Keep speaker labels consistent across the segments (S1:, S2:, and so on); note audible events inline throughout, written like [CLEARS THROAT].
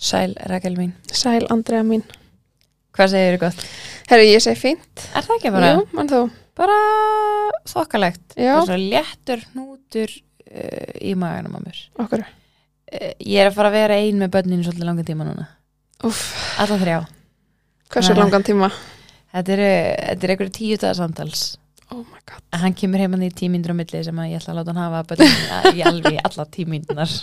S1: Sæl, Rakel mín.
S2: Sæl Andrea mín.
S1: Hvað segir þér gott?
S2: Herru, ég segi fínt.
S1: Er það ekki bara?
S2: Jú, mann þú.
S1: Bara þokkalegt.
S2: Já.
S1: Bara svo léttur hnútur uh, í maganum á mér.
S2: Okkur.
S1: Uh, ég er að fara að vera ein með börninu svolítið langa tíma núna.
S2: Úff,
S1: Alla þrjá.
S2: hversu
S1: Nei.
S2: langan tíma?
S1: Þetta eru, þetta eru einhverju tíu dagar samtals.
S2: Oh my god.
S1: En Hann kemur heimann í tímyndur á milli sem að ég ætla að láta hann hafa börninu í [LAUGHS] alveg alla tímyndunar.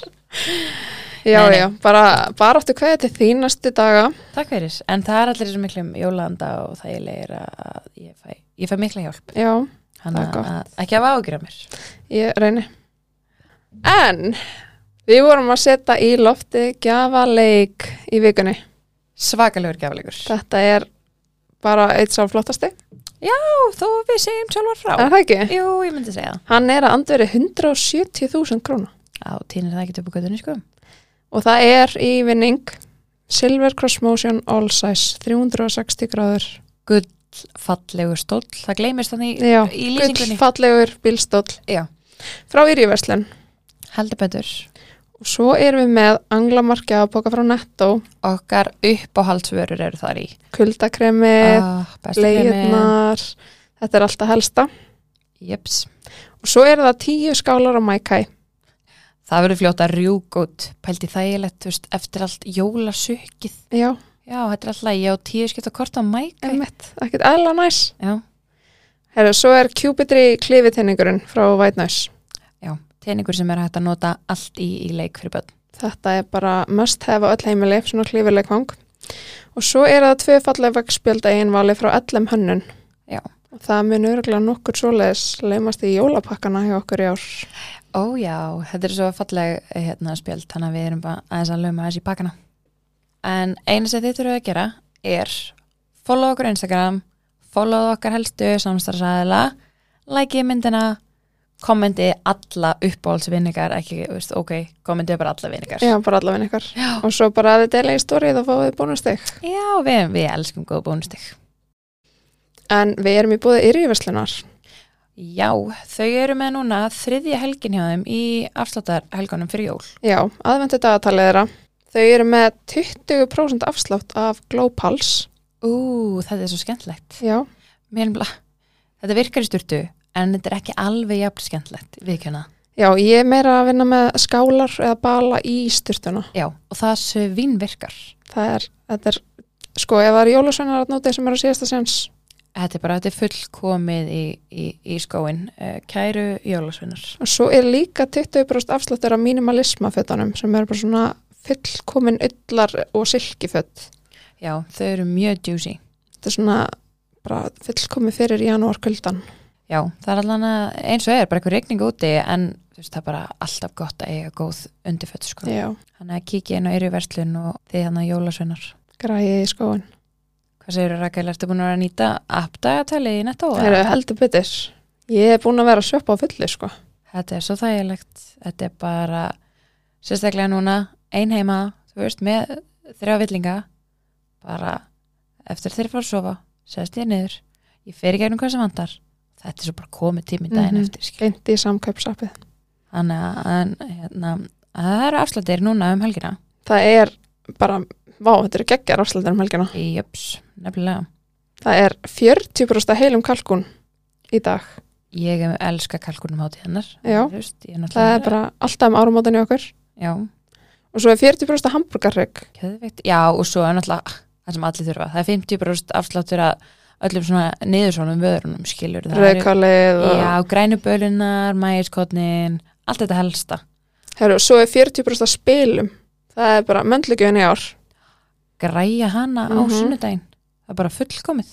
S2: Já,
S1: Nei, nei.
S2: já, bara, bara áttu hverja til því næstu daga.
S1: Takk fyrir. En það er allir svo miklum jólanda og það ég leir að ég fæ, ég fæ mikla hjálp.
S2: Já,
S1: Hann
S2: Það er gott.
S1: að ekki hafa ágjur á mér.
S2: ég reyni. En við vorum að setja í lofti gjafaleik í vikunni.
S1: Svakalegur gafleikur.
S2: Þetta er bara eitt sá flottasti.
S1: þó við segjum sjálfar frá.
S2: Er það ekki?
S1: Jú, ég myndi segja það.
S2: Hann er að andveri 170.000 króna.
S1: Já, týnir það ekki upp á göttunni, sko.
S2: Og það er í vinning Silver Cross Motion All Size 360 gráður.
S1: Gull, fallegur stóll, það gleymist þannig í,
S2: Já,
S1: í
S2: gull
S1: lýsingunni.
S2: fallegur bílstóll
S1: Já,
S2: frá Írjöverslun.
S1: heldur betur.
S2: Og svo erum við með anglamarkja að boka frá Netto,
S1: Okkar uppáhaldsvörur eru þar í.
S2: kuldakremið,
S1: Ah, besta kremi.
S2: leiðnar, þetta er alltaf helsta.
S1: Jeps.
S2: Og svo eru það tíu skálar á Maikai.
S1: Það verður fljótt að rjúk út, pældi þægilegt, þú veist, eftir allt jólasukkið.
S2: Já,
S1: Já, þetta er alltaf, ég á tíu skipta kort á mæk.
S2: emmett, ekkert eðla næs.
S1: Já,
S2: Herra, svo er kjúbitri klifitinningurinn frá White Noise.
S1: já, teiningur sem er hægt að nota allt í, í leik fyrir börn.
S2: Þetta er bara must have á öll heimili, svona klifirleik fang. Og svo eru það tvö fallega vegspjölda einvali frá ellum hönnun.
S1: Já.
S2: Og það mun örgulega nokkur svoleiðis leimast í jólapakkana hjá okkur í ár.
S1: Ó já, þetta er svo falleg hérna spjöld, þannig að við erum bara aðeins að lauma aðeins í pakkana. En eina sem þið þurfum að gera er follow okkur á Instagram, follow okkar helstu samstarfsæðila, likeið myndina, kommentið alla uppbólsvinningar, ekki, þú veist, ok, kommentið bara alla vinningar.
S2: Já, bara allaveg ykkar.
S1: Já,
S2: Og svo bara að þið deila í stórið og fáið bónusteg.
S1: já við, við elskum góð bónustig.
S2: En við erum í búið yrjuverslunar.
S1: Já, þau eru með núna þriðja helgin hjá þeim í afsláttar helgunum fyrir jól.
S2: Já, aðvendu dagatalið þeirra. Þau eru með 20% afslátt af Glowpals.
S1: Ú, þetta er svo skemmtlegt.
S2: Já,
S1: Mér er bara, þetta virkar í styrtu en þetta er ekki alveg jafn hérna. skemmtlegt viðkjöna.
S2: Já ég er meira að vinna með skálar eða bala í styrtuna.
S1: Já, og það svin virkar.
S2: Það er, þetta er, sko, ef það er jólasveinar að nóti sem eru á síðasta sens,
S1: Þetta er bara, þetta er fullkomið í, í, í skóin. Eh, Kæru jólasvinnar.
S2: Og svo er líka 20% afsláttur af minimalismafötunum sem eru bara svona fullkomin öllar og silkifött.
S1: Já, þau eru mjög juicy.
S2: Þetta er svona bara fullkomin fyrir janúarkuldan.
S1: Já, það er allan að, eins og er, bara eitthvað regning úti en þú veist, það er bara alltaf gott að eiga góð undirföt sko.
S2: Já,
S1: Þannig að kíkja inn á yfir verslun og þið hann að jólasvinnar.
S2: græði í skóin.
S1: Hvað segir Rakel, ertu búin að vera að nýta appdagatalið í nettó?
S2: Það eru heldur betur. Ég er búin að vera að sjöpa á fullu sko.
S1: Þetta er svo þægilegt, þetta er bara sérstaklega núna, ein heima þú veist, með þrjá villinga bara eftir þeir fara að sofa, sérst ég niður ég fer í gegnum hvað sem vantar þetta er svo bara komið tími daginn
S2: Mhm.
S1: eftir skil.
S2: Beint í samkaupsappið.
S1: þannig að, en, hérna, að það eru afslættir núna um helgina
S2: Það er bara, vá, þetta eru geggjar afsláttur um helgina.
S1: í jöps, nefnilega
S2: Það er 40% af heilum kalkun í dag.
S1: ég elska kalkunum hátíð hennar
S2: Já.
S1: Þú veist, ég er
S2: Það er
S1: náttúrulega
S2: bara alltaf um árumótinu okkur.
S1: já,
S2: Og svo er 40% af hambúrgarrygg.
S1: geðveikt. já, og svo er náttúrulega það sem allir þurfa, það er 50% afsláttur að öllum svona niðursónum vöðrunum skilur, það eru-
S2: Rauðkálið og...
S1: Já, grænubölunar, mægiskotnin, allt þetta helsta.
S2: Herru, svo er 40% af spilum. Það er bara möndlugjöfin í ár.
S1: Græja hana á
S2: Mhm.
S1: sunnudaginn. Það er bara fullkomið.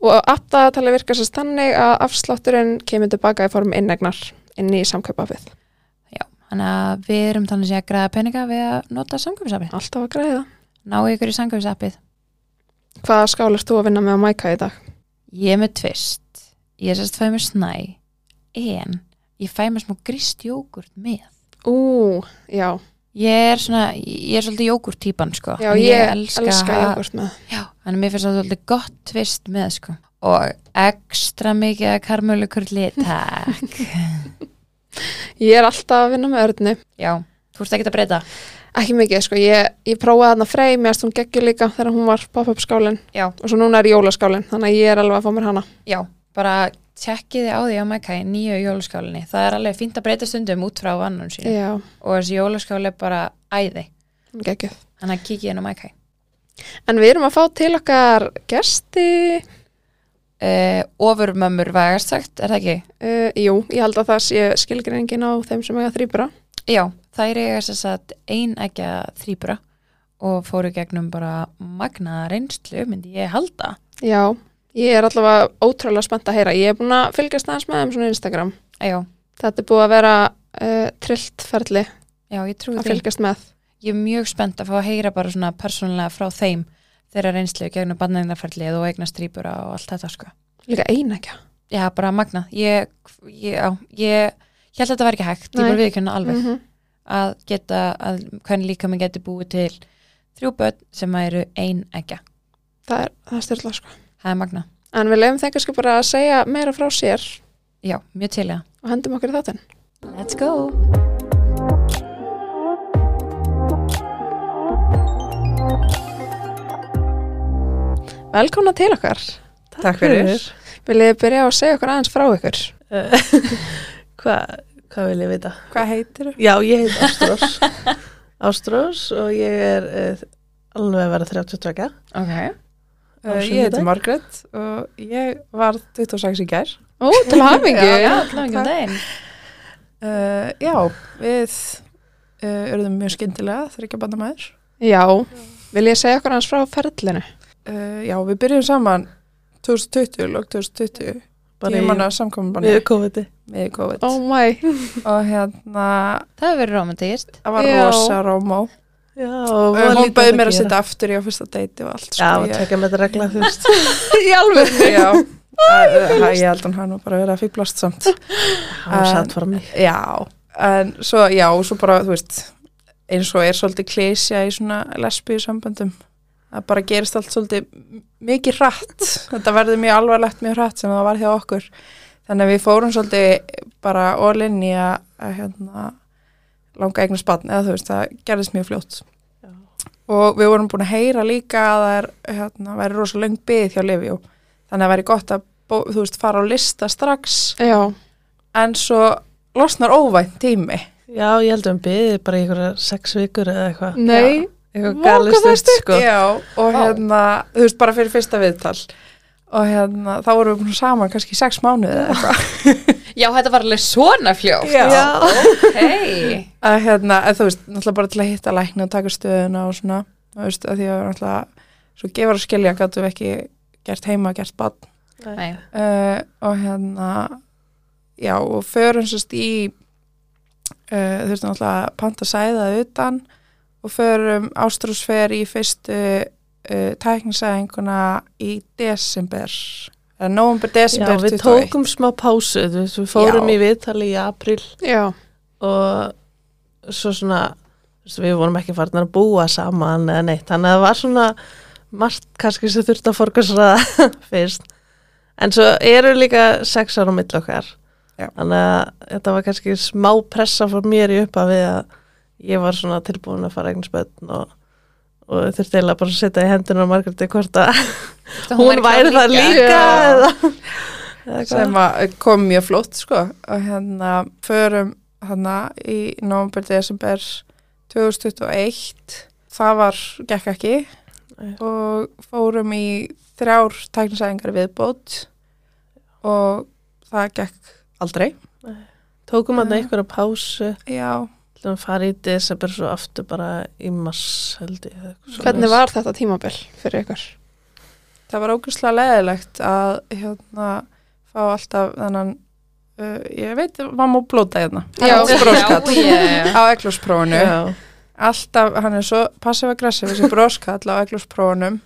S2: Og aftadagatali virkar sérst þannig að afslátturinn kemur tilbaka í form innegnar inn í samkaupafið.
S1: Þannig að við erum þannig sé að græða peninga við að nota samkjöfisappið.
S2: Alltaf að græða.
S1: Ná ykkur í samkjöfisappið.
S2: Hvaða skál ert þú að vinna með að mæka í dag?
S1: Ég er með tvist. Ég er sérst fæði mér snæ. En ég fæði mér smá grist jógurt með.
S2: Ú, já,
S1: Ég er svona, ég er svolítið jógurt típan sko.
S2: já,
S1: En
S2: ég, elska, elska
S1: að-
S2: jógurt með.
S1: Já, þannig að mér finnst það svolítið gott tvist með sko. Og ekstra mikið að karmölukurli, takk.
S2: Ég er alltaf að vinna með örnu.
S1: Já, þú ert ekki að breyta
S2: ekki mikið, sko, ég, ég prófaði þarna frey, mér erst hún geggjur líka þegar hún var pop-up skálin
S1: Já.
S2: og svo núna er jólaskálin, þannig að ég er alveg að fá mér hana
S1: Já, bara tjekkiði á því á Mækæ nýju jólaskálinni. Það er alveg fínt að breyta stundum út frá vannum sín
S2: Já,
S1: og þessi jólaskáli er bara æði.
S2: hún er geggjuð
S1: Þannig að kikið inn á Mækæ.
S2: En við erum að fá til okkar gesti
S1: Uh, ofurmömmur vægast sagt, er það ekki?
S2: uh, Jú, ég held að það sé skilgreiningin á þeim sem eiga þrýbura
S1: Já, þær eiga þess að ein ekki að þrýbura og fóru gegnum bara magnaða reynslu, myndi ég halda.
S2: Já, ég er allavega ótrúlega spennt að heyra, ég er búin að fylgjast aðeins með þeim svona á Instagram
S1: Já,
S2: Þetta er búið að vera uh, trillt ferli
S1: já, ég trúi
S2: að
S1: því.
S2: fylgjast með
S1: Ég er mjög spennt að fá að heyra bara svona persónulega frá þeim þeirra reynslu gegnum barnaðinarferlið og eigna strýpura og allt þetta sko.
S2: Líka einækja
S1: Já, bara magnað. Ég, ég, já, ég, ég held að þetta var ekki hægt,
S2: Nei.
S1: ég var viðkjönda alveg
S2: -hmm.
S1: að geta, að hvernig líka mér geti búið til þrjú börn sem eru ein ekki.
S2: Það er, það er styrla sko
S1: Það er magnað.
S2: En við lefum þeim kannski bara að segja meira frá sér
S1: Já, mjög til í það.
S2: og hendum okkur í þáttinn.
S1: Let's go!
S2: Velkomna til okkar.
S3: Takk fyrir.
S2: Viljið þið byrja á að segja okkur aðeins frá ykkur?
S3: Eh, Hvað hva vil ég vita?
S4: Hvað heitir þú?
S3: Já, ég heit
S4: [LAUGHS]
S3: Ástrós. Ástrós og ég er uh, alveg að vera 32.
S1: Ok.
S3: Á
S4: Uh, ég heiti
S3: sunnudag.
S4: Margrét og ég var 26 í gær.
S2: Ó, til hafingu.
S1: Já, allan ekki um daginn.
S4: Uh, já, við uh, eruðum mjög skyndilega þegar ekki að banda maður.
S2: Já. Viljið þið segja okkur aðeins frá ferlinu?
S4: Uh, já, við byrjum saman 2020 og 2020
S3: Bara í
S4: tímana samkominbanni
S3: Við COVID-i.
S4: með COVID
S2: Oh my.
S4: og hérna,
S1: Það hefur verið romantist.
S4: það var
S2: Já.
S4: rosa rómó.
S3: Já,
S4: Uh,
S3: og
S4: Hún bauði mér að setja aftur í á fyrsta deiti og allt.
S3: Já,
S4: sko,
S3: að tekja með þetta regla,
S4: [LAUGHS]
S3: þú veist.
S2: [LAUGHS] Í alveg.
S4: ég, já. Uh, ég held að hann var bara að vera að fýblast samt.
S3: Það var satt fram í.
S4: Já, en svo, já, og svo bara, þú veist, eins og er svolítið klesja í svona lesbíu samböndum. Það bara gerist allt svolítið m- mikið hratt. Þetta verður mjög alvarlegt mjög hratt sem það var hjá okkur. Þannig að við fórum svolítið bara ólinn í að, að hérna, langa eignu spann, eða þú veist, það gerðist mjög fljótt.
S3: Já.
S4: Og við vorum búin að heyra líka að það er, hérna, væri rosa löng byggð hjá Livjó. Þannig að væri gott að, bó, þú veist, fara á lista strax
S2: Já.
S4: en svo losnar óvænt tími
S3: Já, ég held að hún byði bara í einhverja sex vikur eða eitthvað.
S2: Nei.
S3: Eitthvað
S2: Vá,
S3: galið
S2: hvað það er
S3: stutt, sko.
S4: Já, og
S1: Vá.
S4: hérna, þú veist, bara fyrir fyrsta viðtal og hérna, þá vorum við búin saman kannski í sex mánuði eða eitthvað
S1: Já, þetta var alveg svona fljótt.
S4: Já.
S1: Ok.
S4: að hérna, að þú veist, náttúrulega bara til að hitta lækni og taka stöðuna og svona þú veist, að því að náttúrulega svo gefur að skilja gætu við ekki gert heima, gert badn
S1: Nei.
S4: uh, og hérna já og förum sérst í uh, þurftum alltaf að panta sæðað utan og förum ástrúsfer í fyrstu uh, tæknisæðinguna í desember eða november
S3: Já,
S4: desember
S3: við
S4: 21.
S3: tókum smá pásu, þú veist, við fórum
S4: Já.
S3: í viðtali í april
S2: Já.
S3: og svo svona þú veist, við vorum ekki farin að búa saman eða neitt, þannig að það var svona margt kannski sem þurfti að forgarsraða [LAUGHS] fyrst, en svo eru líka sex ára á milli okkar
S4: Já.
S3: þannig að þetta var kannski smá pressa fór mér í uppa við að ég var svona tilbúin að fara eigin spötn og, og þurfti eiginlega bara að setja í hendunar Margréti hvort að
S1: Þetta
S3: hún væri það líka eða, eða hvað.
S4: sem að kom mjög flott sko og hérna förum hérna í november desember 2021 það var, gekk ekki
S3: Nei.
S4: og fórum í þrjár tæknisæðingar viðbót og það gekk aldrei
S3: tókum hann
S4: Já.
S3: einhverja pásu
S4: já,
S3: ætlum að fara í desember svo aftur bara í mars held ég eða eitthvað
S2: Hvernig var
S3: svoleiðis.
S2: þetta tímabil fyrir ykkur?
S4: það var ógustlega leðilegt að hérna fá alltaf þennan uh, ég veit, mamma og blóta hérna
S2: Já.
S4: Hann er
S1: Já,
S4: bróðskatt
S1: ég.
S4: á eglúsprófinu
S3: Já,
S4: alltaf, hann er svo passiv-aggressiv þessi broskall á eglúsprófunum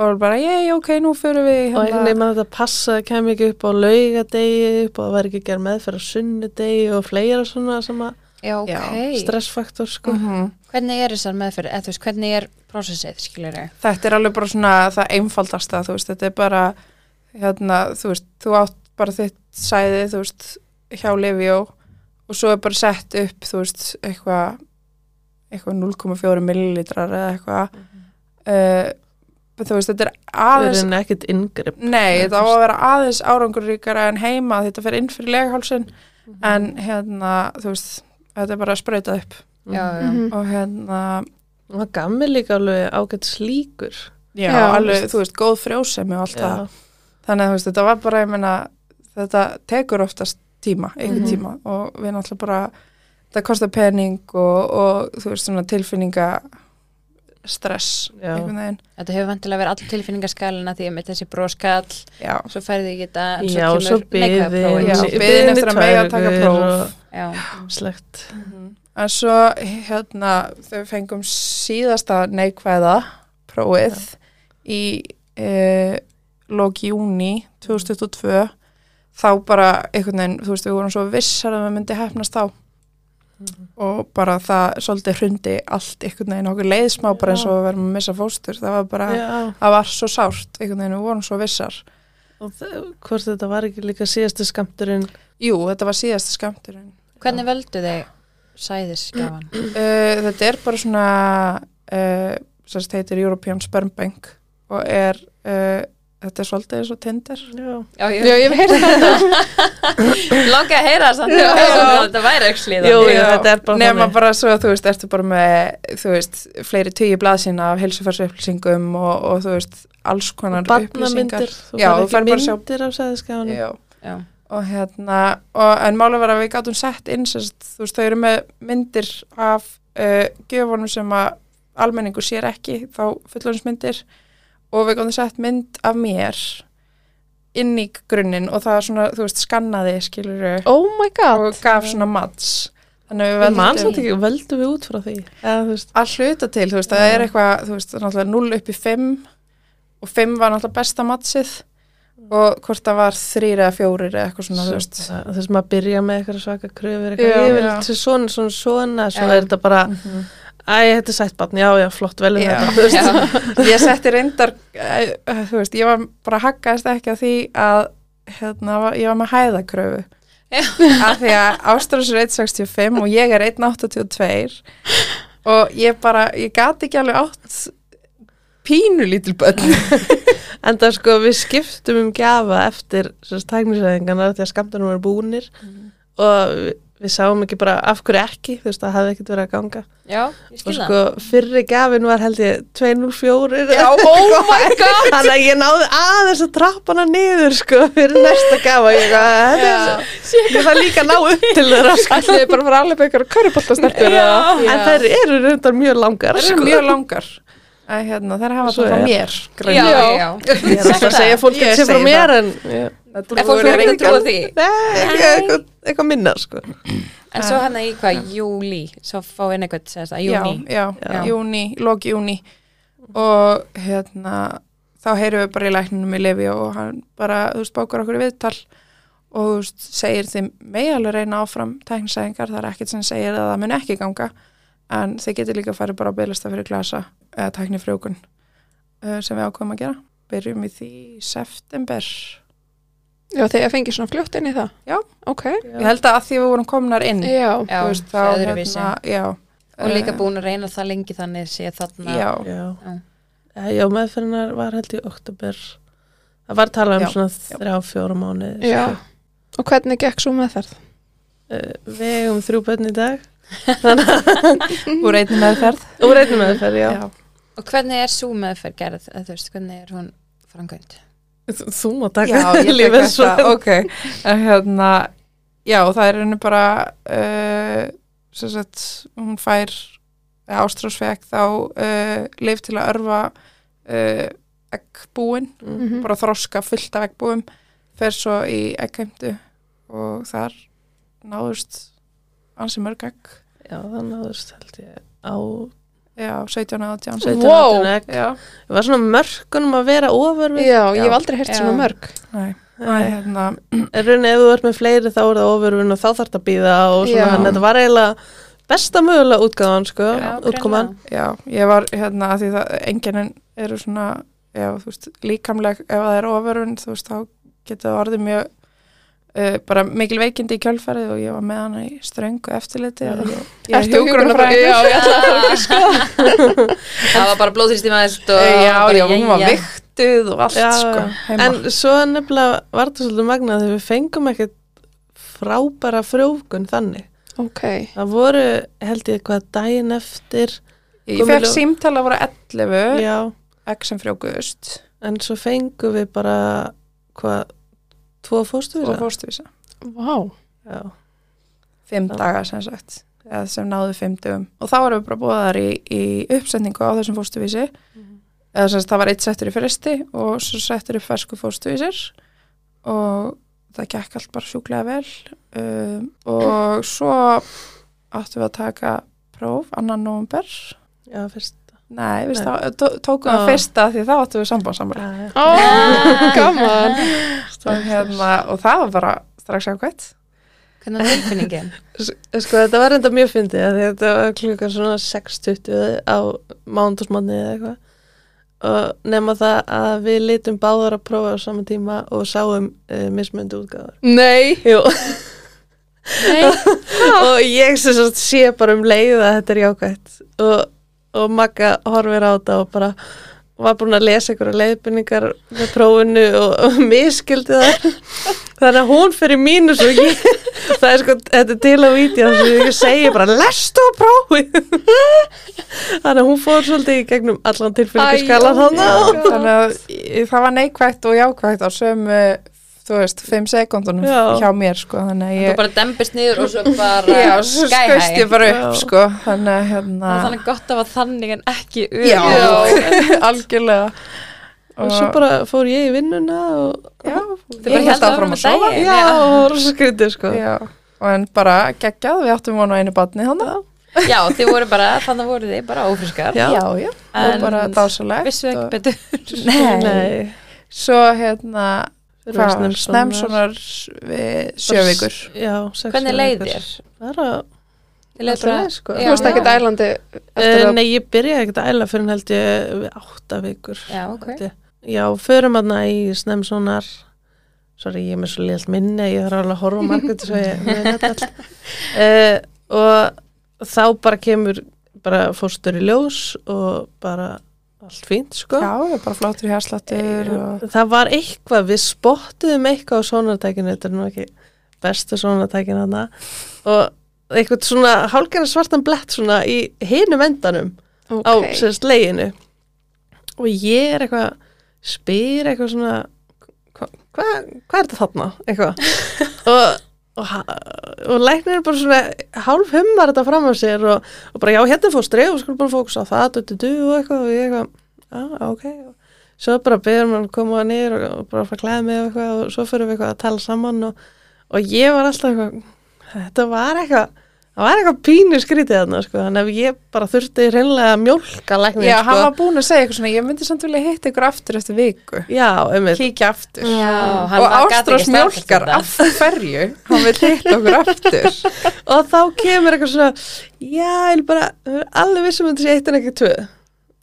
S4: og bara, ég, ok, nú fyrir við hérna."
S3: og einhvern veginn að þetta passa kem ekki upp á laugadegi upp og það var ekki gerð meðferð á sunnudegi og fleira svona sem að
S1: Já, ok.
S3: stressfaktor sko
S4: Mhm.
S1: Hvernig er þessar meðferð, eða þú veist, hvernig er prósessið, skilur ég?
S4: þetta er alveg bara svona það einfaldasta, þú veist, þetta er bara hérna, þú veist, þú átt bara þitt sæði, þú veist, hjá Livjó og svo er bara sett upp, þú veist, eitthvað eitthvað 0,4 millilitrar eða eitthvað
S3: Mhm.
S4: uh, þú veist, þetta er aðeins
S3: Það er ekkert inngrip
S4: Nei,
S3: Nei,
S4: þetta á
S3: þú
S4: að vera aðeins árangurríkara en heima þetta fer inn fyrir leghálsin
S3: Mhm.
S4: en hérna, þú veist, þetta er bara að spreita
S3: [LAUGHS]
S4: upp
S1: já, já.
S2: Mhm.
S4: og hérna,
S3: Og það gaf mér líka alveg ágætt slíkur
S4: já,
S2: Já.
S4: alveg, þú veist, góð frjósemi og allt það. Þannig að þú veist, þetta var bara, ég meina, þetta tekur oftast tíma, einhvern
S3: Mhm.
S4: tíma og við náttúrulega bara, þetta kostar pening og, og þú veist, svona tilfinninga stress,
S3: Já.
S4: einhvern veginn.
S1: Þetta hefur vantilega verið all tilfinningaskælina því að mitt þessi broskall,
S4: Já,
S1: svo færði ég þetta en
S3: Já, og svo
S1: kemur neikvæða prófið.
S4: Já,
S3: biðin
S4: biðin eftir að mega taka próf.
S1: Já,
S3: Slegt
S4: En svo hérna þau fengum síðasta neikvæða prófið í e, loki júni 2022 þá bara einhvern veginn, þú veist, við vorum svo vissar að við myndi hefnast þá og bara það svolítið hrundi allt einhvern veginn, okkur leið smá bara eins og við verðum að missa fóstur, það var bara
S3: Já,
S4: það var svo sárt, einhvern veginn, við vorum svo vissar
S3: og þe- hvort þetta var ekki líka síðasti skamturinn
S4: Jú, þetta var síðasta skamturinn
S1: hvernig völdu þau sæðisgjafan?
S4: Uh, þetta er bara svona uh, sem þetta heitir European Sperm Bank og er uh, þetta er svolítið eins og Tinder
S3: Já,
S1: Já,
S2: Já, ég hef heyrt þetta.
S1: Langa að heyra samt
S4: [LAUGHS]
S1: já. Þetta væri ekki slíðan
S3: Jú, jú, þetta er bara
S4: nema
S3: þannig.
S4: bara svo að þú veist, ertu bara með þú veist, fleiri tugi blaðsina af heilsufarsu upplýsingum og, og þú veist alls konar upplýsingar
S3: barnamyndir Þú
S4: Já,
S3: fær
S4: þú
S3: ekki
S4: færð bara að sjá-
S3: myndir af sæðiskjáðanum
S4: Já.
S1: Já,
S4: og hérna og, en mála var að við gátum sett inn sem sagt, þú veist, þau eru með myndir af uh, gjöfunum sem að almenningu sér ekki, þá fullorðinsmyndir og við gátum sett mynd af mér inn í grunninn og það svona, þú veist, skannaði skilur
S2: Oh my god.
S4: og gaf svona mats þannig að
S3: Við
S4: við
S3: mann
S1: manst
S4: veldum
S3: samt ekki, völdu við út frá því Eða, þú veist,
S4: að hluta til, þú veist, það er eitthvað þú veist, náttúrulega 0 upp í 5 og 5 var náttúrulega besta matsið og hvort það var 3 eða 4 eða eitthvað svona, þú veist
S3: það- þú veist, maður byrja með eitthvað svaka kröfur
S2: Já,
S3: eitthvað, ég vil
S4: já. Mhm.
S3: til svona, svona, svona svo
S1: Já.
S3: er þetta bara, æ, þetta er sætt barn já, já, flott, vel um
S4: Já.
S3: þetta, þú veist
S4: ég setti reyndar eh, eh, þú veist, ég var bara að haggaðist ekki að því að hérna, ég var með hæðakröfu
S1: Já.
S4: af því að Ástrós er 1,65 og ég er 1,82 og ég bara, ég gat ekki alveg átt pínu lítil börn
S3: En það sko við skiptum um gjafa eftir tæknisæðingarnar þegar skamtunum voru búnir
S4: Mhm.
S3: og við, við sáum ekki bara af hverju ekki, þú veist það hafði ekkert verið að ganga.
S1: já, ég
S3: Og
S1: skil það
S3: sko fyrri gjafin var held ég 204 eða
S2: [LAUGHS]
S1: Oh my god
S3: Þannig að ég náði aðeins að trappa hana niður sko fyrir næsta gafa ég eitthvað, þetta er svo- ég þarf líka að ná upp til þeirra sko.
S2: Ætliði bara að fara alveg byggur og körubóltastelpur
S1: Já.
S2: eða?
S3: En þær eru reyndar mjög langar
S4: það
S3: sko.
S4: er mjög langar að, hérna, það er að hafa
S3: Svo
S4: það frá
S3: er.
S4: mér
S1: Já,
S4: greinilega.
S1: já,
S3: Ég er alltaf að segja fólki
S4: Ég
S3: sem frá
S4: segi
S3: mér
S4: það.
S3: en já.
S4: Þetta
S1: En fólk
S4: voru
S1: verður ekki að
S4: reyndar-
S1: trúa því
S3: Nei, ekki eitthvað, eitthvað minna sko.
S1: En svo hann í hvað, júli Svo fá inn eitthvað, segist það,
S4: já,
S1: júni
S4: já,
S1: Já.
S4: júni, lóki júni og hérna þá heyrum við bara í lækninum í Levi og hann bara, þú veist, bókur okkur í viðtal og þú veist, segir þeim megi alveg reyna áfram tæknisæðingar það er ekkert sem segir að það mun ekki ganga en þeir getur líka að fara bara á bygglista fyrir glasa eða tæknifrjókun eh, sem við ákveðum að gera byrjum í því í september
S2: Já, þegar fengið svona fljótt inn í það?
S4: Já.
S2: Ok.
S4: ég held að að því við vorum komnar inn
S2: Já.
S1: Já,
S4: þú þá,
S1: öðruvísi
S4: hérna, já,
S1: Og líka
S4: eh,
S1: búin að reyna það lengi þannig sé þarna
S4: já,
S3: Já,
S1: Já.
S3: já. já meðferðinar var held í oktober það var talað um
S4: Já,
S3: svona
S4: já.
S3: þrjá, fjóra mánuði sko.
S2: Já. Og hvernig gekk svo meðferð?
S3: uh, við eigum þrjú börn í dag
S4: úr einni meðferð
S3: úr einni meðferð, já,
S1: Og hvernig er svo meðferð gerð, eða þú veist, hvernig er hún framkvæmt?
S3: Þú- þú má
S4: Já,
S3: taka
S4: ég tek
S3: lífið svo
S4: þetta, ok. En hérna, já, það er henni bara, uh, sem sagt, hún fær, Ástrós fekk þá uh, leif til að örfa uh, eggbúin,
S2: Mhm.
S4: bara þroska fullt af eggbúum, fer svo í eggheimtu og þar náðust ansi mörg egg,
S3: já, þannig að þú veist held ég á
S4: já, 17 eða 18.
S3: 17
S2: Wow.
S3: wow. egg
S4: Já,
S3: það var svona mörkunum að vera ofur við
S2: Já, ég hef
S4: Já.
S2: aldrei heyrt
S1: Já.
S2: svona mörg.
S4: nei, það er hérna,
S3: en raunin ef þú ert með fleiri þá er það ofurvin og þá þarf það að býða og svona
S2: Já.
S3: hann þetta var eiginlega besta mögulega útgáðan sko,
S1: Já,
S3: útkoman
S4: Já, ég var hérna að því það enginin eru svona já, þú veist, líkamleg ef það er ofurun þú veist, þá getur það orðið mjög uh, bara mikil veikindi í kjölfarið og ég var með hana í ströngu eftirliti og ég, ég
S2: Ertu hjúkrunarfræðingur?
S4: Já, ég ætla að
S1: það var bara blóðrýstum aðeins og
S4: Eh, Já,
S1: bara
S4: sko. já, hún var
S1: jæja.
S4: viktuð og allt
S3: Já,
S4: sko, heima.
S3: en svo nefnilega var það svolítið magnað þegar við fengum ekkert frábæra frjókun þannig
S2: Ok,
S3: það voru held ég eitthvað daginn eftir
S4: ég fekk
S3: gömul-
S4: símtala voru 11
S3: já,
S4: X sem frjókuðust
S3: en svo fengum við bara hvað, tvo fórstu
S4: og fórstuðisa
S2: vá,
S3: já,
S4: fimm
S3: Já.
S4: daga sem sagt eða sem náðu fimm dögum og þá erum við bara búðar í, í uppsetningu á þessum fóstuvísi
S3: Mhm.
S4: eða sem sagt það var eitt settur í fristi og svo settur í fersku fóstuvísir og það gekk allt bara sjúklega vel um, og svo áttum við að taka próf annan november
S3: já, fyrst
S4: nei, við
S3: Nei.
S4: stá- tó- tókum það
S3: Já.
S4: fyrsta því þá áttum við sambandsamlega
S3: já,
S4: [LAUGHS]
S2: ó, gaman,
S4: og, hérna, og það var bara strax ákvæmt
S1: hvernig var tilfinningin?
S3: Sko þetta var enda mjög fyndið af því að þetta var klukkan svona 6.20 á mándagsmanni eða eitthvað og nema það að við litum báðar að prófa á sama tíma og sáum uh, mismöndu útgáður
S2: nei,
S3: Jú og ég sem sagt sé bara um leið að þetta er jákvætt og, og Magga horfir á þetta og bara var búin að lesa einhverja leiðbynningar með prófinu og, og miskildi það þannig að hún fyrir mínus og ég það er sko, þetta er til á vídeo sem ég segi bara, lestu á prófi þannig að hún fór svolítið í gegnum allan tilfinningu skalan
S2: Æ, já.
S3: þannig
S4: þannig að í- það var neikvægt og jákvægt á sömu, þú veist, 5 sekundunum
S3: Já.
S4: hjá mér, sko, þannig að
S1: Þú
S4: ég
S1: bara dembist niður og svo
S4: Já,
S1: bara
S4: svo
S1: sky
S4: skauðst
S1: high
S4: ég bara upp,
S3: Já.
S4: sko þannig að hérna,
S1: Það var þannig gott að það var þannig en ekki
S4: já,
S1: öfugt.
S4: [LAUGHS] algjörlega
S3: og svo bara fór ég í vinnuna og
S4: já,
S1: Þau bara
S4: ég held
S1: héldu
S4: áfram
S1: áfram
S4: að
S1: með
S4: sofa
S1: daginn.
S3: já, og var svo skrítið sko
S4: já, og en bara geggjað, við áttum vonu einu batni þannig,
S1: Já, þið voru bara, þannig voru þið bara ófriskar
S3: Já.
S4: já, já, og
S1: En
S4: bara dásalegt
S1: Vissu ekki
S4: og-
S1: betur
S4: nei,
S3: nei,
S4: svo hérna
S3: Fyrir
S4: hvað,
S3: við um Snemmsonar.
S4: snemsonar við sjövíkur
S3: Já, sex
S1: Hvernig
S3: ára
S1: leið
S3: ykkur.
S1: þér?
S3: Bara,
S1: Þið leið
S3: Alltaf
S1: bara-
S3: leið, sko.
S1: Já,
S2: þú veist ekki
S1: já.
S2: dælandi eftir
S3: uh,
S2: að,
S3: nei, ég byrjaði ekkert að æla fyrir en held ég við átta vikur.
S1: Já, ok
S3: held ég. Já, förum aðna í Snemmsonar. Sorry, ég er með svo liðalt minni, ég þarf alveg að horfa á margætt svo ég með þetta [LAUGHS] allt. Uh, og þá bara kemur bara fórstur í ljós og bara allt fínt, sko.
S4: já, ég er bara flottur í herslattur og
S3: Það var eitthvað, við spottuðum eitthvað á sónartækinu, þetta er nú ekki bestu sónartækinu hana og eitthvað svona hálgana svartan blett svona í hinum endanum á
S2: ok,
S3: sérst leginu og ég er eitthvað spyr eitthvað svona hvað hva, hva er þetta þarna? eitthvað og, og, ha- og læknir er bara svona hálf hummar þetta fram á sér og, og bara já hérna fór streif og skulum bara fókus á það du, du, du, og eitthvað og ég eitthvað já ok svo bara byrjum hann að koma niður og, og bara fara að klæða mig og eitthvað og svo fyrir við eitthvað að tala saman og, og ég var alltaf eitthvað þetta var eitthvað það var eitthvað pínu skrítið þarna sko þannig að ég bara þurfti hreinlega að mjólka læknir
S4: Já,
S3: sko.
S4: hann var búin að segja eitthvað svona, ég myndi samt vilja hitta ykkur aftur eftir viku,
S3: já, einmitt
S4: kíkja aftur.
S1: Já, hann
S4: og
S1: var- gat ekki
S4: Ástrós
S1: staðfest
S4: mjólkar
S1: þetta.
S4: af hverju, hann vil hitta okkur aftur.
S3: [LAUGHS] og þá kemur eitthvað svona já, ég er bara ég er alveg vissum að þetta sé eitt en ekki tvö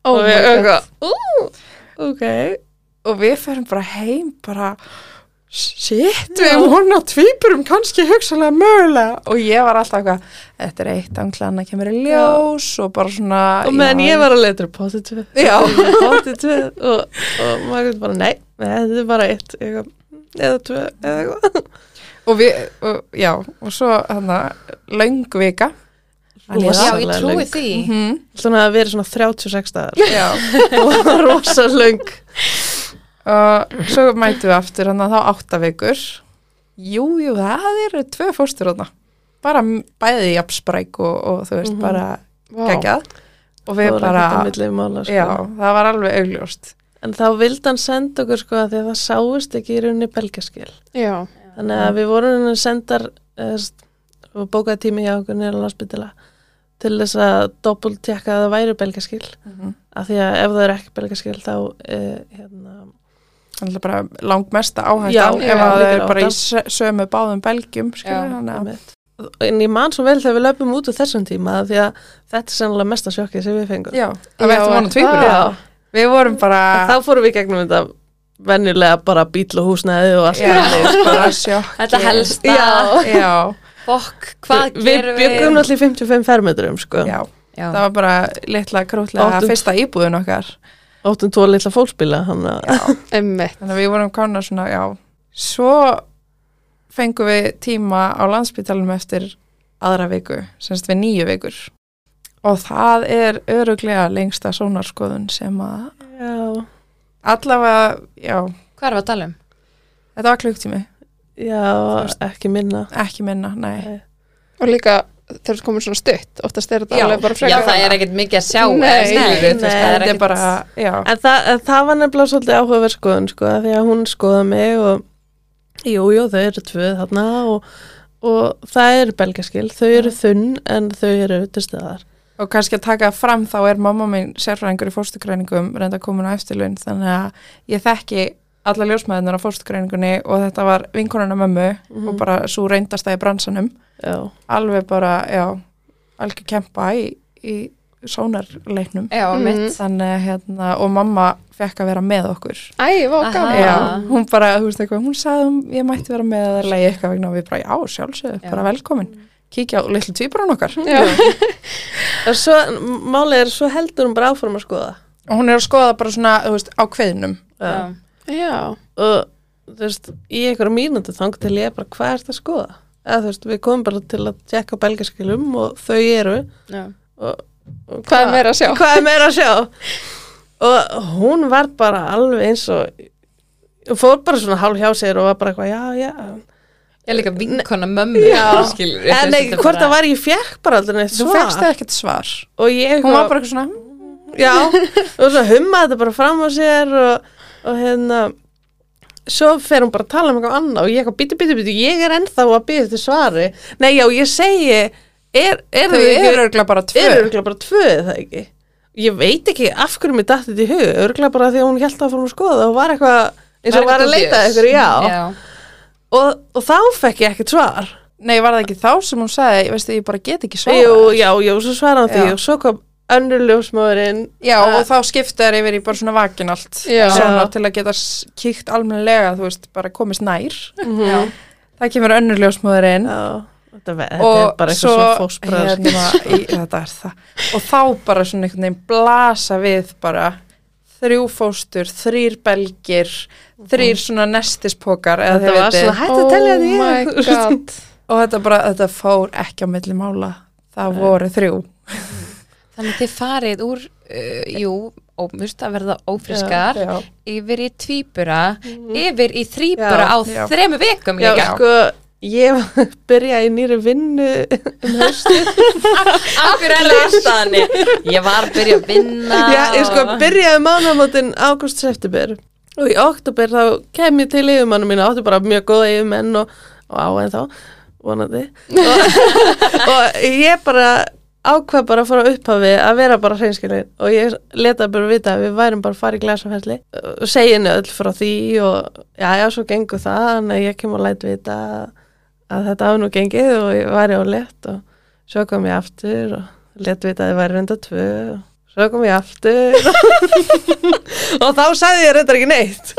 S2: oh
S3: og
S2: my
S3: við erum
S2: god,
S3: eitthvað, ú, ok
S4: Og við ferum bara heim, bara, shit, við vona tvíburum kannski hugsalega mögulega. Og ég var alltaf eitthvað, þetta er eitt angla, annað kemur í ljós og bara svona.
S3: og meðan
S4: já,
S3: ég var að leitra potið tvö
S4: Já.
S3: potið tvö og, og maður bara, nei, nei, þetta er bara eitt eitthvað, eða tvö eða eitthvað
S4: Og við, og, já, og svo hann að, löng vika.
S3: Rosalega
S1: Já, ég trúi
S3: löng.
S1: því
S4: Mhm.
S3: svona að vera svona 36 dagar [LAUGHS]
S4: Já.
S3: og rosa löng
S4: [LAUGHS] og svo mætum við aftur hann að þá átta vikur jú, jú, það eru tvö fóstur hann bara m- bæði jafnspræk og, og þú veist,
S3: Mhm.
S4: bara
S2: vá,
S4: geggjað og við
S3: Það var
S4: bara,
S3: ekkert á milli mála, sko.
S4: já, það var alveg augljóst
S3: en þá vildi hann senda okkur sko að því að það sáist ekki í rauninni belgaskil
S2: já,
S3: Þannig að við vorum henni sendar eðst, og bókaði tími hjá okkur nýra landsbytila til þess að doppult tjekka að það væri belgaskil af því að ef það er ekki belgaskil þá eh, hérna,
S4: þannig bara langmesta
S3: Já,
S2: já,
S4: áhættan ef að það
S3: líkir
S4: er bara í
S3: áhættan.
S4: sö- sömu báðum belgjum skilur,
S1: Já.
S4: hann að
S3: einmitt. en ég man svo vel þegar við löpum út úr þessum tíma af því að þetta er sennilega mesta sjokkið sem við fengum
S4: já, að við ættum hann
S2: Já,
S4: að tvíbura við vorum bara
S3: þá fórum við gegnum þetta venjulega bara bíl og húsnæði og allt
S4: Já, bara sjokk
S1: Þetta helst
S3: Já.
S1: að
S4: Já,
S1: Fokk, hvað
S3: Við
S1: gerum við?
S3: byggum náttúrulega í 55 fermetrum sko.
S4: já,
S1: Já.
S4: það var bara litla krútlega
S3: Áttum-
S4: fyrsta íbúðun okkar
S3: Óttum tvo litla fólksbíla hann að
S2: Einmitt.
S4: Þannig að við vorum konar svona, já Svo fengum við tíma á landsbytalum eftir aðra viku, semst við nýju vikur og það er öruglega lengsta sónarskoðun sem að
S3: Já,
S4: allavega, já,
S1: Hvað er að tala um?
S4: þetta var klukktími
S3: já ekki minna
S4: ekki minna, nei
S2: Og líka þegar þú komur svona stutt, oftast er þetta
S1: Já.
S2: alveg bara
S1: Já,
S2: frekar.
S1: það er ekkert mikið að sjá
S2: Nei,
S1: eða skilur við,
S3: nei,
S1: þú veist, það er
S4: þetta er
S1: ekkert
S4: bara, já,
S3: En það, en það var nefnilega svolítið áhugaverð skoðun sko, af því að hún skoða mig og jú, jú, þau eru tvö þarna og, og það eru belgaskil, þau eru þunn en þau eru auðvitaðar.
S4: og kannski að taka fram þá er mamma mín sérfræðingur í fórstugreiningum reynda komin á eftirlun þannig að ég þekki alla ljósmaðunar á fórstugreiningunni og þetta var vinkonuna mömmu og bara svo reyndasta í bransanum
S3: Já,
S4: alveg bara, já, algjör kempa í, í sónarleiknum
S1: Já, mitt
S4: þannig að, hérna, og mamma fekk að vera með okkur
S2: Æ, vá,
S1: Aha.
S2: gaman.
S4: Já,
S1: Ah.
S4: hún bara, þú veist eitthvað, hún sagði um, ég mætti vera með að leiði eitthvað vegna og við bara, já, sjálfsögðu,
S1: Já.
S4: bara velkomin kíkja á litlu tvíbrann okkar
S2: Já.
S3: en svo, málið er svo heldur hún bara áfram að skoða
S4: og hún er að skoða bara svona, þú veist, á kveðnum
S1: Já.
S2: Já.
S3: og þú veist, í einhverja mínútu þang til ég bara, hvað er þetta að skoða? Eða þú veist, við komum bara til að tjekka á belgaskilum og þau eru
S1: Já.
S3: og, og
S2: Hvað er meira að sjá?
S3: hvað er meira að sjá og hún var bara alveg eins og og fór bara svona hálf hjá sér og var bara eitthvað, já, já
S1: Ég er líka vinkona mömmu
S3: Já.
S1: skilur við, þú
S3: en
S1: veist,
S3: ekki
S1: þetta
S3: hvort
S1: bara-
S3: það var ég fekk bara aldrei neitt
S4: þú fegst
S3: svar
S4: það ekkert svar
S3: og ég
S4: hún var bara eitthvað svona,
S3: já, og svo hummaði þetta bara fram á sér og, og hérna svo fer hún bara að tala um eitthvað annað og ég eitthvað, bíti, bíti, bíti, ég er ennþá að býða eftir svari nei, já, ég segi er, er
S4: þau eru örgulega bara tvö
S3: eru örgulega bara tvö er það ekki ég veit ekki af hverju mér dætti þetta í hug örgulega bara því að hún held að fórum að skoða og var eitthvað eins
S1: Var
S3: og var að
S1: eitthvað
S3: leita
S1: dubious.
S3: eitthvað, já,
S1: Já.
S3: Og, og þá fekk ég ekkert svar
S4: nei, var það ekki þá sem hún sagði, ég veist, ég bara get ekki svar
S3: jú, já, já, svo svaraði hann því
S4: Já.
S3: og svo kom önnur ljósmaðurinn
S4: já, og þá skipta þær yfir í bara svona vakin allt
S2: Já.
S4: svona
S3: Já.
S4: til að geta s- kíkt almennilega, þú veist, bara komist nær
S3: Mhm.
S1: Já.
S4: það kemur önnur ljósmóður inn
S3: já, þetta, ve- þetta er bara eitthvað svo fósbræður
S4: hérna, í,
S3: [LAUGHS]
S4: þetta er það og þá bara svona einhvern veginn blasa við bara þrjú fóstur, þrýr belgir þrýr svona nestispokar eða
S3: þetta
S4: þið
S3: var
S4: vitið.
S3: svona hægt að telja því
S4: [LAUGHS]
S3: [LAUGHS]
S2: Oh my god.
S4: og þetta bara, þetta fór ekki á milli mála það voru þrjú
S1: Þannig þið farið úr, uh, jú, ómust að verða ófriskar,
S4: Já, já.
S1: yfir í tvíbura, yfir í þrýbura
S3: Mhm. Já,
S1: á
S4: já.
S1: þremu vikum
S3: já,
S1: líka.
S3: sko, ég byrjaði í nýri vinnu
S1: Af hverju er það alltaf þannig? Ég var að byrja að vinna.
S3: Já, ég sko
S1: og-
S3: byrjaði mánamótin ágúst september og í oktober þá kem ég til yfirmannu mín átti bara mjög góða yfirmenn og, og á en þá, vonandi og, [LAUGHS] og ég bara ákvað bara að fara upp af við að vera bara hreinskilin og ég leta bara vita að við værum bara að fara í glasaferli og segi henni öll frá því og já, já, svo gengur það en ég kem og læt vita að- að þetta hafi nú gengið og ég væri á lett og svo kom ég aftur og let vita að þið væri reynda tvö og svo kom ég aftur og þá sagði ég reyndar ekki neitt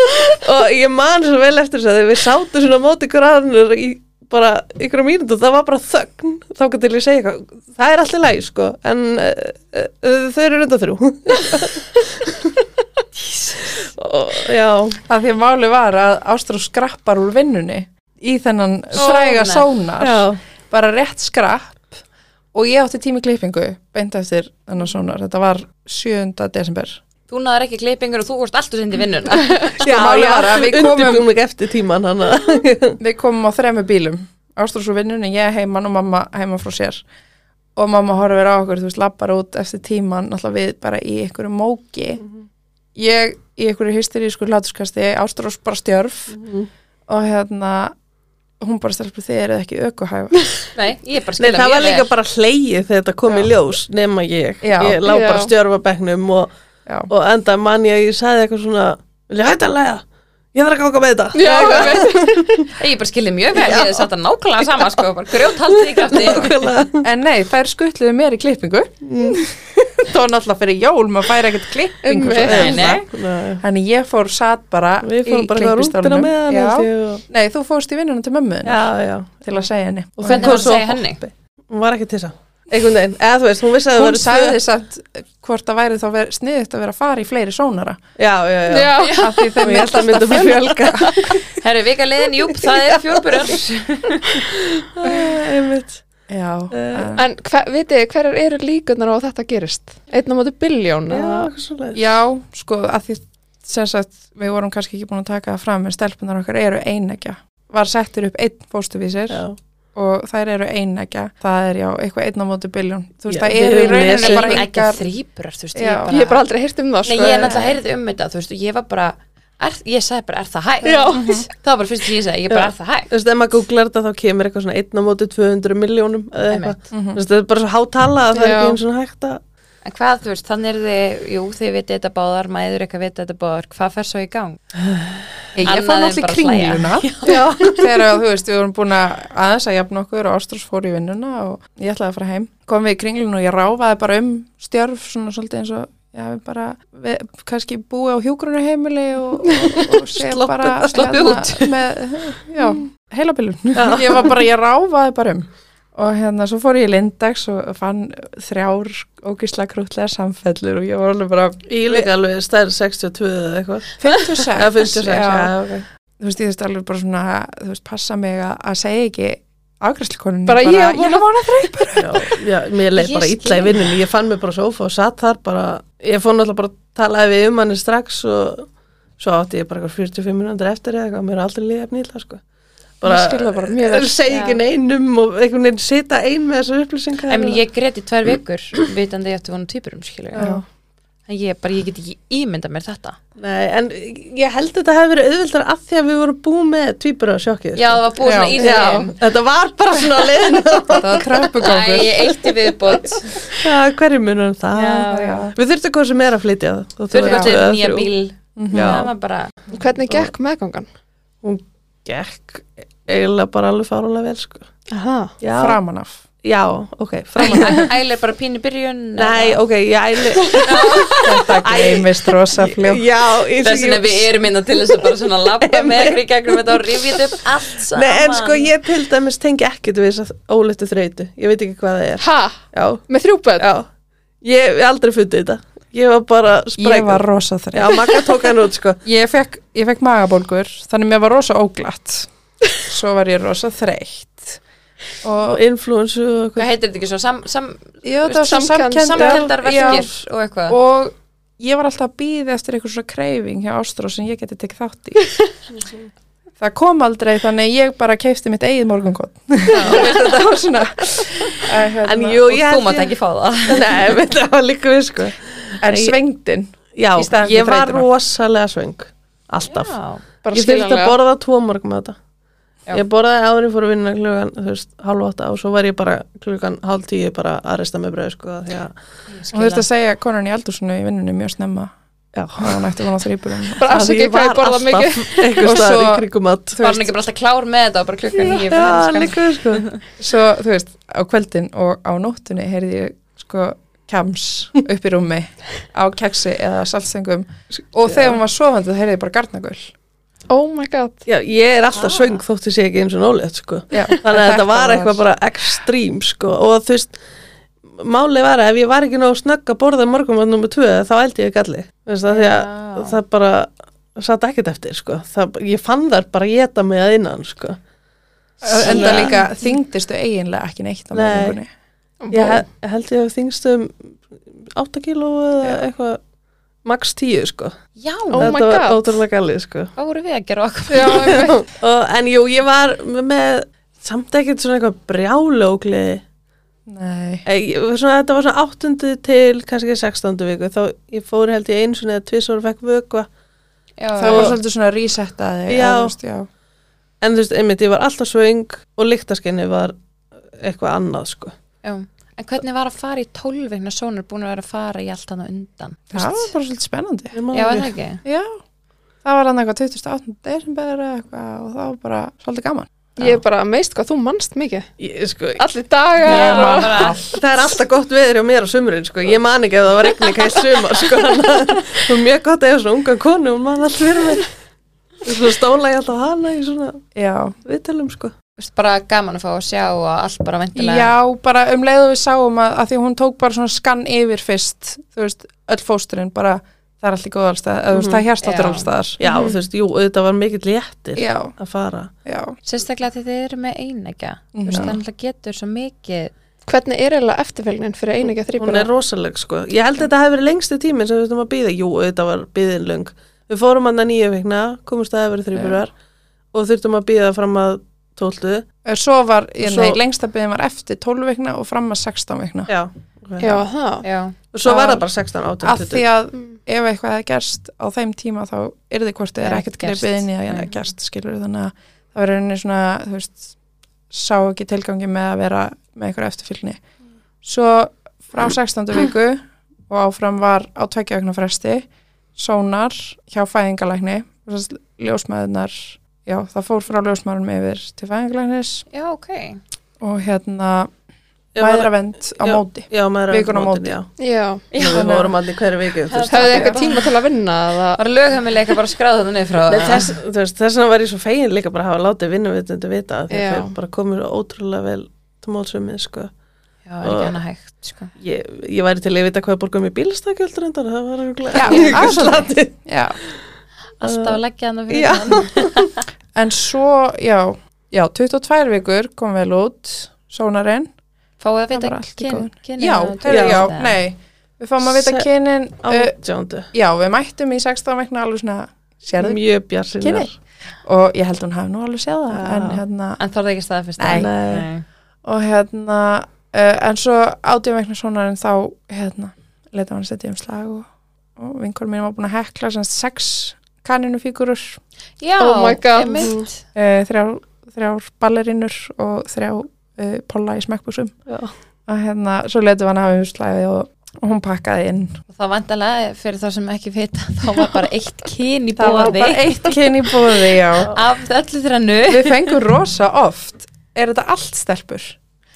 S3: og ég man svo vel eftir þess að þegar við sátum svona á móti granur í bara ykkur mínútu, það var bara þögn þá gæti til ég segja eitthvað, það er alltaf læg sko, en uh, uh, þau eru reynda þrjú og já
S4: að því að máli var að Ástrós skrappar úr vinnunni í þennan
S1: Sónar.
S4: fræga sónar
S3: Já.
S4: bara rétt skrapp og ég átti tími klippingu beint eftir þennan sónar, þetta var 7. desember
S1: Þú náður ekki klippingur og þú vorst alltaf sendið
S3: [LAUGHS]
S1: vinnuna.
S4: Sko, málið var að við komum-
S3: undirbúning eftir tíman hann
S4: Við komum á þremu bílum Ástrós úr vinnunni, ég heiman og mamma heima frá sér og mamma horfir á okkur þú veist, lappar út eftir tíman náttúrulega við bara í einhverju móki
S3: Mhm.
S4: ég í einhverju hysterísku hlátuskasti Ástrós bara stjörf
S3: Mhm.
S4: og hérna hún bara stjörf þið eru ekki aukuhæfa
S1: Nei, ég er bara að
S3: Nei,
S1: skila
S3: það
S1: mjög
S3: var líka
S1: vel.
S3: bara hleyið þegar þetta kom í ljós nema ég,
S4: Já.
S3: ég lá bara
S2: Já.
S3: stjörfa bekknum og,
S4: [LAUGHS] Já.
S3: og enda mann ég að ég sagði eitthvað svona, vil ég hætta að læða? ég þarf að ganga með þetta [LAUGHS]
S2: Já, já,
S1: Ég bara skilði mjög vel, ég satt að nákvæmlega sama sko, bara grjóthaldið í krafti
S3: Nákvæmlega.
S4: En nei, þær skutluðu mér í klippingu
S3: Mm.
S4: [LAUGHS] Það var náttúrulega fyrir jól maður færi ekkert klippingu svo
S2: Einmitt.
S1: Nei,
S4: auðveldlega.
S1: nei,
S3: Nei.
S4: Þannig ég fór satt bara
S3: við fórum bara eitthvað rúndina
S4: klippistólnum.
S3: með hann held
S4: Já.
S3: ég, og-
S4: Nei, þú fórst í vinnunum til mömmu þinnar
S3: já, já
S4: til að segja henni
S3: og
S1: Hvernig
S3: kom
S1: var að
S3: svo
S1: segja
S3: að
S1: henni?
S3: hoppi. hún var ekki til þess að einhvern veginn, eða þú veist, hún vissi að það
S4: Hún
S3: voru tvö-
S4: sagði samt hvort það væri þá ver- sniðugt að vera að fara í fleiri sónara
S3: já, já, já,
S2: já.
S4: af því þeim er alltaf
S3: [LAUGHS]
S4: myndum að fjölga
S1: herru, vika liðin, júp, það er fjórburjar
S3: Eh, [LAUGHS] einmitt
S4: Já, en-
S2: En hver, vitið, þið, hverjar eru líkunar á að þetta gerist? Einn á móti biljón?
S3: já,
S2: eða-
S3: eitthvað svoleiðis.
S4: já sko, að því sem sagt, við vorum kannski ekki búin að taka það fram en stelpunar okkar eru einægja var settur upp einn fóstuvísir
S3: já,
S4: og þær eru einægja það er já, eitthvað einn á móti biljón þú veist,
S3: Já,
S4: það
S3: við
S4: eru í
S3: höfum
S4: rauninni
S3: lesið
S4: bara
S1: ekki
S4: engar
S1: þrýburjar, þú veist,
S4: Já.
S1: ég
S2: Ég hef bara
S1: bara
S2: aldrei heyrt um það,
S1: Nei,
S2: sko.
S1: ég er náttúrulega heyrði um þetta, þú veist, og ég var bara er, ég sagði bara, er það hægt?
S2: Já.
S1: það var bara fyrst því ég sagði, ég bara,
S3: Já.
S1: er það hægt?
S3: þú veist, ef maður googlar þetta þá kemur eitthvað svona einn á móti 200 miljónum eða eitthvað,
S1: Einmitt.
S3: þú veist, þetta er bara svo hátala að það er
S2: Já.
S3: ekki eins og hægt að
S1: En hvað, þú veist, þannig er þið, jú, þið vitið þetta báðar, mæður eitthvað vitið þetta báðar, hvað fer svo í gang?
S4: Ég
S1: Annað
S4: fór
S1: en
S4: náttúrulega
S1: bara að
S4: í
S1: hlæja.
S4: kringluna þegar að, þú veist, við vorum búin að aðeins að jafna okkur og Ástrós fór í vinnuna og ég ætlaði að fara heim. Kom við í kringluna og ég ráfaði bara um stjörf svona svolítið eins og ég hafi bara við, kannski búið á hjúgrunarheimili og, og, og sé
S3: Sloppið-
S4: bara hérna
S1: sloppið
S4: með, já, heilabilun. [LAUGHS] Ég var bara, ég ráfaði bara um og hérna svo fór ég í Lindex og fann þrjár ógisla krútlega samfellur og ég var alveg bara
S3: ég líka alveg stærð 62 eða eitthvað
S4: 56,
S3: eða 56, já,
S4: já,
S3: já, ok
S4: þú veist, ég þurfti alveg bara svona, þú veist, passa mig að, að segja ekki afgræsleikoninni.
S2: Bara ég á von
S4: ég
S2: á-
S4: vona það.
S3: já, já, mér leið
S1: Ég
S3: bara
S1: skil.
S3: illa í vinnunni ég fann mig bara á sófa og satt þar bara ég fór náttúrulega bara að talaði við um hann strax og svo átti ég bara eitthvað 45 minútur eftir eða eitthvað, mér er aldrei liðið efni illa sko.
S2: Ég skil það bara mjög vel.
S3: segi ekki neinum og einhvern veginn sita ein með þessar upplýsingar
S1: Ég meina, ég grét í tvær vikur, vitandi ég ætti vonu týpurum, skilur ég. En ég bara, ég get ekki ímynda mér þetta.
S3: Nei, en ég held að þetta hefði verið auðvildar að því að við vorum búið með tvíbura á sjokkið sko.
S1: Já, það var búið svona
S4: Já.
S1: í
S3: já,
S1: þeim.
S3: þetta var bara svona
S1: [LAUGHS]
S3: leiðin
S4: Þetta var
S1: Æ,
S4: tröpugangur.
S1: ég eitti viðbót.
S3: hverju munum um það
S1: Já, já.
S3: við þurftum hvað sem er að flytja og þú
S1: Þurfum
S3: veist,
S1: að þetta
S3: eða
S1: nýja
S3: þrjú. Mhm.
S1: bíl. Mhm.
S3: Já.
S1: Það var bara,
S2: Hvernig gekk meðgangan?
S3: hún gekk eiginlega bara alveg fárulega vel sko.
S2: Aha.
S3: já,
S4: Framan af.
S3: já, ok framan.
S1: Æ- ælir bara pínu í byrjun.
S3: [LAUGHS] nei,
S1: eða-
S3: ok, já, eiginlega-
S4: Þetta gleymist rosa fljótt.
S3: já ég-
S1: Þess vegna við erum innan til þess að bara svona lappa með ykkur í gegnum þetta og rifjit upp allt saman.
S3: Nei, en sko ég til dæmis tengi ekkert við þess að óléttu þreytu, ég veit ekki hvað það er
S2: Ha?
S3: já,
S2: Með þrjú börn?
S3: já, ég hef aldrei fundið þetta, ég var bara
S4: Ég var
S3: sprækur,
S4: rosa
S3: já,
S4: þreytt.
S3: Magga tók hann út sko,
S4: Ég fekk, ég fekk magabólgur, þannig mér var rosa óglatt. Svo var ég rosa þreytt.
S3: og influensu
S1: Hvað
S3: og eitthvað,
S1: heitir þetta ekki svo? Sam, sam,
S4: Já, þetta var svo
S2: Samkennd-
S4: samkenndar.
S1: samkendar verkir
S4: Já.
S1: og eitthvað.
S4: Og ég var alltaf að býða eftir eitthvað svona kreifing hjá Ástrós sem ég geti tekið þátt í.
S3: [LAUGHS]
S4: Það kom aldrei, þannig ég bara keifti mitt eigið morgungótt. [LAUGHS] þetta var svona... En, hérna,
S3: [LAUGHS] en jú,
S1: og
S3: ég
S1: þú
S3: held
S1: mátt
S3: ég-
S1: ekki fá það.
S3: nei, [LAUGHS] menn, það var líka við sko,
S4: En svengdin
S3: já,
S4: Í staðinn fyrir
S3: ég var
S4: þreytuna.
S3: rosalega svöng, alltaf,
S1: Já.
S2: Bara
S3: ég þurfti að
S2: skiljanlega.
S3: borða tvo morgum að þetta
S1: Já.
S3: ég borðaði áður en ég fór að vinna klugan þú veist, hálf átta og svo var ég bara klugan hálf tíu bara að resta með bröð sko, af því að,
S4: Hún þurfti að segja konun í aldursunni í vinnunni mjög snemma
S3: já,
S4: að hún ætti vona þrýburum
S2: Bara
S3: Af því
S2: afsakið hvað ég borða mikið.
S3: [LAUGHS] einhver
S4: Og
S3: staðar í
S4: svo-
S3: kringum að
S1: Var hann ekki bara alltaf klár með þetta og bara klukkan nýju fyrir
S3: já,
S1: helskan?
S3: líka við sko
S4: Svo, þú veist, á kvöldin og á nóttunni heyrði ég sko kems upp í rúmi á keksi eða saltsengum og þegar hún var sofandi það heyrði ég bara garnagöl
S2: Oh my god.
S3: já, ég er alltaf svöng þótt ég sé ekki eins og nólið sko.
S4: Já,
S3: þannig að þetta var eitthvað bara ekstrím sko. og þú veist málið var að ef ég var ekki nóg snögg að borða morgum að nummer 2 þá ældi ég galli Þú veist, að því að
S1: Já.
S3: það bara satt ekkert eftir sko. það, ég fann þar bara að geta mig að innan sko.
S4: en það líka þyngdistu eiginlega ekki neitt á
S3: Nei.
S4: morgunni
S3: ég he- held ég að þingst um 8 kíló eða eitthvað max 10 sko.
S1: Já,
S2: Oh my
S3: þetta var
S2: God.
S3: ótrúlega gallið sko.
S1: hvað voru við að gera okkur?
S2: Já, einmitt.
S3: og, en jú, ég var með samt ekkert svona eitthvað brjálógli
S4: Nei,
S3: Eh, svona, þetta var svona áttundu til kannski sextándu viku þá ég fór held ég eins og neða tvisor og fekk vöku
S1: [LAUGHS] Já,
S4: það var svolítið svona reset að þig
S3: Já.
S4: eða, þú veist, já.
S3: en þú veist, einmitt, ég var alltaf svöng og lyktaskinni var eitthvað annað sko.
S1: já. En hvernig var að fara í tólf vegna sónur búin að vera að fara í allt hann á undan?
S4: Það var bara svolítið spennandi
S3: Ég man
S1: Já, en
S3: ekki.
S1: ekki?
S4: Já, það var hann eitthvað 28. desember eða eitthvað og það var bara svolítið gaman
S2: Ég er bara meist hvað þú manst mikið.
S3: Ég, sko,
S2: Allir dagar
S1: Ég man
S2: og...
S1: bara
S3: það er alltaf gott veður hjá mér á sumurinn sko. ég man ekki að það var regning heilt sumar sko. þannig að það er mjög gott að eiga svona unga konu hún man allt fyrir mér og svo stóla ég alltaf hana í svona
S4: Já,
S3: viðtölum sko.
S1: Þú veist, bara gaman að fá að sjá og allt bara vendilega
S4: já bara um leiðu við sáum að, að því hún tók bara svona skann yfir fyrst þú veist, öll fósturinn bara það er allt í góð allstað, mm -hmm.
S3: Mhm.
S4: það er hérstáttur
S1: Já.
S4: allstaðar
S3: já, þú veist, jú, þetta var mikill léttir
S4: Já,
S3: að fara
S4: já,
S1: sérstaklega því þið eru með einegja þú veist,
S4: Já.
S1: það náttúrulega getur svo mikið
S2: Hvernig er eiginlega eftirfylgnin fyrir einegja
S3: hún
S2: þrýbúra?
S3: er rosaleg sko. ég held að þetta hefur verið lengstu tíminn sem við þurfum að býða jú, þetta var býðin löng við fórum hann að nýju vikna, komumst að hefur þrýburar og þurftum að býða fram að tóltu
S4: svo var, ég,
S3: Svo-
S4: nei, lengsta byggðin var eftir 12 vikna og fram að 16 vikna
S3: já.
S2: Já, það.
S1: já,
S3: og svo
S4: Það-
S3: var það bara 16, 18,
S4: að
S3: 20
S4: því að
S2: Mm.
S4: ef eitthvað hefði gerst á þeim tíma þá er þið hvort þið er
S1: Er
S4: ekkert
S1: gerst.
S4: greipið inn í að
S1: Nei.
S4: gera gerst skilur þannig að það verður einnig svona þú veist, sá ekki tilgangi með að vera með einhverja eftirfylgni svo frá 16. viku og áfram var á tveggjaugna fresti sónar hjá fæðingalækni ljósmaðurnar já, það fór frá ljósmaðurum yfir til fæðingalæknis
S1: já, ok
S4: og hérna
S3: Já, maður-
S4: mæðravend á
S3: já.
S4: móti
S3: já, maður er
S4: Vikuna á móti.
S3: já.
S2: Já.
S3: Við
S4: Þannig að-
S3: vorum allir hverju viku þú veist.
S2: Hefðu eitthvað tíma til að vinna eða?
S1: bara lögheimileika bara skráðu þetta niður frá
S3: Nei, Þess þú veist, þess vegna var ég svo fegin líka bara að hafa látið vinnuvitandi vita af því
S2: Já.
S3: að þau bara komur ótrúlega vel til mótsumið sko.
S1: já, er ekki annað hægt sko.
S3: ég, ég væri til að vita hvað borgum í bílstakjöldur endar það var
S4: Já,
S3: eitthvað slatið
S4: já,
S1: alltaf að leggja hann fyrir
S3: Já.
S1: hann
S4: En svo, já, já, 22 vikur kom vel út, sónarinn.
S1: fáið að
S4: Það var
S1: vita
S4: allt í
S1: kyn,
S4: góðu.
S1: kynin
S4: Já,
S1: og-
S4: já, já,
S1: þetta.
S4: nei, við fáum að vita
S3: Se-
S4: kynin, uh,
S3: átjándu
S4: já, við mættum í 16 vekna alveg svona, sérðu,
S3: mjög bjarsinnar
S4: Kynni. og ég held hún hafi nú alveg séð það,
S3: Já.
S4: en hérna,
S1: en þorði ekki staða fyrst
S4: Nei. og hérna, uh, en svo átjum vekna sónarinn þá, hérna, leta hann setja um slag og, og vinkur mín var búin að hekla sem sagt sex kaninufígurur,
S1: já,
S2: Oh my god.
S1: einmitt.
S4: uh, þrjár, þrjár ballerinnur og þrjá uh, polla í smekkbúsum. að hérna, svo letum við hann hafa umslæði og, og hún pakkaði inn
S1: og það vandalega fyrir þá sem ekki vita þá var bara eitt kyn í
S4: það var
S1: bóði
S4: bara eitt kyn í bóði já.
S1: af öllu þrannu
S4: við fengum rosa oft er þetta allt stelpur?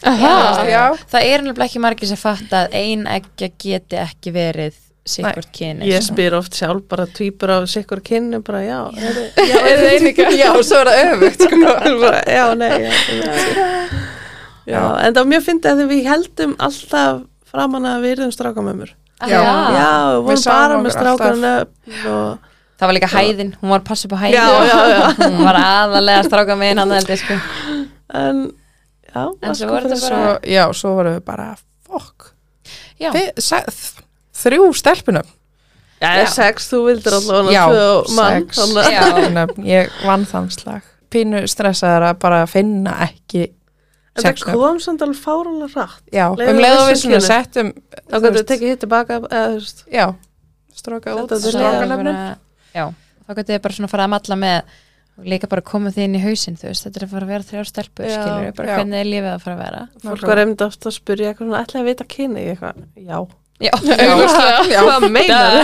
S2: Aha.
S4: já,
S1: það er nefnilega ekki margir sem fatta að ein ekki geti ekki verið sikkert kyni
S3: ég spyr oft sjálf bara týpur á sikkur kynni bara já, eru-
S4: já, er það einu kyn? já, svo er það öfugt sko.
S3: Bara, já, nei
S4: [LAUGHS]
S3: já, já, en það var mjög fyndið að því við heldum alltaf framan að við erum strákamömmur
S4: Já.
S1: já.
S3: já, við
S4: Við
S3: vorum
S4: sáum
S3: bara
S4: okkur
S3: með strákarinn upp og
S1: það var líka hæðin, hún var að passa upp á hæðin
S3: Já, já, já.
S1: hún var aðalega að stráka með hann held ég sko
S3: en já,
S1: En svo voru þetta
S4: svo, já, svo vorum við bara fokk,
S1: já,
S4: Þi- sa- þ- þrjú stelpunum
S3: já, sex, þú vildir allavega
S4: já,
S3: tvö mann,
S4: sex
S3: þannig að-
S1: Já.
S4: stelpunum ég vann þann slag pínu stressaður að bara finna ekki
S3: en það
S4: sex nöfn.
S3: kom samt alveg fárulega rætt
S4: já,
S3: Leið
S4: um leiðu við
S3: þessu
S4: svona
S3: kyni.
S4: settum
S3: þá
S4: þú
S3: gætu
S4: veist,
S3: við tekið hitt tilbaka eða, þú veist,
S4: já, strókað út
S3: Þetta er
S4: strákanöfnin.
S1: já, þá gæti ég bara svona að fara að matla með og líka bara koma því inn í hausinn þú veist, þetta er að fara að vera þrjár stelpur
S3: Já,
S1: skilur við, bara
S4: já.
S1: hvernig er lífið að fara að vera
S3: fólk var einmitt oft að spyrja eitthvað svona, ætlaði að vita kynni eitthvað, já,
S1: já,
S4: Augljóslega. Já.
S1: hvað meinar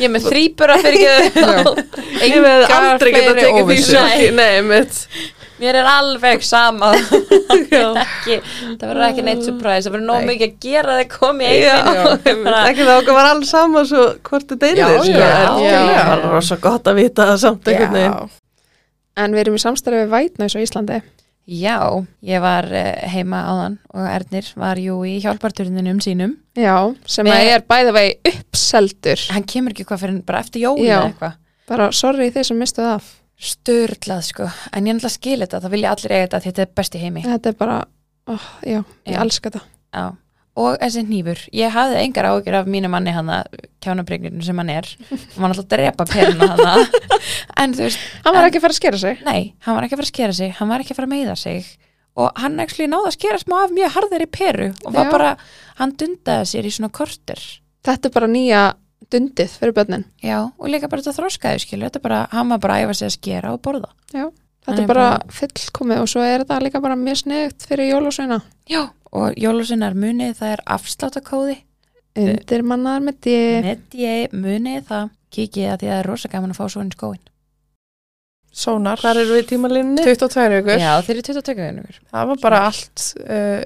S1: ég er með þrýbura fyrir ekki
S3: ég veið
S4: Engar
S3: aldrei geta
S4: fleiri
S3: tekið því
S4: óvissur.
S3: sjóki, nei, mitt
S1: Mér er alveg
S3: [LAUGHS]
S1: sama Ég get ekki, Það verður ekki neitt surprise Það verður nóg
S4: Nei.
S1: mikið að gera það komi
S3: Já,
S1: Bara-
S3: ekki það okkur var alls saman svo hvort þið deyrið
S4: Já,
S3: þér, sko,
S1: já,
S3: en
S1: já.
S3: það var rosa gott að vita það samt einhvern veginn
S4: Já.
S2: En við erum í samstarfi við Vætnæs á Íslandi.
S1: Já, ég var eh, heima áðan og Ernir var jú í hjálparturninum sínum
S2: Já, sem
S1: Með-
S2: að er bæða vegi uppseldur.
S1: Hann kemur ekki hvað fyrir bara eftir jóla
S2: Já.
S1: eða eitthvað
S2: Bara, sorry þeir sem mistuð af.
S1: Störlað sko, en ég ætla að skila þetta Það vilja allir eiga þetta því þetta er best í heimi
S2: Þetta er bara, oh, já, ég
S1: Já.
S2: elska þetta.
S1: Já. Og þessi hnífur, ég hafði engar ágjur af mínu manni hana, kjánabrignirnum sem hann er og hann alltaf drepa peruna hana [LAUGHS] en þú veist,
S2: Hann var
S1: En-
S2: ekki að fara að skera sig.
S1: Nei, hann var ekki að fara að skera sig, hann var ekki að fara að meiða sig og hann ekki náði að skera smá af mjög harðir í peru og var
S2: Já.
S1: bara, hann dundaði sér í svona korter
S2: Þetta er bara nýja dundið fyrir börnin.
S1: Já, og líka bara þetta þroskaði skilur, þetta er bara, hann var bara að æfa sig að skera og borða
S2: Þetta
S1: Hann
S2: er
S1: er
S2: bara fullkomið og svo er þetta líka bara mjög sniðugt fyrir jólusveina.
S1: Já, og jólusinnar munið það er afsláttakóði Eh.
S2: Undir mannaðar með því.
S1: með ég munið það kikið að því að það er rosa gaman að fá svona í skóin
S4: Sónar,
S3: Hvar eru við í tímalínunni?
S4: 22 vikur
S1: Já, þeir eru 22 vinnur
S4: það var bara allt uh,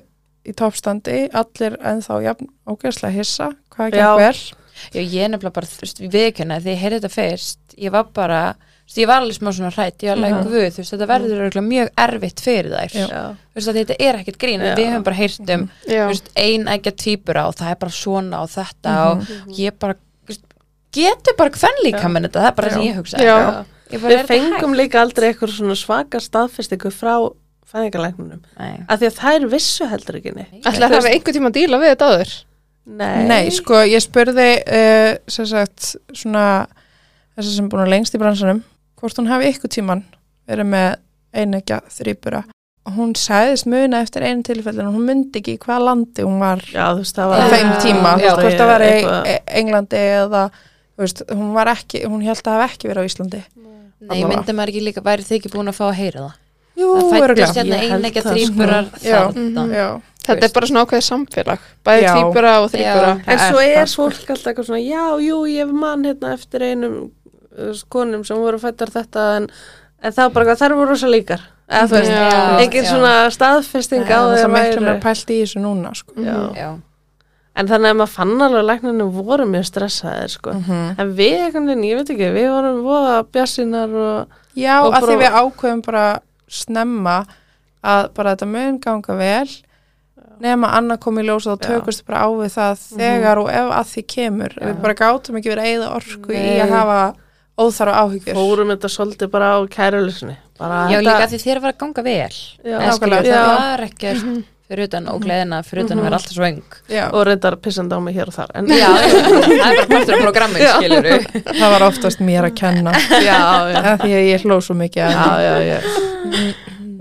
S4: í toppstandi, allir ennþá jafn ógeðslega hissa, hvað
S3: Já.
S4: gekk vel
S1: Já, ég er nefnilega bara, þú veist, viðkjöna því ég heyrði þetta fyrst, ég var bara þú veist, ég var alveg smá svona hrætt, ég var alveg
S3: Mhm.
S1: guð þú veist, þetta verður örugglega mjög erfitt fyrir þær
S4: Já.
S3: Já.
S1: þú veist, að þetta er ekkert grín en
S3: Já.
S1: við höfum bara heyrt um,
S2: já,
S1: þú veist, ein ekki tvíbura og það er bara svona og þetta
S2: Mhm.
S1: og ég bara, þú veist, getur bara hvern líka minn þetta, það er bara
S4: Já.
S1: sem ég hugsa
S2: Já.
S1: Ég bara,
S3: Við
S1: er þetta
S3: fengum
S1: hægt?
S3: líka aldrei eitthvað svona svaka staðfestingu frá fæðingalæknunum.
S1: Nei.
S3: Af því að þær vissu heldur ekki neitt.
S2: ætla að hafa einhvern tíma að díla við þetta áður
S3: Nei.
S4: Nei, sko, ég spurði uh, sem sagt, svona þessar sem er búin að lengst í bransanum hvort hún hafi ykkur tíman verið með einegja þrýbura og hún sagðist muna eftir einu tilfellin og hún myndi ekki í hvaða landi hún var
S3: Já, þú veist,
S4: á
S3: það var...
S1: Já.
S4: þeim tíma, þú
S3: Já,
S4: veist, hvort það var í
S3: eitthvað-
S4: e- Englandi eða þú veist, hún var ekki, hún held að hafa ekki verið á Íslandi
S1: Nei, ég myndi maður ekki líka, væri þið ekki búin að fá að heyra það
S4: Jú,
S1: Það fættist
S4: örugglega.
S1: hérna
S3: Ég held
S1: ein ekki
S3: það, sko.
S1: þrýburar
S4: Já.
S1: þarna
S4: Já,
S2: þetta
S4: veist.
S2: er bara svona ákveðið samfélag bæði
S4: Já.
S2: tvíbura og þrýbura
S1: Já.
S3: En
S1: Það
S3: svo
S1: er
S3: er
S1: það, sko.
S3: fólk alltaf eitthvað svona, já, jú, ég man hérna eftir einum uh, konum sem voru fættar þetta, en, en það var bara hvað þær voru rosa líkar. Eða þú veist,
S2: Já.
S3: engin svona staðfesting á
S4: það er
S3: þeir
S4: miklu
S3: væru.
S4: mér pælt í þessu núna sko.
S3: Já.
S1: Já,
S3: En þannig að maður fann alveg að læknarnir voru mjög stressaðir, sko. En við, einhvern veginn, ég veit ekki, við vorum voða bjassinar og...
S4: Já,
S3: Og
S4: að því
S3: bara-
S4: við ákveðum bara snemma að bara þetta mun ganga vel nema annað kom í ljós og þá
S3: Já.
S4: tökumst bara á við það þegar og ef að því kemur við bara gátum ekki verið að eyða orku í að
S3: Nei.
S4: hafa óþara áhyggjur
S3: fórum þetta svolítið bara á kærulusinni bara
S1: já líka því þér var að ganga vel
S3: já,
S1: En skilur,
S4: nákvæmlega.
S1: það
S3: Já.
S1: var ekkert fyrir utan ógleðina, fyrir utan að vera alltaf svöng
S4: Já,
S3: og reyndar pissandi á mig hér og þar en,
S1: Já, [LAUGHS] það er bara partur af programmi, skilur
S4: það var oftast mér að kenna
S3: já, já,
S4: að því að ég hló svo mikið að
S3: já, já, já.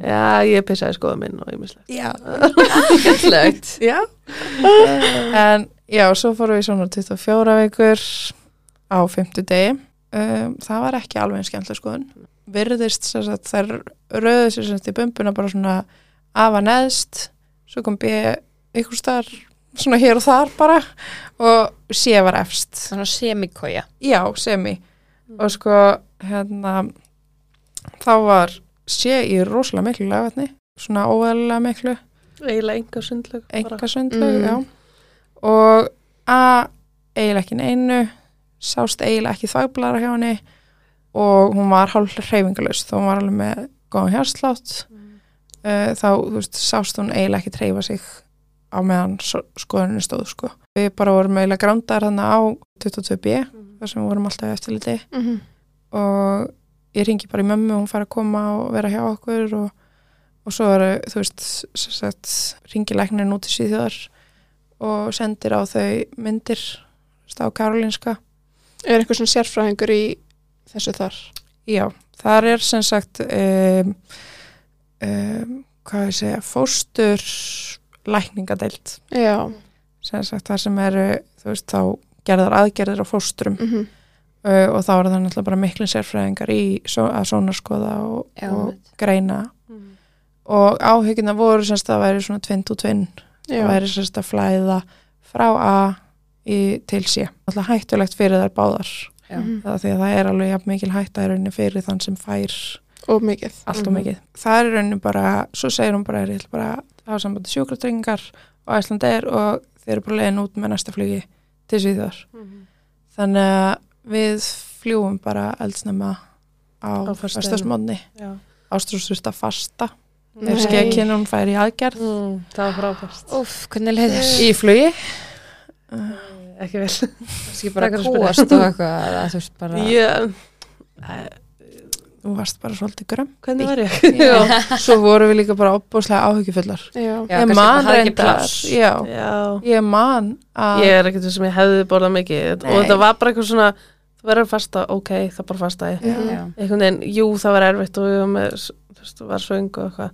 S3: já ég pissaði skoða minn og ég mislega
S4: Já,
S1: Ætlögt
S4: já. en já, svo fórum við svona 24 vikur á 50 degi um, það var ekki alveg eins skemmtileg skoðun virðist sem sagt þær röðu sér sem sagt í bumbuna bara svona afa neðst svo kom B ykkur staðar svona hér og þar bara og sé var efst
S1: Svona semikója
S4: já, semi og sko hérna þá var sé í rosalega miklu lagvatni svona óæðilega miklu
S3: eiginlega enga sundlög bara.
S4: engasundlaug,
S2: Mm.
S4: já og A eiginlega ekki neinu sást eiginlega ekki þagblara hjá henni og hún var hálf hreyfingalös þó hún var alveg með góðan hjárslátt uh, þá þú veist, sást hún eiginlega ekki treyfa sig á meðan so- skoðunni stóð sko. við bara vorum eiginlega grándar þannig á 22B þar sem við vorum alltaf í eftirliti
S2: Mhm.
S4: og ég ringi bara í mömmu hún fær að koma og vera hjá okkur og, og svo eru, þú veist sem sagt, ringi læknirinn út í síðjóðar og sendir á þau myndir þú veist, á Karolinska
S2: er einhver svona sérfræðingur í þessu þar
S4: já, þar er sem sagt um, um, hvað ég segja, fóstur lækningadeild
S2: já,
S4: sem sagt þar sem eru þú veist, þá gerðar aðgerðir á fóstrum
S2: mhm.
S4: uh, og þá eru það náttúrulega bara miklu sérfræðingar í svo, að sónarskoða og,
S1: Já,
S4: og
S1: einmitt.
S4: greina
S3: Mhm.
S4: og áhyggjuna voru semst að það væri svona tvind og tvinn
S2: já,
S4: það væri semst að flæða frá A í, til C alltaf hættulegt fyrir þær báðar
S1: Já.
S2: Mhm.
S4: það því að það er alveg jafn mikil hætta í rauninni fyrir þann sem fær
S2: og mikið
S4: allt og
S3: Mhm.
S4: mikið það er í rauninni bara, svo segir hún bara ég ætla bara að hafa sambandi sjúkratryggingar og Æslandeir og þeir eru bara leiðin út með næsta flugi til Svíðar
S3: Mhm,
S4: þannig að við fljúum bara eldsnemma á
S3: Á föstudeginum.
S4: fyrstasmónni
S3: já.
S4: Ástrós þurft að fasta
S2: Nei.
S4: ef skekkinn hún fær í aðgerð
S3: Mm, það var frábært
S1: Úf, hvernig leiðir
S4: í flugi
S3: ekki vel
S1: Kanski bara
S3: Frekar að spyrja.
S1: kúast og eitthvað eða Þú veist bara
S3: ég,
S4: þú varst bara svolítið grömm
S3: hvernig [LAUGHS] var ég
S4: já. svo voru við líka bara opbúslega áhyggjufullar
S2: já,
S1: Já,
S4: ég
S1: kannski bara
S4: man
S1: hafði ekki
S4: reyndar
S1: pláss.
S4: já,
S3: já
S4: ég man að
S3: ég er ekkert þess að ég hefði borðað mikið og
S4: Nei.
S3: þetta var bara eitthvað svona þú verður að fasta, ok, það er bara fasta ég
S1: Já.
S3: einhvern veginn, jú það var erfitt og ég var með, þú veist, var svöng og eitthvað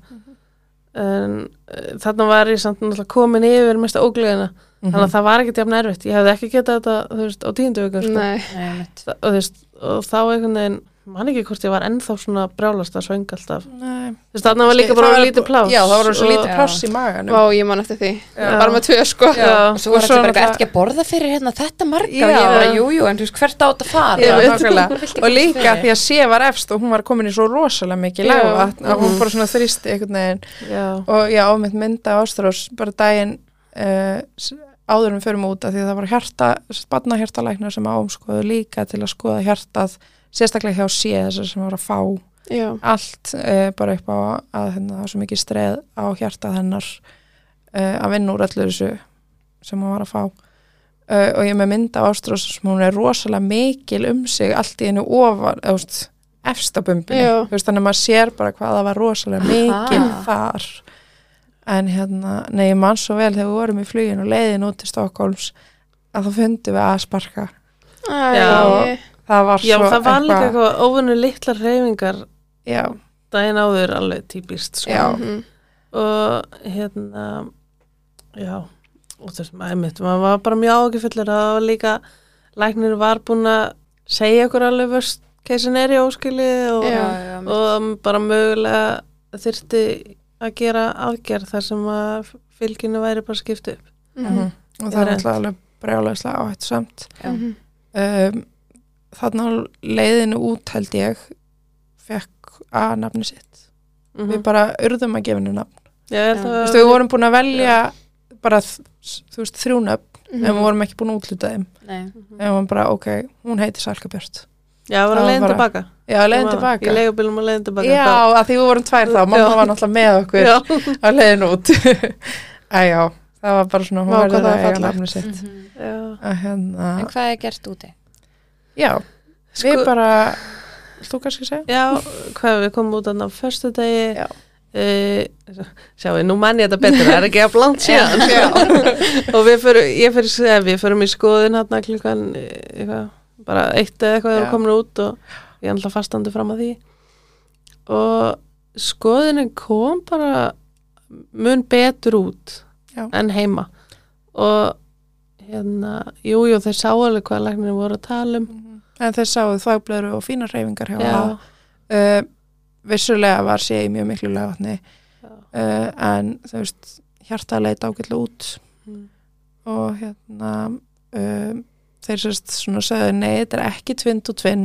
S3: en uh, þarna var ég samt náttúrulega komin yfir mesta ógleðina, þannig
S4: Mhm.
S3: að það var ekkert jafn erfitt, ég hefði ekki getað þetta, þú veist, á tíundu vikum, sko,
S2: Nei.
S1: Nei, einmitt.
S3: Þa- og þú veist og þá einhvern veginn man ekki hvort ég var ennþá svona brjálast að svöng alltaf
S4: Nei,
S3: þú veist þarna var líka bara lítið pláss
S4: Já, það var svo
S3: og-
S4: lítið
S1: Já.
S4: pláss í maganum
S2: Vá, ég man eftir því.
S3: Já.
S2: Bara með tvö, sko.
S4: Já.
S1: og svo er
S4: Og
S1: þetta
S4: svo
S1: bara eitthvað,
S4: náttúrulega-
S1: ertu ekki að borða fyrir hérna þetta marga
S4: Já.
S1: og ég bara, jú, jú, en þú veist hvert á þetta að fara
S4: Já,
S1: Viltu
S4: nákvæmlega.
S1: ekki
S4: og líka
S1: fyrir?
S4: því að sé var efst og hún var komin í svo rosalega mikið
S2: Já.
S4: lága að hún bara svona þrýsti einhvern veginn
S3: já,
S4: og já, ámynd mynda ástrós bara daginn uh, áður en við förum út af því að það var hjarta, spanna hjartalæknar sem ámskoðu líka til að skoða hjartað sérstaklega hjá sé þessar sem var að fá
S2: Já.
S4: allt uh, bara upp á að hérna, það var svo mikið streð á hjartað hennar uh, að vinna úr allir þessu sem hún var að fá uh, og ég er með mynda ástrós sem hún er rosalega mikil um sig allt í hennu ofan, eða, þú veist, efst á bumbinu
S2: Já.
S4: Þú veist, þannig að maður sér bara hvað það var rosalega mikil
S1: Aha.
S4: þar en hérna, nei, ég man svo vel þegar við vorum í flugin og leiðin út til Stokkólms að þá fundum við að sparka
S2: Æ,
S3: Já.
S4: það var
S3: já
S4: svo
S3: það var líka eitthvað óvinni litlar reyfingar
S4: já,
S3: daginn áður alveg típist sko.
S4: Já.
S2: mhm.
S3: og hérna já og þú veist maður mitt, maður var bara mjög ágifillir að það var líka læknir var búin að segja okkur alveg vörst keisin er í óskili og,
S1: Já, já,
S2: Já.
S1: mitt.
S3: og bara mögulega þyrfti að gera aðgerð þar sem að fylginu væri bara skipt upp
S2: Mhm.
S4: og það er
S3: Rétt.
S4: alltaf alveg brjálæðislega áhættu samt
S1: Já.
S2: Mhm.
S4: um, þarna á leiðinu út held ég fekk að nafni sitt
S3: mm
S4: við bara urðum að gefa henni nafn
S3: já, ég held
S2: Já.
S3: að
S4: Vistu, Mhm. við vorum búin að velja bara þ- þú veist, þrjú nöfn
S2: Mhm.
S4: en við vorum ekki búin að útluta þeim
S1: Nei.
S4: en við vorum bara ok, hún heitir Salka Björt
S3: já, við vorum
S4: það
S3: leiðin
S4: var bara-
S3: tilbaka
S4: já, leiðin
S3: Ég var í
S4: tilbaka
S3: leigubílum og leiðin tilbaka
S4: já, að því við vorum tvær þá, mamma
S3: Já.
S4: var náttúrulega með okkur
S3: já.
S4: á leiðinu út [LAUGHS] æjá, það var bara svona hún
S2: Vá, hvað
S4: verður
S2: það
S4: að
S2: var
S4: eiga
S2: fallegt.
S4: nafni sitt
S1: Mhm.
S3: já.
S4: að hérna,
S1: En hvað er gert úti?
S4: já, við
S3: Sko-
S4: bara þú kannski segja?
S3: Já, hvað við komum út þarna á förstu degi
S4: Já.
S3: sjáu, nú mann ég þetta betur það er ekki að blant síðan
S4: já,
S3: og við förum, ég fyrir, eh, við förum í skoðin hérna klukkan eh, eitthvað, bara eitt eða eitthvað
S4: Já.
S3: erum komin út og ég er alltaf fastandi fram að því og skoðinin kom bara mun betur út
S4: Já.
S3: en heima og hérna, jújú, þeir sáu alveg hvað læknir voru að tala um
S4: en þeir sáu þvægblöðru og fína reyfingar hjá
S3: Já.
S4: það uh, vissulega var sé í mjög miklu lagatni
S3: Já.
S4: uh, en þú veist hjarta leit ágætlega út
S3: Mm.
S4: og hérna uh, þeir sérst svona sagði nei, þetta er ekki tvind og tvinn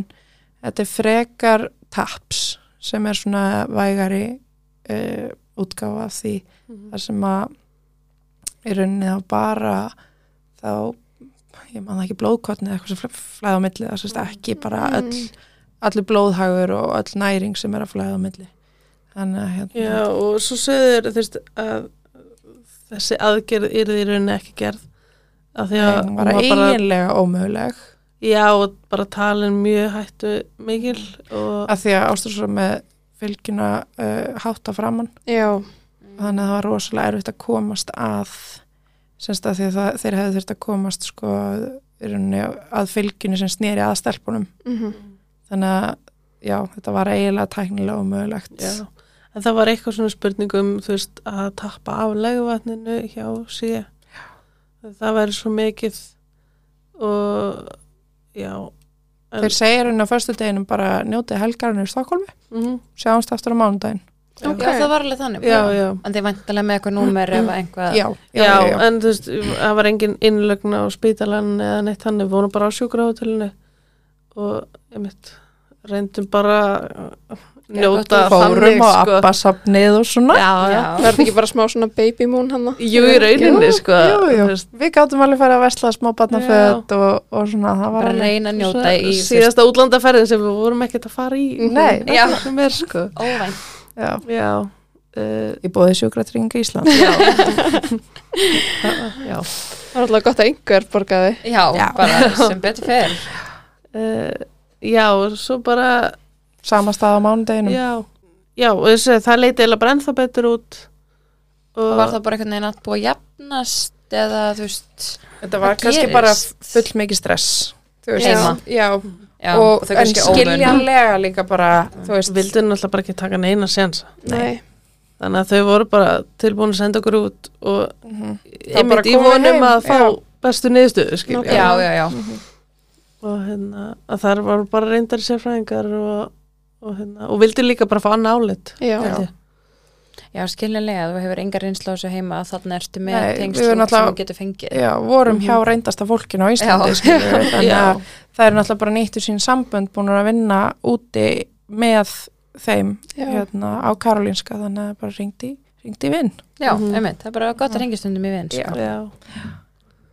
S4: þetta er frekar taps sem er svona vægari uh, útgáfa af því
S3: Mhm.
S4: þar sem að í rauninni þá bara þá ég man það ekki blóðkotni eða eitthvað sem flæ- flæði á milli það sérst ekki bara
S3: Mm.
S4: öll allir blóðhagur og öll næring sem er að flæða á milli þannig að hérna
S3: Já, og svo sögður þeir, að þessi aðgerð yrði í rauninni ekki gerð af því að
S4: hún var
S3: bara,
S4: eiginlega ómöguleg
S3: já, og bara talin mjög hættu mikil og
S4: af því að ástursum með fylgjuna uh, hátta framann
S2: Já.
S4: þannig að það var rosalega erfitt að komast að semst að því að það, þeir hefðu þurft að komast sko í rauninni að fylgjunni sem snýri að stelpunum
S2: Mhm.
S4: þannig að já, þetta var eiginlega tæknilega ómögulegt
S3: já, en það var eitthvað svona spurningum þú veist, að tappa af leguvatninu hjá síða það væri svo mikið og já en,
S4: þeir segir henni á föstu deginum bara njótið helgarinu í Stokkólmi
S3: mhm,
S4: sjáumst aftur á mánudaginn
S2: Ok.
S1: Já, það var alveg þannig.
S3: já, já
S1: En þið væntalega með eitthvað númer ef eitthvað...
S4: já,
S3: Já, en þú veist, það var engin innlögn á spítalan eða neitt hann við vorum bara á sjúkrahótelinu og ég mitt reyndum bara að njóta
S1: gott
S4: fórum á
S3: sko.
S4: abbasafnið og svona
S3: Já, já,
S1: Já.
S2: Verði ekki bara smá svona baby moon hann
S3: jú í rauninni, sko
S4: jú, jú.
S3: þú veist,
S4: við gáttum alveg að fara að vesla smá barnaföð og, og svona það var
S1: Bara
S4: alveg-
S1: reyna að njóta í...
S3: síðasta útlandaferðin sem við vorum ekkert að fara í
S4: Nei.
S1: Já.
S3: ekki sem er, sko
S1: Óvænt.
S4: já,
S3: Já, uh,
S4: ég bóði sjúkratringa Ísland
S3: já Já
S2: Það var alltaf gott að einhver borgaði.
S1: Já,
S4: [LAUGHS]
S1: bara sem betur fer.
S3: uh, Já, og svo bara
S4: sama stað á mánudeginum
S3: Já, já og þessi, það leiti eiginlega bara ennþá betur út og
S1: Og var það bara einhvern veginn að búa að jafnast eða þú veist...
S4: þetta var
S1: Hvað
S4: kannski
S1: gerist?
S4: bara full mikið stress þú veist,
S1: Heima.
S4: já,
S1: Já,
S4: og
S1: þau
S4: en
S1: kannski ómun.
S4: skiljanlega líka bara þú veist,
S3: vildu náttúrulega bara ekki taka neina séns
S2: Nei.
S3: þannig að þau voru bara tilbúin að senda okkur út og
S4: Mhm.
S3: einmitt
S4: bara
S3: í
S4: komið
S3: vonum
S4: heim,
S3: að fá
S4: já.
S3: bestu niðurstöðu skilja
S1: Já, já, já.
S3: og hérna, að þar var bara reyndar sérfræðingar og, og hérna, og vildi líka bara fá annað álit
S2: Já,
S3: held ég.
S1: Já, skiljanlega, þú hefur engar reynslu á þessu heima að þarna ertu með
S4: Nei,
S1: tengsl út
S4: við erum
S1: sem
S4: náttúrulega-
S1: þú getur fengið.
S4: Já, vorum hjá reyndasta fólkinu á Íslandi
S1: Já.
S4: skilur við, þannig
S3: Já.
S4: að það er náttúrulega bara nýttu sín sambönd búin að vinna úti með þeim
S2: Já.
S4: hérna, á Karolinska þannig að það bara ringdi, ringdi í vinn
S1: Já,
S3: Mhm.
S1: einmitt, það er bara gott að ringi stundum í vinn.
S4: Já.
S1: Sko.
S3: Já.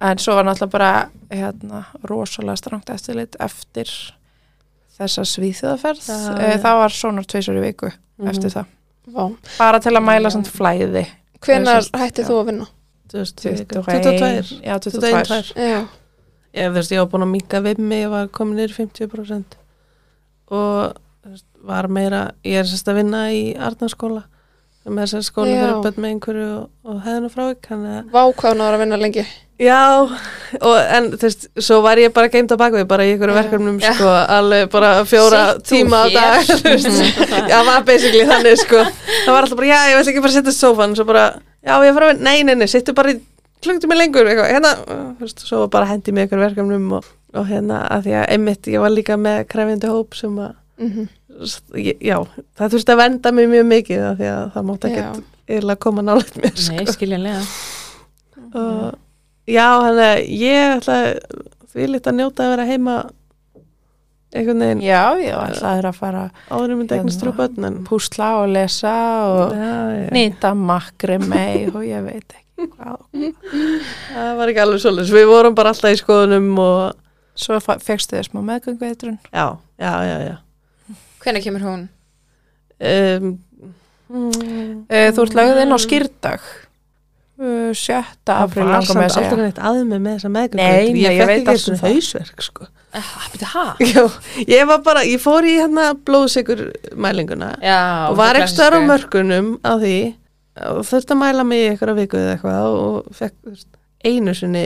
S4: en svo var náttúrulega bara hérna, rosalega strangt eftirlit eftir þessa svíþjóðaferð Eh,
S3: Já, já. Mhm.
S4: það var svona tveisur í viku eftir það,
S2: vá.
S4: bara til að mæla
S1: Já.
S4: samt flæði
S2: Hvenar
S4: Það er
S2: hætti
S4: sérst-
S2: þú að vinna?
S3: 22
S4: já, 22
S3: 22
S2: Já,
S3: ég, þú veist, ég var búin að minka við mig ég var komin nýr 50% og þú veist, var meira ég er sérst að vinna í Arnarskóla sem er sérst skóla
S2: Já.
S3: fyrir börn með einhverju og, og hefðin og frávik þannig að
S2: vá hvað hún var að vinna lengi.
S3: Já, og, en þú veist, svo var ég bara geimt á bakvið, bara í einhverju
S2: Já.
S3: verkefnum, sko, alveg bara fjóra
S1: Sitt þú
S3: tíma á dag,
S1: hér.
S3: þú veist,
S1: [LAUGHS]
S3: já, var basically þannig, sko, það var alltaf bara, já, ég ætla ekki bara að setja sófan, svo bara, já, ég er frá, nei, nei, nei, sittu bara í klungtum mig lengur, eitthvað, hérna, uh, þú veist, svo bara hendi mig í einhverju verkefnum og, og hérna, að því að einmitt, ég var líka með krefjandi hóp sem að,
S2: Mm
S3: ég- já, það þurfti að venda mig mjög mikið, af því að það mátt
S2: Já,
S3: ekki eða koma nálega mér, sko
S1: Nei, skiljanlega.
S3: og já, hann er ég ætla því lítið að njóta að vera heima einhvern veginn
S4: já, já, það er að fara
S3: áður um þetta eignast
S4: Hérna.
S3: þrjú börn en
S4: púsla og lesa og
S3: Já, já.
S4: nýta makri mei og ég veit ekki hvað.
S3: það var ekki alveg svolítið við vorum bara alltaf í skoðunum og
S4: Svo fegstu þið smá meðgöngu eitrun.
S3: já, já, já, já.
S1: Hvenær kemur hún?
S3: Um, mm,
S4: Eh, Þú ert lögð inn á skýrdag uh, 7. apríl
S3: var
S4: langar
S3: samt
S4: með að
S3: aldrei
S4: segja.
S3: neitt aðeim með þessa meðgöngu
S4: Nei, nei, ég
S3: ég
S4: veit
S3: fekk
S4: allt
S3: ekki
S4: um
S3: eitthvað hausverk sko. [LAUGHS]
S1: Eh, Hæ?
S3: já, ég var bara, ég fór í hérna blóðsikur mælinguna
S1: Já.
S3: og var
S1: það
S3: ekki stöðar á
S1: klassísku.
S3: mörkunum á því og þurfti að mæla mig í einhverja viku eða eitthvað og fekk þú veist, einu sinni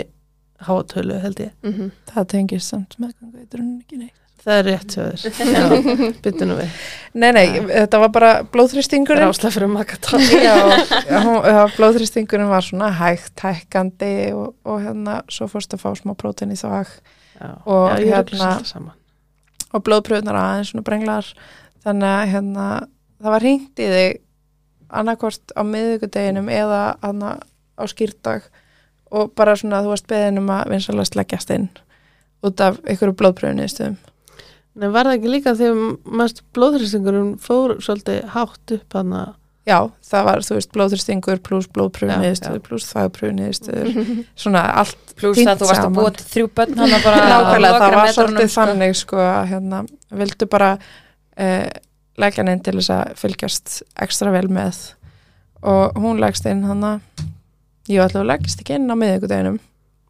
S3: hátölu held ég
S2: -hmm.
S4: Það tengist samt meðgöngu eitrun ekki neitt.
S3: það er rétt sjöður byttu nú við
S4: Nei, nei, þetta var bara blóðþrýstingurinn.
S3: rásla fyrir makatón
S4: Já, hún- það- blóðþrýstingurinn var svona hægt, hækkandi og, og hérna svo fórst að fá smá prótein í þvag Og
S3: og
S4: hérna-
S3: hérna
S4: og blóðpröfnar aðeins svona brenglar þannig að hérna það var hringt í þig annarkvort á miðvikudeginum eða hana, á skýrdag og bara svona þú varst beðin um að vinsalast leggjast inn út af ykkur blóðpröfniðstöðum
S3: en var það ekki líka þegar mest blóðrýstingurum fór svolítið hátt upp hann
S4: já, það var þú veist blóðþristingur pluss
S3: Já,
S4: blóðpröfniðstöður pluss þagpröfniðstöður
S1: [LAUGHS]
S4: svona allt
S1: Plús
S4: Fínt
S1: að þú varst að
S4: saman.
S1: búa til þrjú börn hann að bara
S4: nákvæmlega, það
S1: lokra
S4: var
S1: metrunum,
S4: svolítið
S1: sko.
S4: þannig sko að hérna, vildu bara uh, leggja hann inn til þess að fylgjast ekstra vel með og hún leggst inn hann að ég ætla að leggst ekki inn á miðvikudeginum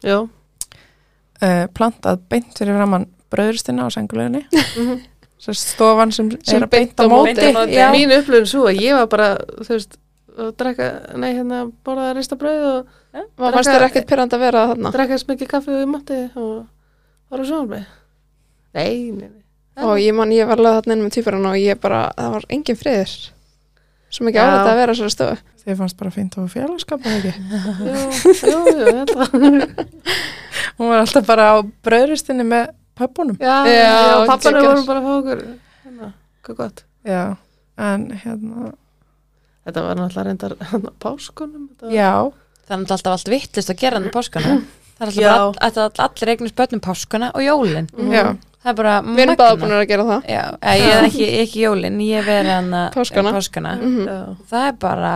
S3: já,
S4: uh, plantað beint fyrir framann bröðurstina á senguleginni
S3: Mhm.
S4: Svo stofan sem,
S2: Sem
S4: er að beint
S2: beint
S4: á
S2: á
S4: móti,
S1: móti. Beint á móti.
S4: Já.
S3: mín upplifun svo að ég var bara þú veist, að drekka, nei hérna borðaði ristabröð og
S2: Varst þér ekkert pyrrandi að vera þarna?
S3: drekka eins mikið kaffi og ég mátti og var á sjónarmi nei, nei, nei
S2: Og ég man, ég var lögð þarna inn með týparinn og ég bara, það var engin friður. Svo mikið
S3: Já.
S2: álætt að vera sér stofu.
S4: þið fannst bara fínt á félagskap eða ekki
S3: Jú, jú, jú, ég held að [LAUGHS]
S4: hún var alltaf bara á bröðurstinni með pöppunum
S3: Já,
S2: Já,
S3: já pappanum
S2: geggjað.
S3: vorum bara að fá okkur hérna, hvað gott
S4: já, en hérna
S3: Þetta var náttúrulega reyndar hérna, páskunum þetta var-
S4: já,
S1: Það er náttúrulega alltaf allt vittlist að gera hann páskana. Það er alltaf
S3: Já.
S1: bara all, all, all, allir eignast börnum páskana og jólin.
S4: já
S1: Það er bara
S2: Við erum báða búin að gera það.
S1: Já, eða ég er ekki, ekki jólin, ég verið hann að
S2: Páskana.
S1: páskana.
S2: Mhm.
S3: Já.
S1: Það er bara,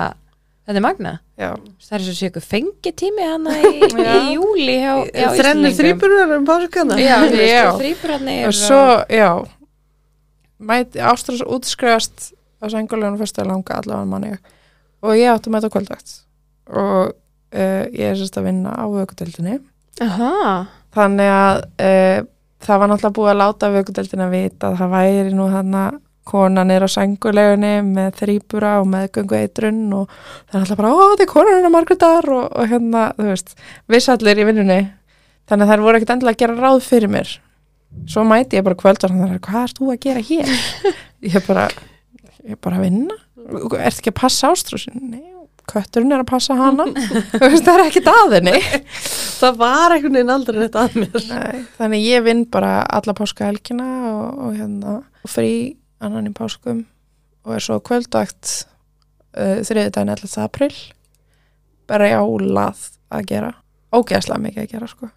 S1: þetta er magna.
S4: já,
S1: Það er svo séu ykkur fengitími hann í, í júli hjá, hjá
S3: Þrennir þrýburar um páskana
S1: Já,
S4: Já.
S1: þrýburarnir.
S4: og svo, já mæti, Ástrós útskrifast á sengulegunum fyrst að langa allavega manni og ég átti að mæta á kvöldvægt og uh, ég er sérst að vinna á vökudeldinni
S2: Aha.
S4: þannig að uh, það var náttúrulega búið að láta vökudeldina vita að það væri nú hann að konan er á sengulegunni með þrýbura og meðgöngu eitrun og það er alltaf bara, ó, þetta er konan hennar Margrétar og, og hérna, þú veist, vissallir í vinnunni þannig að þær voru ekkert endilega að gera ráð fyrir mér svo mæti ég bara kvöld og hann er, hvað ert þú að gera hér? ég bara, ég er bara að vinna ertu ekki að passa ástrúsin? Nei, kötturinn er að passa hana Þú veist, það er ekki daðinni
S3: það var einhvern veginn aldrei rétt að mér
S4: Nei, þannig ég vinn bara alla páskahelgina og, og hérna og frí annan í páskum og er svo kvöldvakt uh, þriðudaginn 11. april bara jálað að gera ógeðslega mikið að gera sko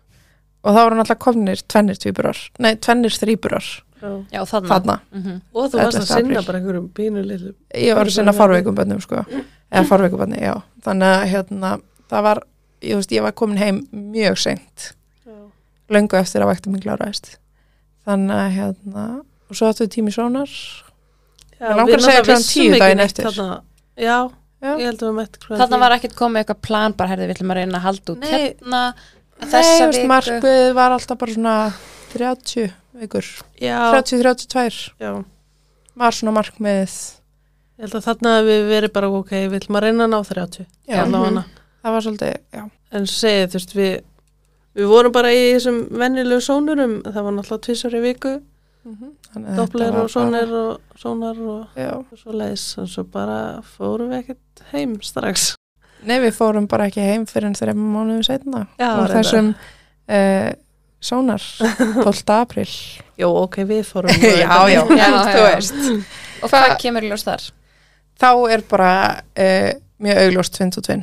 S4: og þá voru náttúrulega komnir tvennir tvíburar nei, tvennir þrýburar
S1: Já, þarna.
S4: þarna
S1: Mhm.
S3: og þú varst að
S4: 11.
S3: sinna
S4: apríl.
S3: bara einhverjum pínu lillu
S4: ég var að sinna farveikum bönnum sko eða farveikum bönni, já þannig að hérna, það var, ég, þú veist, ég var komin heim mjög seint löngu eftir að vakti minn kláraðist þannig að hérna og svo áttu við tími sónar Mig langar að segja klukkan 10 daginn eftir.
S3: já,
S4: Já.
S3: ég held að við mætti klukkan
S1: Þarna var ekkert komið eitthvað plan bara, herði, við ætlum að reyna að halda út
S3: Nei.
S1: hérna
S4: Nei,
S1: þessa
S4: þú veist,
S1: viku.
S4: markmiðið var alltaf bara svona 30 vikur
S3: já,
S4: 30-32
S3: já,
S4: var svona markmiðið
S3: ég held að þarna hafi við verið bara ok, við ætlum að reyna að ná 30
S4: Já.
S3: allavega
S4: það var svolítið, já,
S3: en svo segið, þú veist, við við vorum bara í þessum vennilegu sónurum það var náttúrulega tvisar í viku
S4: þannig að þetta
S3: doppler
S4: var
S3: og sónar og sónar og
S4: bara- já.
S3: svo leiðis en svo bara fórum við ekkert heim strax
S4: Nei, við fórum bara ekki heim fyrir en þreim mánuðum setna
S3: Já,
S4: og
S3: reyndar.
S4: þessum uh, sónar 12. april
S3: Jó, ok, við [LAUGHS] fórum
S1: Já,
S4: en
S1: já,
S4: [LAUGHS] þú
S1: já.
S4: veist
S1: Og hvað kemur í ljós þar?
S4: þá er bara uh, mjög augljóst 22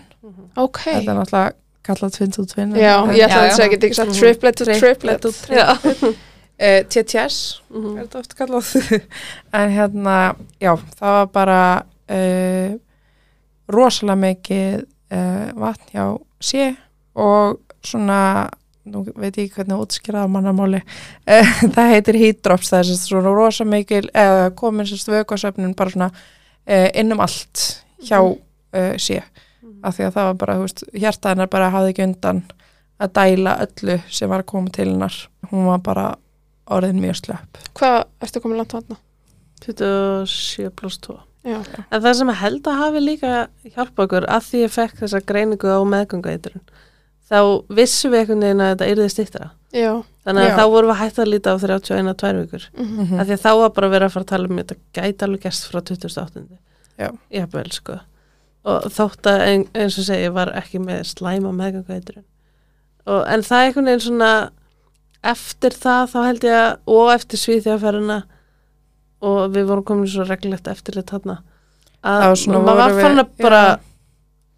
S2: Ok.
S4: þetta er náttúrulega kallað 22
S2: Já, ég ætla
S1: Já,
S2: að
S1: já.
S2: segja ekki ekki sagt triplet to triplet.
S4: uh, TTS er
S3: Mhm.
S4: þetta oft kallað [LAUGHS] en hérna, já, það var bara uh, rosalega mikið uh, vatn hjá sé og svona nú veit ég ekki hvernig að útskýra á mannamáli [LAUGHS] Eh, það heitir heat drops það er sérst svona rosa mikil eða komin sérst vökuasöfnun bara svona eh, inn um allt hjá eh, sé af því að það var bara, þú veist, hjarta hennar bara hafði ekki undan að dæla öllu sem var að koma til hennar hún var bara orðin mjög slöpp
S2: Hvað ertu komið langt á þarna?
S3: 27 pluss 2
S2: Já.
S3: En það sem ég held að hafi líka hjálpa okkur að því ég fekk þessa greiningu á meðgöngueitrun þá vissum við einhvern veginn að þetta yrði stýttra
S2: Já.
S3: þannig að
S4: Já.
S3: þá vorum við hægt að líta á 31 tvær vikur
S2: Mhm.
S4: Mm.
S3: af því að þá var bara verið að fara að tala um þetta gæti alveg gerst frá 28.
S4: Já.
S3: Jafnvel, sko. og þótt að ein, eins og segi var ekki með slæma meðgöngueitrun og, en það er einhvern veginn svona eftir það þá held ég að og eftir svíþjáferðina og við vorum komin í svo reglilegt eftirlit þarna að
S4: Það var svona
S3: maður var
S4: voru við-
S3: fann að bara
S4: Já.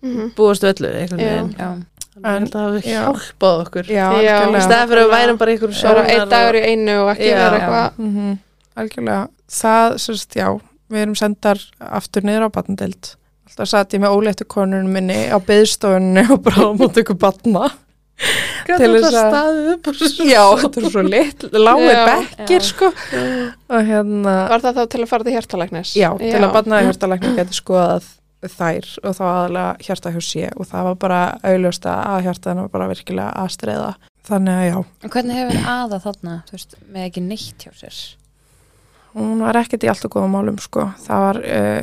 S2: Mhm.
S3: búast öllu einhvern
S2: Já.
S3: veginn
S1: Já.
S3: Þannig að ég held að það hafi
S4: Já.
S3: hjálpað okkur
S4: Já,
S2: Já.
S3: í
S4: algjörlega
S3: stæðan fyrir að við værum bara ykkur
S2: Svo bara einn dagur í einu og ekki
S3: Já.
S2: vera eitthvað.
S4: Mhm, Algjörlega, það sérst, já við erum sendar aftur niður á batnadeild alltaf satt ég með óléttu konunum minni á byðstofunni og bara á móti ykkur batna til
S3: til
S4: þess
S3: þess
S4: að-
S3: staðið upp og svo
S4: [LAUGHS] já, þetta er svo lit, lági
S2: Já.
S4: bekkir
S1: Já.
S4: sko og hérna
S2: Var það þá til að fara til hjartalæknis?
S4: Já, til að barnaði hjartalækni getur skoðað þær og þá aðalega hjarta hjá sé og það var bara auðljósta að hjartaðin var bara virkilega að streiða þannig að já,
S1: En hvernig hefur aða þarna, þú veist, með ekki neitt hjá sér?
S4: hún var ekkert í allt og góða málum sko, það var uh,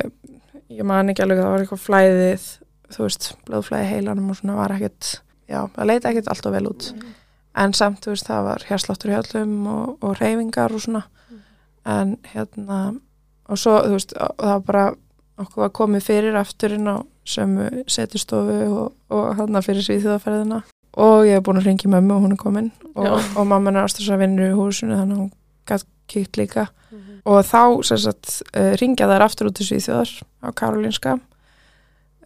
S4: ég man ekki alveg, það var eitthvað flæðið þú veist, blóðflæði í heilanum og svona var ekkert, já, það leita ekkert allt og vel út en samt, þú veist, það var hérsláttur í öllum og, og reyfingar og svona en hérna og svo, þú veist, á- það var bara okkur var komið fyrir afturinn á sömu setustofu og, og hann fyrir svíþjóðaferðina og ég hef búin að ringi mömmu og hún er komin og,
S3: Já.
S4: og mamma er ástæðs að vinna í húsinu þannig að hún gætt kýtt líka
S3: Mhm.
S4: og þá sem sagt, uh, ringja þær aftur út í Svíþjóðar á Karolinska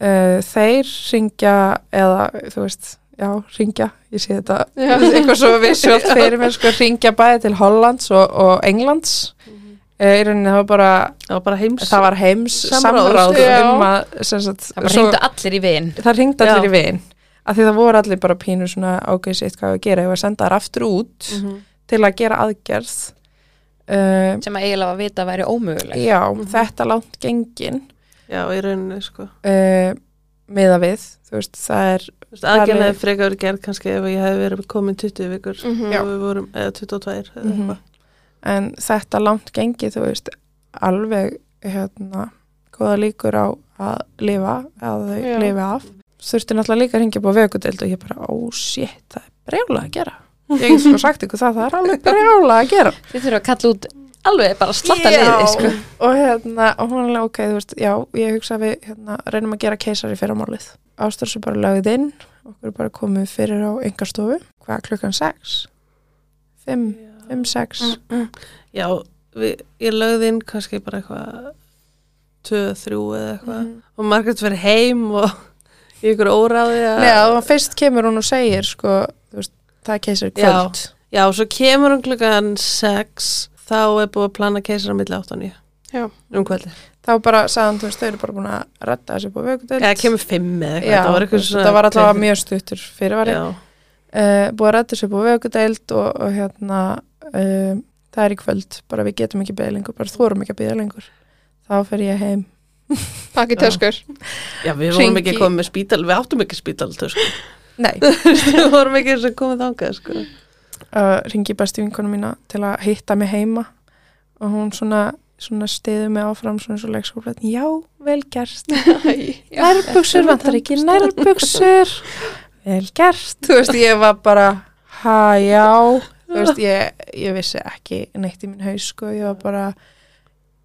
S4: uh, þeir ringja eða þú veist, já, ringja ég sé þetta,
S2: Já.
S4: [LAUGHS] eitthvað svo
S3: [LAUGHS]
S4: vissjótt fyrir mér, sko, ringja bæði til Hollands og, og Englands uh, í rauninni það var bara,
S3: Mhm. það var bara heims
S4: það var heims
S3: Samráð,
S4: samráð
S2: já.
S4: um að, sem sagt,
S1: Það bara
S4: svo-
S1: reyndu allir í vin.
S4: það ringd allir
S3: Já.
S4: í vin af því það voru allir bara pínu svona ágæðis eitthvað að gera, ég var að senda þær aftur út til að gera aðgerð um,
S1: sem að eiginlega var vita að væri ómöguleg
S4: Já, þetta langt gengin
S3: já, í rauninni sko
S4: uh, meða við, þú veist, það er
S3: Þú veist, aðgerðin
S4: Talið-
S3: hefði frekar verið gerð kannski ef ég hef verið komin 20 vikur
S2: Mhm.
S3: og við vorum, eða 22 eða
S4: Mhm.
S3: eitthvað.
S4: en þetta langt gengi, þú veist, alveg hérna, góða líkur á að lifa, að þau
S2: Já.
S4: lifi af þurfti náttúrulega líka að ringja upp á vökudeld og ég bara, ó, shit, það er brjála að gera ég hef sko sagt ykkur það, það er alveg brjála að gera
S1: þið þurfum að kalla út alveg bara slatta niður sko.
S4: og hérna, og hún er alveg ok, þú veist, já, ég hugsa að við hérna, reynum að gera keisari fyrir málið. Ástur svo bara lögð inn, okkur er bara komið fyrir á engastofu, hvað klukkan 6? 5, 5, 6,
S3: Mm, Já, við, ég lögði inn kannski bara eitthvað 2, 3 eða eitthvað
S4: Mhm.
S3: og Margrét fyrir heim og [LAUGHS] í ykkur óráði að
S4: Nei, að fyrst kemur hún og segir, sko, þú veist, það er keisari
S3: Já.
S4: kvöld.
S3: Já, svo kemur hún klukkan 6 þá er búið að plana keisara milli 8 og 9
S2: Já.
S3: um kvöldi
S4: Þá bara sagði hann, þú veist, þau eru bara búin að redda þessu búið vökudöld.
S3: eða kemur 5 eða eitthvað
S4: Já,
S3: það var eitthvað svona
S4: þetta var alltaf mjög stuttur fyrirvari.
S3: já,
S4: uh, búið að rætta sér búið vöggudeild og, og hérna uh, það er í kvöld, bara við getum ekki beðið lengur bara þórum ekki að beðið lengur þá fer ég heim
S2: Pakki
S3: Já.
S2: töskur.
S3: já, við vorum
S4: Hringi-
S3: ekki að koma með spítal við áttum ekki spítal sko.
S4: [LAUGHS] Nei,
S3: [LAUGHS] við vorum ekki eins og komið þangað sko.
S4: uh, ringi besti vinkonu mína til að hitta mig heima og hún svona, svona stiði mig áfram svona svo leikskóla já, vel gert, nærbuksur vantar ekki nærbuksur vel gert, þú veist ég var bara ha, já þú veist, ég, ég vissi ekki neitt í minn haus sko, ég var bara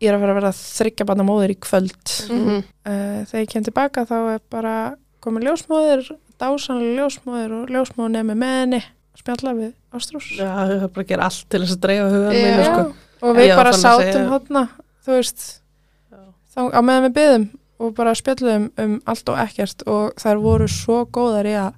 S4: ég er að vera að vera þryggja banna móðir í kvöld
S2: Mhm.
S4: uh, þegar ég kem tilbaka þá er bara komin ljósmóðir, dásanlega ljósmóðir og ljósmóðin er með með henni að spjalla við Ástrós
S3: já, við höfum bara að gera allt til þess að dreifa hugan
S2: Já.
S3: mínu sko.
S4: og við
S3: Já,
S4: bara
S3: þannig að
S4: sátum
S3: segja-
S4: segja... hotna þú veist
S3: Já.
S4: þá, á meðan við byðum og bara spjalluðum um allt og ekkert og þær voru svo góðar í að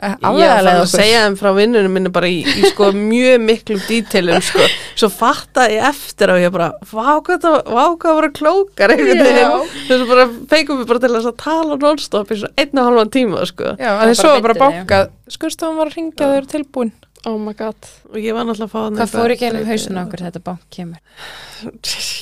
S4: eh,
S3: Ég var farin
S4: afvegalega
S3: að segja þeim frá vinnunum minni bara í, í sko mjög miklum dítilum sko. Svo fatta ég eftir og ég bara, vá hvað það vá, hvað voru klókar einhvern veginn. Þessu bara feikum við bara til þess að tala non-stop í svona einn og halvan tíma sko.
S4: Já,
S1: Það
S4: en
S1: var
S4: svo
S1: bara
S4: bara
S1: fyndið,
S4: bankað, skurstofan var að ringja þau eru tilbúin.
S2: Oh my god.
S3: Og ég var náttúrulega að fá hann
S1: Hvað fór ekki ennum hausin okkur þetta bank kemur?
S3: [LAUGHS]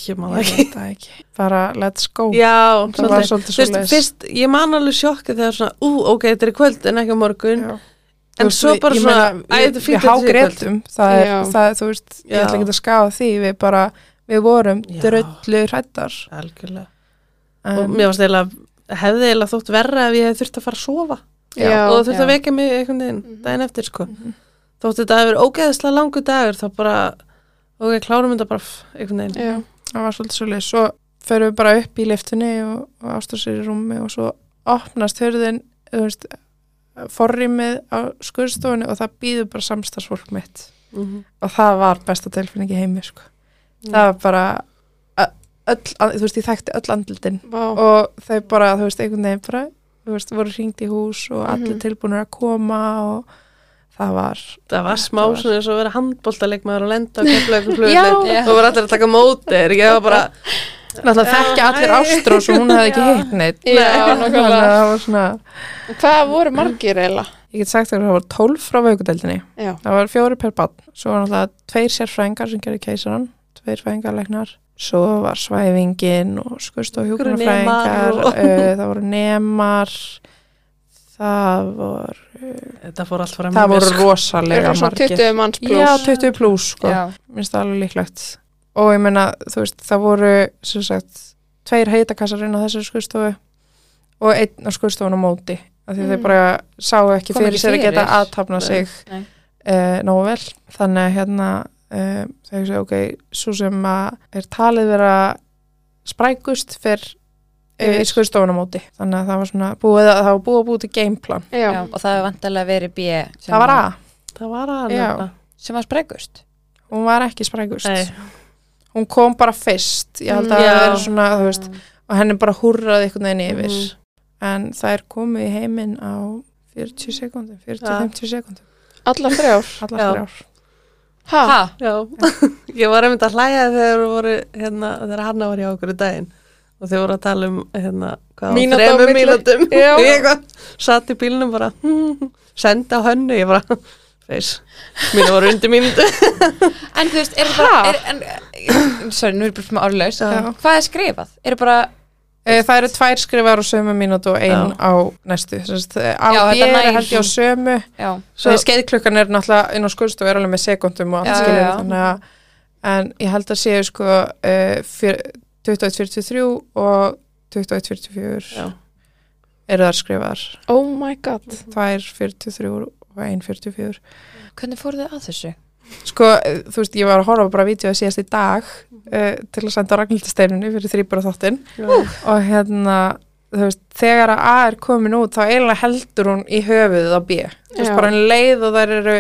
S3: Ég man það
S4: Ég
S3: ekki.
S4: veit það ekki. Bara let's go.
S3: Já,
S4: það var
S3: svolítið.
S4: svolítið
S3: Þú veist,
S4: svoleiðis.
S3: fyrst, ég man alveg sjokkið þegar svona, ú, ok, þetta er í kvöld en ekki á morgun.
S4: Já.
S3: En
S4: Þú veist,
S3: svo
S4: við-
S3: bara
S4: ég
S3: svona,
S4: meina,
S3: æ, þetta
S4: við, við
S3: er fínt að þetta sé í kvöld.
S4: hágretum það er,
S2: Já.
S4: það er, þú veist, ég
S3: Já.
S4: ætla ekki að skáða því við bara, við vorum
S3: Já.
S4: dröllu hrættar
S3: Algjörlega. og
S4: um,
S3: mér varst eiginlega hefði eiginlega þótt verra ef ég hefði þurft að fara að sofa
S2: Já.
S3: og það þurft að
S4: já.
S3: vekja mig einhvern veginn
S2: Mhm.
S3: daginn eftir sko þótt þetta hefur ógeðislega langu dagur þá bara, ok, klárum þetta bara pff, einhvern veginn
S2: Já.
S4: það var svolítið svolítið, svo förum við bara upp í liftunni og, og ástur sér í rúmi og svo opnast hörðin þú veist, forrýmið á skurðstofunni og það býður bara samstagsfólk mitt og það var besta tilfinning í heimi sko. það var bara ö- öll, þú veist, ég þekkti öll andlutin
S2: Vá.
S4: og þau bara, þú veist, einhvern veginn bara, þú veist, voru hringt í hús og allir
S2: Mhm.
S4: tilbúinur að koma og það var,
S3: það var smá
S4: Þetta var-
S3: svona eins og að vera handbóltaleikmaður og lenda og kemla eitthvað flugulegt
S1: Já.
S3: og voru allir að taka mótir ég var bara,
S4: náttúrulega þekkja allir Ástrós og hún hefði ekki
S1: Já.
S4: hitt neitt
S2: Já,
S4: þannig að
S2: nákvæmlega.
S4: það var svona
S2: Hvað voru margir eiginlega?
S4: ég get sagt að það var 12 frá vaukudeldinni
S2: Já.
S4: það var fjóri per barn, svo var náttúrulega tveir sérfræðingar sem gerði keisaran tveir fræðingarleiknar, svo var svæfingin og skust og
S3: Einhverju
S4: hjúkurnafræðingar
S3: nemar og-
S4: uh, það voru nemar það voru
S3: þetta fór allt fram
S4: það
S3: hjá mér,
S4: voru
S3: sko.
S4: rosalega
S2: Eru svo
S4: margir
S2: 20 manns
S4: Já,
S2: pluss.
S4: 20 pluss sko,
S1: Já,
S4: minnst það alveg líklegt og ég meina, þú veist, það voru sem sagt, tveir heitakassar inn á þessari skurstofu og einn á skurstofun á móti, af því mm.
S2: Mm.
S4: þau bara sáu ekki
S1: Kom
S4: fyrir
S1: ekki
S4: sér að
S1: fyrir.
S4: geta aðtapna sig
S1: Nei.
S4: uh, nógu vel, þannig að hérna uh, þau segja, ok, svo sem að er talið vera sprækust fyrr uh, í
S2: Yfir.
S4: skurstofun á móti, þannig að það var svona búið að það var búið að búið til gameplan
S1: já.
S2: Já.
S1: og það var vantarlega verið B sem
S4: það var A,
S3: það var að
S4: Já.
S3: nefna.
S1: sem var sprekust
S4: hún var ekki sprækust
S3: Nei.
S4: hún kom bara fyrst ég held
S2: Mm.
S4: að það
S3: Já.
S4: verið svona, þú veist og henni bara húrraði einhvern veginn yfir
S3: Mhm.
S4: en þær komu í heiminn á 40 sekundum, 40-50 sekundum
S2: Allar þrjár.
S4: allar
S3: Já.
S4: þrjár
S2: Ha?
S1: Ha?
S3: Já, [LAUGHS] ég var einmitt að hlæja þegar voru, hérna, þegar Hanna var hjá okkur í daginn og þeir voru að tala um hérna, hvað á
S2: Mínúta á
S3: þremur
S2: milli.
S3: mínútum
S2: [LAUGHS] Já.
S3: og ég hvað, satt í bílnum bara hmm, senda á hönnu, ég bara feis, mínu voru undir mínútu
S1: En þú veist, er það bara er, en, eh, Sorry, nú er bara fyrir árlaus
S4: Já.
S1: Hvað er skrifað? Er það bara
S4: Eh, það eru tvær skrifar á sömu mínútu og ein
S3: Já.
S4: á næstu Sest, á
S1: Já,
S4: B
S1: þetta
S4: eru
S1: nær.
S4: held ég á sömu
S1: Já,
S4: svo skeiðklukkan er náttúrulega inn á skurðstofu er alveg með sekundum og
S1: Já,
S4: allt skilur
S1: já, já.
S4: þannig að en ég held að séu sko uh, 21.43 og 21.44
S3: Já.
S4: eru þar skrifar
S2: Oh my god.
S4: tvær 43 og ein 44
S1: hvernig fóruð þið að þessu?
S4: sko, eh, þú veist, ég var að horfa bara að vídeo síðast í dag
S3: Mhm.
S4: uh, til að senda Ragnhildasteinunni fyrir þrýbara þáttinn og hérna, þú veist, þegar að A er komin út þá eiginlega heldur hún í höfuðið á B þú veist,
S2: Já.
S4: bara en leið og þær eru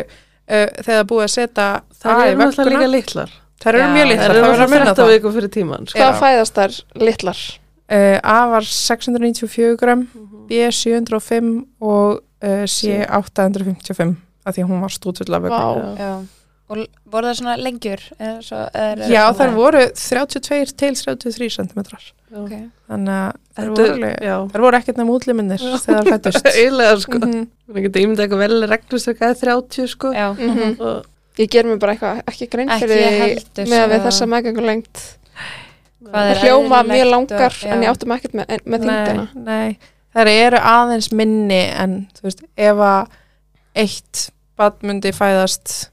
S4: uh, þegar búið að setja
S3: Það
S4: það í
S3: eru náttúrulega
S4: vögguna
S3: líka litlar.
S4: þær eru
S1: Já,
S4: mjög
S1: þær
S4: litlar,
S3: Það
S4: það
S3: eru
S4: verður að
S3: náttúrulega
S4: minna
S3: 13
S4: það
S3: viku fyrir tíman. Sko.
S2: Hvað
S4: Já.
S2: fæðast þær litlar?
S4: uh, A var 694 gram
S3: Mhm.
S4: B 705 og uh, C 855 af því að hún var stútfull af vögguna
S2: Vá.
S1: Já. Og l- voru það svona lengjur? eða Svo, eða-
S4: Já,
S1: eða-
S4: þær voru 32 til 33 centimetrar
S1: Ok.
S4: þannig að þær
S3: Þetta
S4: voru,
S3: er, já. [LAUGHS]
S4: þær voru ekkert nefnum útliminnir
S3: Já.
S4: þegar þær
S3: [LAUGHS]
S4: fættust
S3: Eilega, sko.
S4: mm
S3: Við getum ímyndað eitthvað vel reglustökkaði 30, sko.
S1: Já.
S2: Mm
S3: Og,
S2: Ég ger mér bara eitthvað ekki grein
S1: Ekki
S2: fyrir
S1: heldur,
S2: því með að við
S1: sko.
S2: þessa meðgöngulengt
S1: Hvað er
S2: hljóma
S1: eðlilegt
S2: mjög langar
S1: og- já.
S2: en ég áttum ekkert með, en- með
S4: nei,
S2: þingdina
S4: nei, þær eru aðeins minni en þú veist, ef að eitt barn myndi fæðast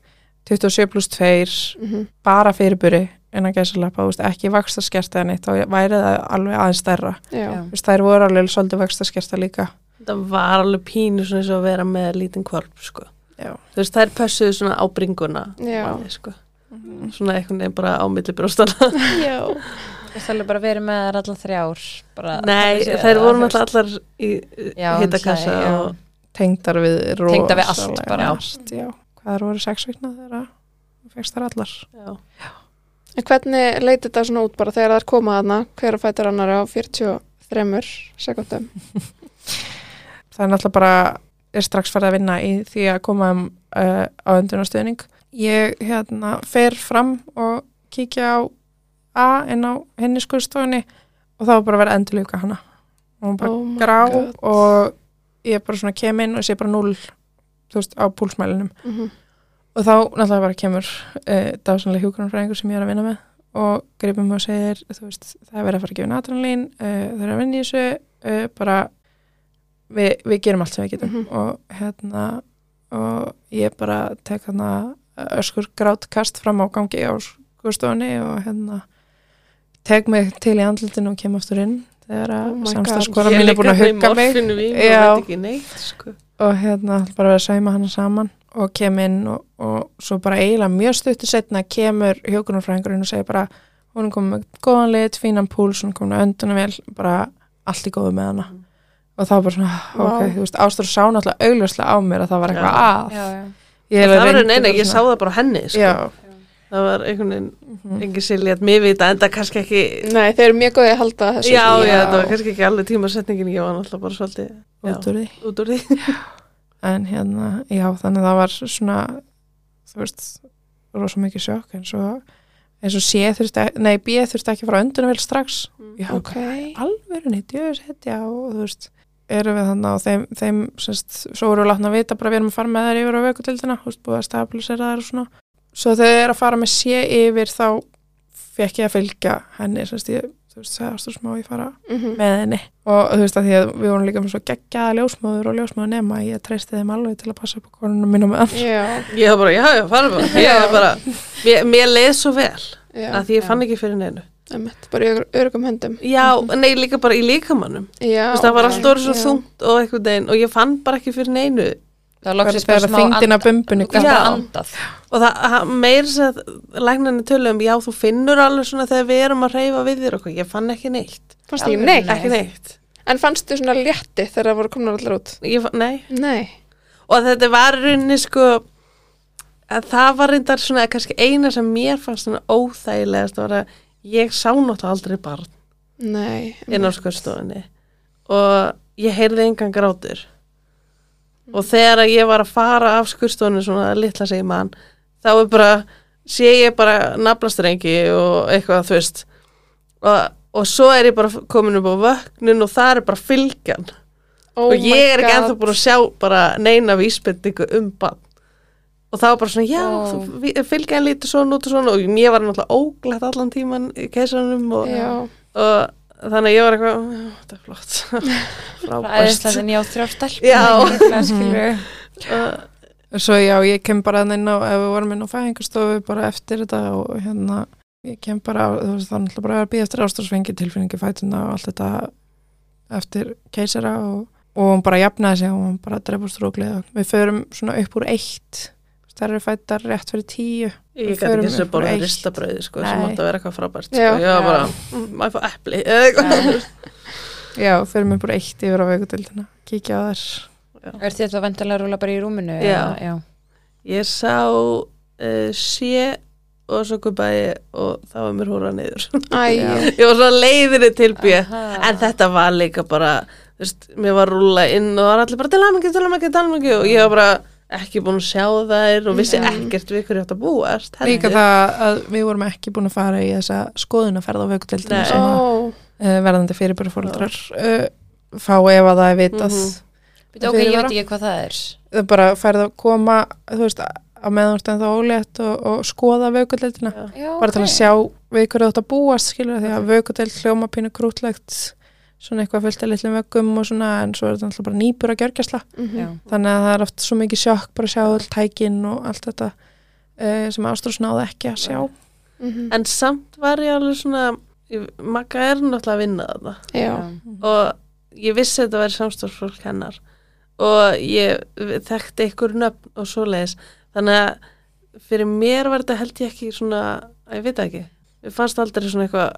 S4: 27 pluss 2
S2: mm -hmm.
S4: bara fyrirburi en að gæsa lappa, ekki vakstaskerta en eitt og væri það alveg aðeins stærra
S2: Já,
S1: Já.
S4: Þú veist, þær voru alveg svolítið vakstaskerta líka
S3: það var alveg pínu svona eins og að vera með lítinn kvalp, sko.
S4: Já.
S3: Þú veist, þær pössuðu svona á bringuna.
S2: Já.
S3: manni, Sko. Svona eitthvað nefn bara á milli brjóstana.
S2: já.
S1: Það er bara verið með þær allar þrjár bara,
S3: Nei,
S1: þannig séð,
S3: þær voru
S1: þú veist.
S3: náttúrulega allar í
S1: Já,
S3: hittakassa
S1: náttúrulega, já.
S3: og
S4: tengdar við
S1: Tengdar við allt
S4: rosalega
S1: bara.
S4: margt, já. hvað þær voru sex vikna þegar að fegst þær allar
S3: já.
S2: En hvernig leit þetta svona út bara þegar þær koma þarna hver að fætur annar á 43 sekundum
S4: það er náttúrulega bara er strax farið að vinna í því að koma um, uh, á öndunarstöðning ég hérna fer fram og kíkja á A inn á henni skurðstofunni og þá var bara að vera endurlíka hana og hún bara
S2: Oh my
S4: grá
S2: God.
S4: og ég bara svona kem inn og sé bara 0 þú veist á púlsmælinum
S2: mm
S4: og þá náttúrulega bara kemur uh, dásanlega hjúkurunfræðingur sem ég er að vinna með og gripum og segir þú veist, það er verið að fara að gefa natranlín uh, það er að vinna í þessu uh, bara við, við gerum allt sem við getum
S2: Mhm.
S4: og hérna og ég bara tek þarna öskur grát kast fram á gangi á skurstofunni og hérna tek mig til í andlutinu og kem aftur inn þegar
S2: Oh
S4: að oh
S2: my God. hérna
S4: samstagsskora mín er búin að hugga mig
S3: Ég er líka með morfinu vín og
S4: Já.
S3: veit ekki neitt, sko.
S4: og hérna ætla bara að vera að sauma hana saman og kem inn og, og svo bara eiginlega mjög stuttu setna kemur hjókunarfræðingurinn og segir bara hún er komin með góðan lit, fínan púls hún er komin að önduna vel, bara allt í góðu með hana og þá bara svona,
S2: Vá.
S4: ok, þú veist, Ástur sá náttúrulega augljóslega á mér að það var eitthvað að
S1: Já, já.
S4: Ég
S3: Það
S4: eiginlega
S3: var
S4: reyndi
S3: neina,
S4: bara
S3: ég sá
S4: svona-
S3: það bara á henni, sko.
S4: Já, Mhm. Mm.
S3: Það var einhvern veginn, engin silja að mér vita, en það kannski ekki,
S2: Nei, þeir eru mjög góðið að halda þessu
S3: já, já,
S4: já.
S3: það var kannski ekki alveg tímasetningin, ég var náttúrulega bara svolítið já,
S4: út úr því
S3: út úr því. [LAUGHS]
S4: en hérna, já, þannig að það var svona, þú veist rosa mikið sjokk, en svo eins og sé þurfti, e, nei, B þurfti ekki að fara önduna vel strax, já,
S2: Ok,
S4: alvörunni djöðsetja og þú veist erum við þannig á þeim, þeim sest, svo vorum við látna að vita bara við erum að fara með þær yfir á veikutildina þú veist búið að stabilisera þær og svona svo þegar þeir eru að fara með sé yfir þá fekk ég að fylgja henni sest, ég, þú veist, segðast þú smá ég fara
S2: mm -hmm.
S4: með henni og þú veist að því að við vorum líka með svo geggjaða ljósmóður og ljósmóður nema ég treysti þeim alveg til að passa upp á konunum mínum með hann
S2: já,
S3: Ég var bara, já, já, farum bara, ég var bara, mér, mér leið svo vel,
S2: já,
S3: að því ég
S1: Já.
S3: fann ekki fyrir neinu.
S2: emmitt, bara í ör- örgum höndum
S3: Já,
S4: Mhm.
S3: nei, líka bara í líkamannum,
S2: Já,
S3: þú veist, það var
S2: ok,
S3: allt orðið svo
S2: já.
S3: þungt og einhvern veginn, og ég fann bara ekki fyrir neinu,
S1: Það var loksins bara
S4: þegar
S1: smá
S4: þingdina
S1: and-
S4: bumbunni
S1: Þú gast bara
S3: Já.
S1: andað
S3: og það það- meira sem að læknarnir tölum, já, þú finnur alveg svona þegar við erum að reyfa við þér okkur, ég fann ekki neitt,
S2: Fannst ekki
S1: Alveg
S2: neitt,
S1: Nei.
S3: ekki neitt.
S2: en fannst þau svona létti þegar það voru komnar allar út?
S3: Ég, fann- nei,
S2: Nei,
S3: og þetta var í rauninni sko að það var reyndar svona kannski eina sem mér fannst svona óþægilegast var að ég sá náttúrulega aldrei barn
S2: nei
S3: inn á skurstofunni og ég heyrði engan grátur og þegar að ég var að fara af skurstofunni svona litla segi mann þá er bara, sé ég bara naflastrengi og eitthvað þú veist og, og svo er ég bara komin upp á vöknin og það er bara fylgjan
S2: Oh
S3: og ég er
S2: my
S3: ekki
S2: God.
S3: ennþá búin að sjá bara neina vísbendingu um bann og það var bara svona, já,
S2: Oh.
S1: Ó.
S3: þú- vi- fylgja hann lítið svona út og svona og ég var náttúrulega óglætt allan tíman í keisaranum og,
S2: Já,
S3: og þannig að ég var eitthvað, "Já, þetta er
S4: [LAUGHS]
S3: flott frábært
S1: Æðislega en ég á þrjár stelpur
S3: Já. Mm.
S1: þannig að
S3: [LAUGHS]
S1: skilurðu.
S3: Og-
S4: Svo já, ég kem bara þarna inn á, ef við vorum inn á fæðingarstofu bara eftir þetta og hérna ég kem bara, þú veist, það er náttúrulega bara að býja eftir ástofsfengi tilfinningi fætuna og allt þetta eftir keisara og, og hún bara jafnaði sig og hún bara drefur stróklið og við förum svona upp úr eitt Þú veist, það eru fættar rétt fyrir tíu
S3: Ég
S4: Við
S3: gæti
S4: förum
S3: ekki þessu
S4: upp
S3: borða
S4: eitt.
S3: ristabrauði sko, sem
S4: Nei.
S3: átti að vera eitthvað frábært sko.
S2: Já.
S3: Ég var bara,
S4: Já.
S3: mm, má ég fá epli [LAUGHS] eða eitthvað
S4: já, fyrir mig bara eitt yfir á veikudildina kíkja á þær
S1: Er þið þá vantilega að rúla bara í rúminu?
S3: Já.
S1: eða- já.
S3: Ég sá uh, sé og svo kubæði og þá var mér hóra niður [LAUGHS]
S2: Æ,
S3: Ég var svo leiðinni til bíu
S1: Aha.
S3: En þetta var líka bara, þú veist, mér var rúla inn og það var allir bara til almengi, til almengi, til almengi og ég var bara ekki búin að sjá þær og vissi ekkert við hverju ég átt að búast.
S4: Mm.
S3: heldur.
S4: Líka það að við vorum ekki búin að fara í þessa skoðunaferð á vökudeldinu
S3: Nei.
S4: sem að
S2: ó,
S4: uh, verðandi fyrirbæri fóreldrar uh, fá ef að það er vitað
S3: Mhm.
S1: Býtu, ok, ég
S4: fyrirvara.
S1: veit ekki hvað það er.
S4: það er bara færð að koma þú veist, að meðanvort en það ólétt og, og skoða vökudeldina
S3: Já.
S1: Já,
S4: bara til að sjá við hverju þetta búast skilur því að vökudeld hljóma pínu krútlegt svona eitthvað fullt af litlum vöggum og svona en svo er þetta alltaf bara nýbur að gjörgjastla
S2: Mhm.
S1: Já.
S4: þannig að það er oft svo mikið sjokk bara að sjá all tækin og allt þetta uh, sem Ástrós náði ekki að sjá
S2: mhm,
S3: En samt var ég alveg svona, ég, Magga er náttúrulega að vinna þarna
S2: já,
S1: Já.
S3: og ég vissi að þetta væri samstofsfólk hennar og ég þekkti einhver nöfn og svoleiðis. Þannig að fyrir mér var þetta held ég ekki svona, að ég veit það ekki, ég fannst aldrei svona eitthvað,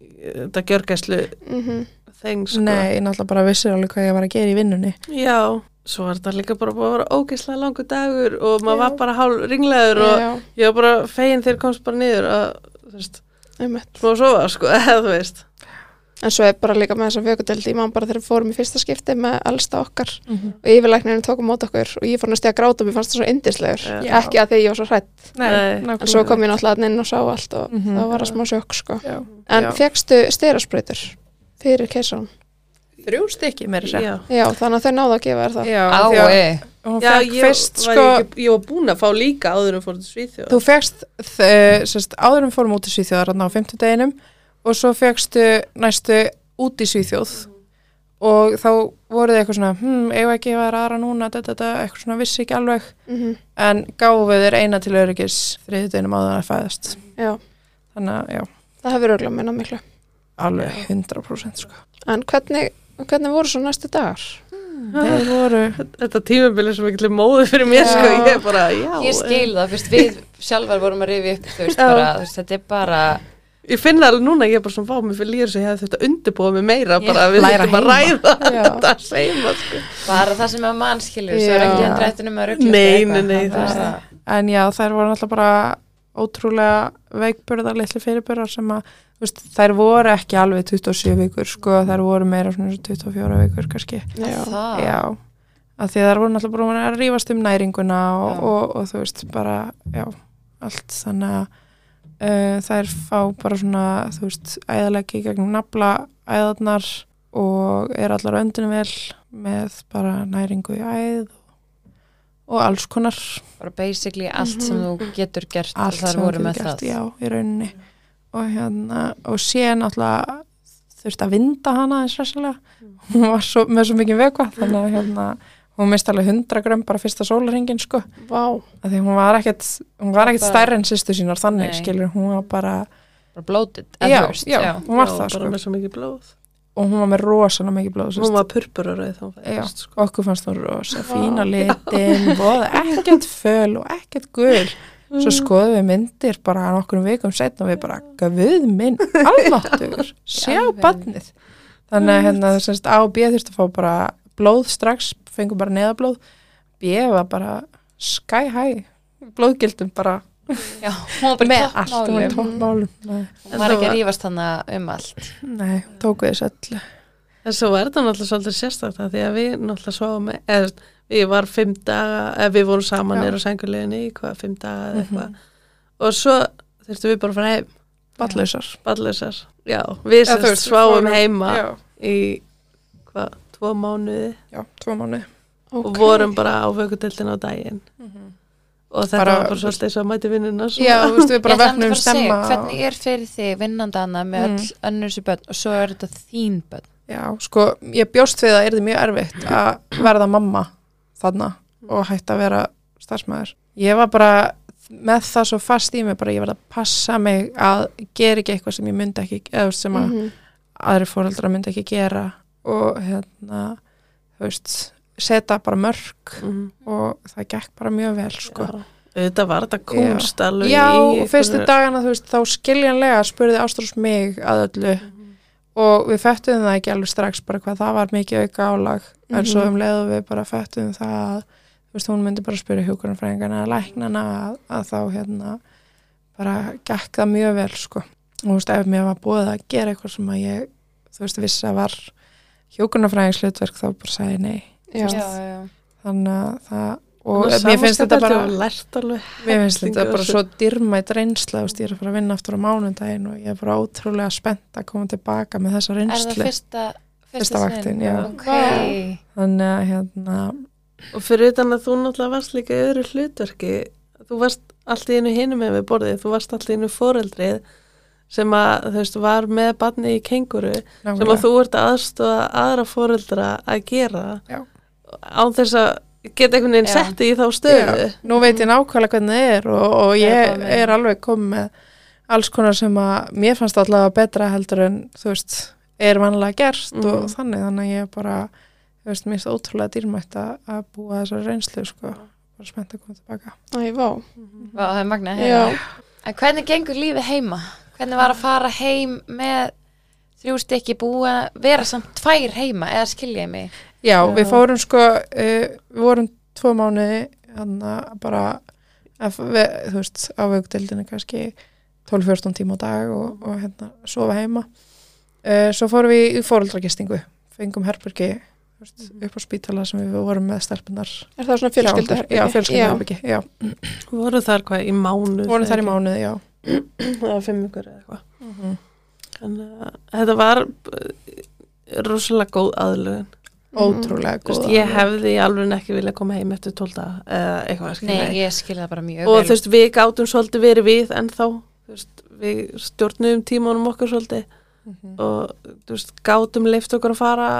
S3: þetta gjörgæslu
S2: mhm,
S3: þeng sko.
S4: Nei, ég náttúrulega bara vissir alveg hvað ég var að gera í vinnunni
S3: Já, svo var þetta líka bara búið að vera ógeðslega langu dagur og maður
S2: Já.
S3: var bara hálf ringlegur og
S2: já,
S3: ég var bara fegin þegar komst bara niður að, þú veist,
S2: einmitt.
S3: smá sofa, sko, [LAUGHS] eða þú veist.
S2: En svo er bara líka með þessa vökudeldi, ég man bara þegar við fórum í fyrsta skipti með elsta okkar og yfirlæknirinn tók á mót okkur og ég fór næstu að gráta og mér fannst það svo indislegur.
S4: Já.
S2: Ekki að því ég var svo hrætt.
S3: Nei.
S2: En svo kom ég náttúrulega þarna inn og sá allt og
S4: Mhm.
S2: það var að smá sjokk sko.
S4: Já.
S2: En
S4: Já.
S2: fegstu styraspröytur fyrir keisaran?
S4: Þrjú stykki meira sér
S3: Já,
S2: Já, þannig að þau náðu að gefa þér það.
S4: Já, því að
S1: Ái.
S4: hún
S3: já
S4: fekk
S3: ég,
S4: fyrst
S3: var
S4: sko,
S3: ekki, ég var búin að fá líka áður en fór til Svíþjóð.
S4: þú fegst sérst, áður en fórum út í Svíþjóðar á fimmtudeginum og svo fegstu næstu út í Svíþjóð og þá voru þið eitthvað svona hm, eigum ekki að vera aðra núna þetta, þetta, eitthvað svona vissi ekki alveg
S2: Mhm.
S4: en gáfu þér eina til öryggis þriðudeginum áður en að fæðast
S2: Já,
S4: þannig að já,
S2: það hefur örgulega minnað miklu.
S4: alveg 100% sko.
S2: En hvernig, hvernig voru svo næstu dagar?
S3: Ah.
S4: þeir voru
S3: Þetta tímabili sem ekki til móðu fyrir mér,
S2: Já.
S3: sko, ég er bara, já.
S1: Ég skil það, fyrst við sjálfar vorum að rifja upp, þú veist,
S3: Já.
S1: bara, þú veist, þetta er bara,
S3: Ég finn það alveg núna, ég er bara svona fá mig fyrir líður sem ég hefði þetta undirbúið mig meira, bara
S1: Já.
S3: við
S4: Læra
S3: þurfum að ræða
S2: Já.
S3: þetta seima, sko.
S1: bara það sem að mann skilur, svo er
S2: Já.
S1: ekki hann drættin um að ruggla
S3: Nei, nei, nei, þú
S1: það
S3: veist.
S1: er það.
S4: en já, þær voru náttúrulega bara ótrúlega veikburðar, litli fyrirbyrðar sem að, þú veist, þær voru ekki alveg 27 vikur, sko, þær voru meira svona eins og 24 vikur, kannski
S2: Já,
S1: Það.
S4: já, af því að þær voru náttúrulega búin að rífast um næringuna og,
S1: Já.
S4: og, og þú veist, bara, já allt, þannig að uh, þær fá bara svona, þú veist æðalegi gegnum nafla æðarnar og er allar öndinu vel með bara næringu í æð og alls konar
S1: bara basically allt sem þú getur gert
S4: Mhm. allt
S1: þar
S4: sem
S1: voru
S4: þú
S1: með
S4: getur
S1: það
S4: gert, já, í rauninni og hérna, og sé náttúrulega þurfti að vinda hana eins ræsilega hún var svo, með svo mikið vekva þannig að hérna, hún misti alveg 100 grömm bara fyrsta sólaringin sko
S2: vá.
S4: af því hún var ekkert, hún var ekkert
S1: Bara-
S4: stærri en sýstu sínar
S1: Nei.
S4: þannig, skilur, hún var bara
S1: bara blótið,
S4: já, já, hún var
S3: Já,
S4: það
S3: Bara
S4: sko
S3: með svo mikið blóð.
S4: og hún var með rosalega mikið blóð
S3: Hún
S4: sýstu
S3: var purpuraröð þá fæðist, sko.
S4: okkur fannst hún rosa fína litin voða ekkert föl og ekkert gul
S1: Mm.
S4: svo skoðum við myndir bara nokkrum vikum setna og við bara gafið minn alváttugur, sjá
S1: Alveg.
S4: barnið þannig að hérna semst A og B þurfti að fá bara blóð strax fengum bara neðablóð B var bara sky high blóðgildum bara
S1: já, hún var bara
S4: með
S1: með
S4: allt hún var í toppmálum Nei.
S1: hún var ekki að rífast hann um allt
S4: nei, tók við þess öllu
S3: En svo var þetta náttúrulega svolítið sérstakta því að við náttúrulega sváum með, eða þú veist, við var fimm daga, eða við vorum saman
S4: Já.
S3: nýra á sænguleginni í hvað, fimm daga eða eitthvað. Og svo þurftum við bara að fara heim,
S4: ballausar
S3: ballaðisar. Já, við
S4: Eða þú
S3: sérst
S4: veist,
S3: sváum
S4: fórum-
S3: heima
S4: já,
S3: í hvað, tvo mánuði
S4: já, tvo mánu
S2: Okay.
S3: og vorum bara á vökudeldin á daginn.
S1: Mhm.
S3: Og þetta
S4: Bara-
S3: var bara svolítið svo að mæti vinnuna svona.
S4: já, þú veist við bara
S1: Ég ætla einmitt að fara
S4: vefnum
S1: að
S4: stemma
S1: segja, hvernig er fyrir þig vinnandi hana með
S4: Mm.
S1: öll önnur sér börn og svo er þetta þín börn
S4: Já, sko, ég bjóst við að það erði mjög erfitt að verða mamma þarna og hætt að vera starfsmæður. Ég var bara með það svo fast í mig, bara ég verði að passa mig að gera ekki eitthvað sem ég myndi ekki, eða þú veist, sem að
S2: Mhm.
S4: aðri fóreldrar myndi ekki gera og hérna, þú veist, setja bara mörg
S3: Mhm.
S4: og það gekk bara mjög vel sko.
S3: Já. Auðvitað var þetta kunst alveg
S4: Já,
S3: í
S4: og fyrstu
S3: einhverju-
S4: dagana þú veist, þá skiljanlega spurði Ástrós mig að öllu og við fættuðum það ekki alveg strax bara hvað það var mikið auka álag en svo
S3: Mhm.
S4: um leiðu við bara fættuðum það að þú veist, hún myndi bara spyrja hjúkurumfræðingana að læknana að, að þá hérna bara gekk það mjög vel sko. og þú veist, ef mér var búið að gera eitthvað sem að ég, þú veist, vissi að var hjúkurumfræðingslutverk þá bara sagði ég nei
S2: Já.
S1: já, já.
S4: þannig að það og
S3: Og
S4: mér finnst þetta bara
S3: lært alveg
S4: Mér finnst þetta
S3: helling
S4: bara
S3: af
S4: svo dyrmætt reynsla, þú veist, ég er að fara að vinna aftur á mánundaginn og ég er bara ótrúlega spennt að koma tilbaka með þessa
S1: Er það
S4: reynslu.
S1: fyrsta, fyrsta,
S4: Fyrsta
S1: sinn?
S4: vaktin, já.
S1: Ok.
S4: Þannig að hérna,
S3: Og fyrir utan að þú náttúrulega varst líka í öðru hlutverki, þú varst allt í einu hinum með við borðið, þú varst allt í einu foreldrið sem að þú veist var með barni í kenguru sem að
S4: nákvæmlega.
S3: þú ert að aðstofa aðra foreldra að gera
S4: Já.
S3: án þess að geta einhvern veginn
S1: Já.
S3: setti í þá stöðu.
S4: nú veit ég nákvæmlega hvernig það er og, og
S1: Það er
S4: ég
S1: bara með.
S4: er alveg komið með alls konar sem að mér fannst allavega betra heldur en, þú veist, er vanlega gert
S3: Mhm.
S4: og þannig, þannig að ég er bara, þú veist, mér finnst ótrúlega dýrmætt að að búa þessa reynslu, sko, bara spennt að koma tilbaka.
S2: Æ, vá.
S1: Vá, það er magna
S2: Já.
S1: En hvernig gengur lífið heima? Hvernig var að fara heim með þrjú stykki búa, vera samt tvær heima eða skilja ég mig?
S4: Já,
S3: Já.
S4: við fórum sko, uh, við vorum tvo mánuði, þannig að bara, að, við, þú veist, á vögdeldinu kannski 12-14 tíma á dag og, og hérna, sofa heima. Uh, svo fórum við í fóreldragistingu, fengum herbergi þú veist,
S3: Mhm.
S4: upp á spítala sem við vorum með stelpunar.
S2: Er það svona fjölskyldarherbyggi?
S4: Já, fjölskylduherbergi, já.
S3: Voru þar hvað í mánuð?
S4: Vorum þar í mánuði, já.
S3: [CLEARS THROAT] eða fimm ykkur eða eitthvað. Þannig að þetta var eh, rosalega góð aðlögun.
S4: Mhm. Ótrúlega
S3: Þú veist,
S4: góð.
S3: ég hefði í alveg ekki vilja koma heim eftir 12 daga eða eitthvað skilja.
S1: Nei, ég skilja það bara mjög
S3: og
S1: vel.
S3: þú veist, við gátum svolítið verið við en þá, þú veist, við stjórnum tímanum okkar svolítið
S4: Mhm.
S3: og þú veist, gátum leift okkur að fara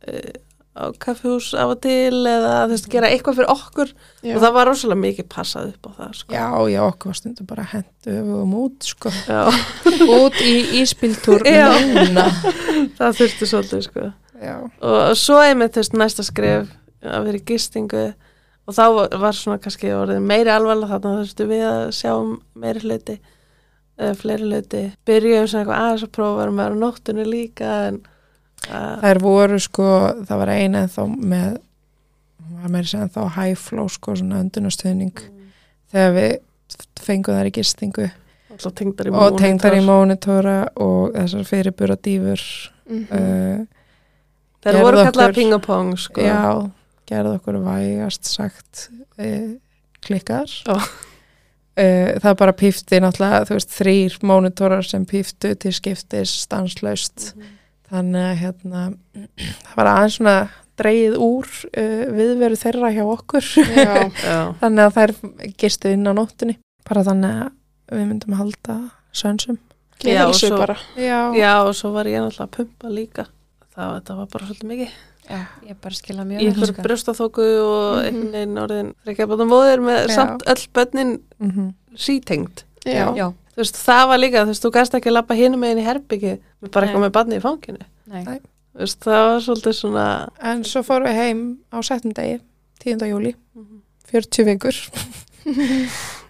S3: uh, á kaffihús af og til eða þú veist, gera eitthvað fyrir okkur
S2: Já.
S3: og það var rosalega mikið passað upp á það sko.
S4: Já, já, okkur var stundum bara hendu við um út,
S3: [LAUGHS]
S4: sko.
S3: Já,
S4: út í íspiltúr
S3: Já.
S4: núna.
S3: [LAUGHS] það þurfti svolítið sko.
S4: Já.
S3: og svo einmitt, þú veist, næsta skref að vera í gistingu og þá var- var svona kannski orðið meiri alvarlega þarna þurftu við að sjá um meiri hluti eða fleiri hluti byrjuðum svona eitthvað aðeins að prófa varum að vera á nóttunni líka en að,
S4: Þær voru sko, það var eina en þá með, hún var meira að segja en þá high flow sko, svona öndunastöðning þegar við fengum þær í gistingu
S3: alltaf tengdar í
S4: og tengdar í mónitora og þessar fyrirbura dýfur
S2: Mhm. Mm.
S4: uh,
S3: þeir
S4: gerðu
S3: voru
S4: okkur-
S3: kallað pingapong sko
S4: já, gerði okkur vægast sagt uh, klikkar
S3: Já.
S4: Uh, það bara pífti náttúrulega þú veist, þrýr mónitorar sem píftu til skiptis stanslaust þannig að hérna það var aðeins svona dreigið úr uh, viðveru þeirra hjá okkur
S2: [LAUGHS] Já.
S3: Já.
S4: þannig að þær gistu inn á nóttunni bara þannig að við myndum halda sönsum
S3: Já,
S2: Gleðilsu
S3: svo-
S2: bara.
S4: já,
S3: já og svo var ég náttúrulega að pumpa líka það, það var bara svolítið mikið
S1: Já, ég bara skilja mjög
S3: í
S1: vel.
S3: einhverju
S1: sko.
S3: brjóstaþóku og
S2: Mhm.
S3: einhvern veginn orðin þrekkja bóðum vóðir með
S4: Já.
S3: samt öll bönnin
S4: mm -hmm.
S3: sítengt
S2: Já.
S1: Já,
S3: þú veist, það var líka, þú veist, þú gæst ekki að lappa hinum meginn í herbyggi með bara
S1: Nei.
S3: eitthvað með barni í fanginu
S1: nei.
S4: Nei.
S3: þú veist, það var svolítið svona
S4: en svo fórum við heim á settum degi 10. júli,
S2: Mhm.
S4: 40
S2: [LAUGHS]
S4: vikur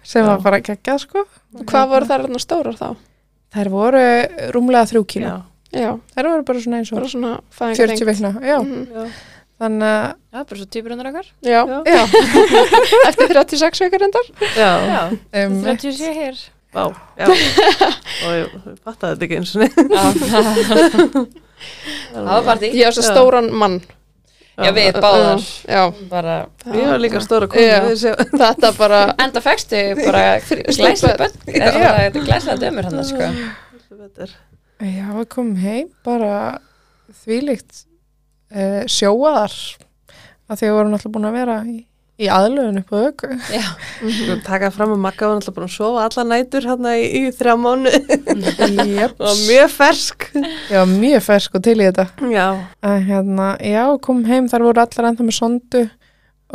S4: sem
S3: Já.
S4: var bara geggjað sko
S2: Hvað voru þær þarna stórar þá?
S4: þær voru rúmlega þrjú kíló
S3: já,
S2: Já,
S4: þær voru bara svona eins
S2: bara
S4: og
S2: svona fæðingar
S4: 40 vikna, já,
S2: Mhm.
S3: já,
S4: þannig að
S1: Já, bara svo týpurunar okkar.
S2: Já,
S3: Já.
S2: já. [LAUGHS] Eftir 36 vikar endar.
S3: já,
S1: Já,
S4: um,
S1: 37 hér.
S3: Vá, já. og ég fattaði þetta ekki eins og neitt
S1: Já, [LAUGHS] það var partí.
S2: Ég á svo
S3: Já.
S2: stóran mann.
S1: Já, við báðar.
S2: Já.
S1: Bara,
S3: ég var líka stóra konu
S2: Já.
S3: við sjá-
S2: Þetta bara,
S1: enda fækstu bara glæslega bönn.
S2: Já.
S1: Þetta er glæslega dömur hann, sko.
S3: Heldur betur.
S4: Já, við komum heim bara þvílíkt uh, sjóaðar að því að við vorum alltaf búin að vera í, í aðlöfun upp á auku.
S3: Sko, taka fram að Magga var náttúrulega búin að sofa alla nætur hérna í, í þrjá mánu
S4: [LAUGHS] Jöps.
S3: og mjög fersk
S4: Ég var mjög fersk og til í þetta.
S3: já,
S4: En hérna, já, komum heim, þar voru allar ennþá með sondu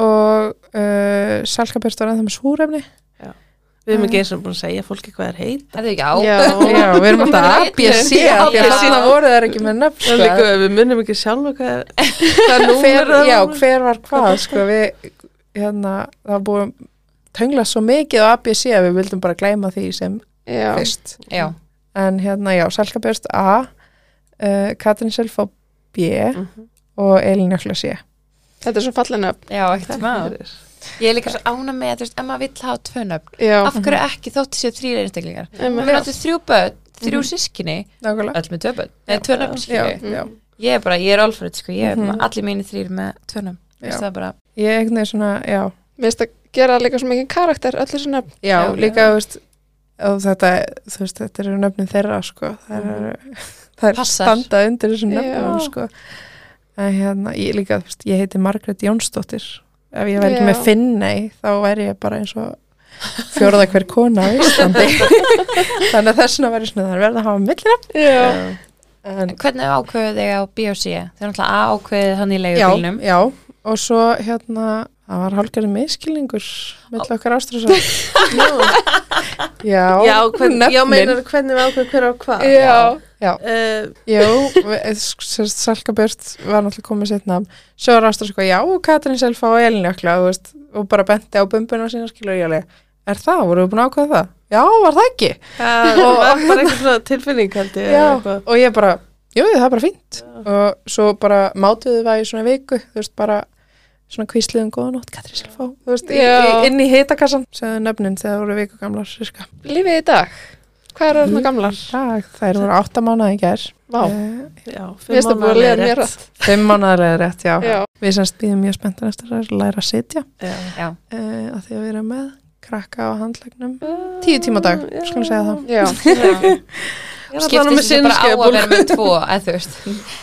S4: og uh, selkabjörst var ennþá með súrefni.
S3: Já. Við erum ekki eins og búin að segja fólki hvað er heit.
S1: Þetta er ekki á.
S2: Já,
S4: Já, við erum alltaf að ABC
S1: Já,
S4: af því að
S1: já.
S4: þarna voru þær ekki með nöfn sko.
S3: Það er líka, Sko, við munum ekki sjálfa hvað er hvað númer
S4: hver,
S3: það
S4: já,
S3: voru.
S4: hver var hvað sko, við, hérna, það búum töngla svo mikið á ABC að við vildum bara gleyma því sem
S2: já,
S4: fyrst
S1: Já.
S4: en hérna, já, Salka Björst A uh, Katrin Self á B
S3: Mhm.
S4: og Elin Jökla C
S2: þetta er svo fallin upp
S1: Já, ekkert smá.
S3: Fyrir.
S1: Ég er líka svo ána með að, þú veist, ef maður vill hafa tvö nöfn,
S2: já,
S1: af hverju ekki þótt séu þrýr einstaklingar?
S2: einmitt. Mhm.
S1: Við náttu þrjú börn, þrjú sískinni,
S4: Nákvæmlega
S1: öll með tvö börn, eða tvö nöfn,
S4: já,
S1: skilju.
S4: já.
S1: Ég er bara, ég er Alfred, sko, ég er,
S4: Mhm.
S1: allir mínir þrýr með tvö nöfn. Þú veist,
S4: Já.
S1: það er bara,
S4: Ég er einhvern veginn svona, já
S2: Mér finnst að gera líka svo mikið karakter öllu sinna
S4: Já,
S1: Já,
S4: líka, þú veist og þetta, þú veist, þetta eru nöfnin þeirra sko, það eru [LAUGHS] það er
S1: Passar.
S4: standa undir þessum nöfnum
S2: Já.
S4: sko. en hérna, ég líka, þú veist, ég heiti Margrét Jónsdóttir ef ég væri ekki
S2: Já.
S4: með Finnei þá væri ég bara eins og fjóraða hver kona á Íslandi [LAUGHS] þannig að þessuna væri svona það er verið að hafa millina
S2: Já,
S4: en,
S1: hvernig ákveðu þig á B og C? Þið er náttúrulega A ákveðið hann í
S4: já,
S1: leigubílnum.
S4: já, og svo hérna það var hálfgerðin miskilningur mill okkar ástrúsa já,
S3: Já, hvern, já
S4: nöfnin.
S3: meinar hvernig við ákveðum hver á hvað.
S2: já,
S4: já,
S3: Uh,
S4: Jú, við- eh, sérst, Salka Björst var náttúrulega komið sitt nafn svo var ástur sko, já, og Katrín Selfa og Elin Jökla þú veist, og bara benti á bumbuna sína skilur ég alveg, er það, voru við búin að ákveða það? Já, var það ekki?
S3: það var bara eitthvað svona tilfinning held ég. eða
S4: Já,
S3: eitthvað.
S4: og ég bara, jú, það er bara fínt og svo bara mátuðu það í svona viku þú veist, bara svona kvísliðum góðanótt Katrín Selfa, þú veist, í,
S2: Já.
S4: í, inn í heitakassan segðu nöfnin þegar það voru viku gamlar sirka.
S2: lífið í dag Hvað eru þarna gamlar?
S4: Dag, þær voru átta mánuði í gær
S2: Vá,
S4: Eh,
S3: Já,
S2: mér finnst að búið að leiða mér
S3: rétt.
S2: rætt
S4: Fimm mánuðarlega rétt, já.
S2: Já,
S4: Við semst býðum mjög spenntan eftir að læra að sitja
S3: Já.
S1: Já.
S4: uh, að því að við erum með krakka á handlegnum tíu tíma á dag,
S3: Já.
S4: skulum segja það
S2: já,
S1: [LAUGHS]
S3: Ég er allavega
S1: skiptist þessi bara á
S4: [LAUGHS]
S3: með
S1: að
S3: sinnskeiðbólgu.
S4: um
S1: vera með tvo eða þú veist,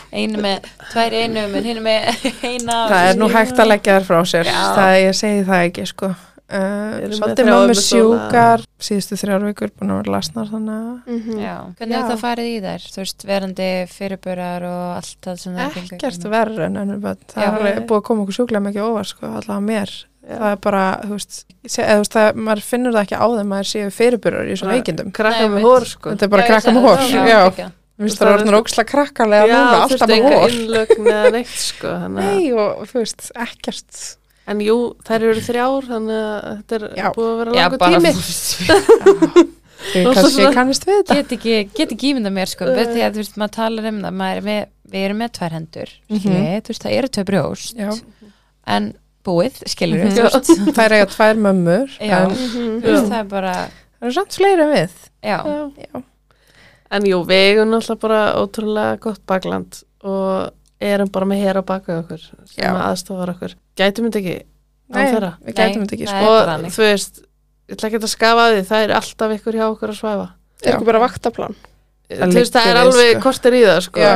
S1: einu með tvær í einu, menn hinu með [LAUGHS] eina
S4: það er nú hægt að leggja þær frá sér
S1: Já.
S4: það ég segi það ekki sko uh,
S3: Við erum með
S4: svolítið
S3: þrjá
S4: mömmu
S3: ömmur
S4: sjúkar síðustu þrjár vikur búin að vera lasnar þannig að
S2: mhm.
S1: Já. hvernig
S4: Já.
S1: er það farið í þær, þú veist, verandi fyrirbörar og allt það sem það gengur í
S4: ekkert
S1: gegnum?
S4: verður en ennur bönn það
S1: Já.
S4: er alveg búið að koma okkur sjúklega mikið óvar sko, allavega mér það er bara, þú veist, se, eð, þú veist það, maður finnur það ekki á þeim maður séu fyrirburur í svona
S3: Nei.
S4: veikindum
S3: Krakka
S1: Nei,
S3: með
S1: mitt.
S3: hór sko.
S4: þetta er bara
S1: Já,
S4: krakka
S1: ég
S4: með hór
S1: sagði það.
S4: já,
S1: já.
S4: mér finnst það er orðin óksla krakkalega núna, alltaf með
S3: Já,
S4: hór
S3: þurfti enga innlögn eða neitt sko. þannig að-
S4: Nei, og þú veist, ekkert
S3: En jú, þær eru þrjár, þannig að þetta er
S4: Já.
S3: búið að vera
S1: Já,
S3: langur
S1: bara,
S3: tími.
S1: ég
S4: Þið
S3: Og svo
S4: kannski
S3: svona-
S4: kannist við þetta
S1: get
S4: [LAUGHS]
S1: ekki, get ekki ímynda mér sko,
S3: Nei.
S1: því að þú veist, maður talar um það maður er með, við erum með tvær hendur mm
S4: Mhm.
S1: þú veist, það eru tvö brjóst
S4: Já.
S1: en búið, skilur
S4: Mhm.
S1: við þú veist,
S4: Það er eiga tvær mömmur
S1: Já.
S4: En
S2: Mhm.
S1: þú veist, það er bara
S4: það eru samt fleiri en við
S1: já,
S4: Já,
S3: En jú, við eigum náttúrulega bara ótrúlega gott bakland og erum bara með hér á baka okkur sem
S4: Já.
S3: aðstofar okkur. Gætum þetta ekki á þeirra.
S1: Nei,
S4: við gætum þetta ekki
S1: það
S4: sko.
S1: er-
S3: Og
S1: bara þannig.
S3: þú veist, ég ætla ekki að skafa af því, það er alltaf ykkur hjá okkur að svæfa.
S2: Er ekki bara vaktaplan?
S3: Þú veist, það
S4: liggur
S3: er
S4: við,
S3: alveg
S4: sko.
S3: kortir í það, sko.
S2: Já,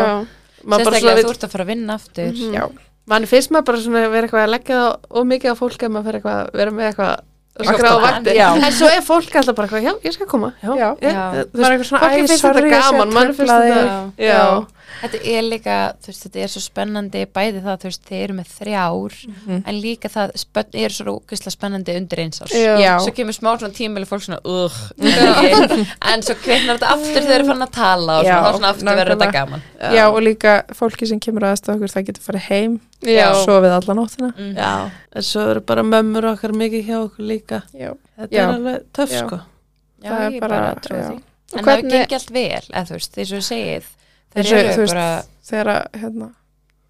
S3: Maður bara
S1: sérstaklega að
S3: svona,
S1: þú
S3: vill-
S1: ert að fara að vinna aftur
S2: Mhm.
S4: Já,
S3: mann finnst maður bara svona að vera eitthvað að leggja það ómikið á fólk að maður fer eitthvað, vera með eitthvað að skrá á vakti.
S1: Já.
S3: En svo er fólk alltaf bara eitthvað, já, ég skal koma, já,
S4: Já.
S3: ég-
S1: Já.
S3: þú
S4: það er
S3: veist,
S4: eitthvað svona
S3: fólki
S4: æ,
S3: finnst
S4: sorry,
S3: þetta
S4: ég sé að
S3: gaman, mann finnst
S4: trufla
S3: þetta-
S4: þig.
S1: Já.
S3: já,
S1: Þetta er líka, þú veist, þetta er svo spennandi bæði það, þú veist, þið eru með þrjár en líka það spenn, er svo ógeðslega spennandi undir eins árs.
S2: Já.
S4: Já,
S1: Svo kemur smá svona tímil og fólk svona, ugh, okay. en svo kvinnar þetta aftur þegar þeir eru fann að tala og
S4: Já,
S1: svona, þá svona aftur verður þetta
S4: nákvæmlega.
S1: gaman.
S4: já, og líka fólki sem kemur aðeins okkur, það getur farið heim
S2: já,
S4: Sofið alla nóttina
S1: Mm.
S3: Já, en svo eru bara mömmur okkar mikið hjá okkur líka.
S4: Já,
S3: Þetta
S4: Já.
S3: er alveg töff
S4: Já.
S3: sko.
S1: Já,
S4: það er
S1: ég
S4: bara-
S1: bara trúi
S4: já.
S1: því.
S2: Og
S1: En það hefur
S2: hvernig-
S1: gengið allt vel, eða þú veist, þeir svo segið, þeir
S4: eins og, þú
S1: eru
S4: veist,
S1: bara,
S4: þegar að, hérna,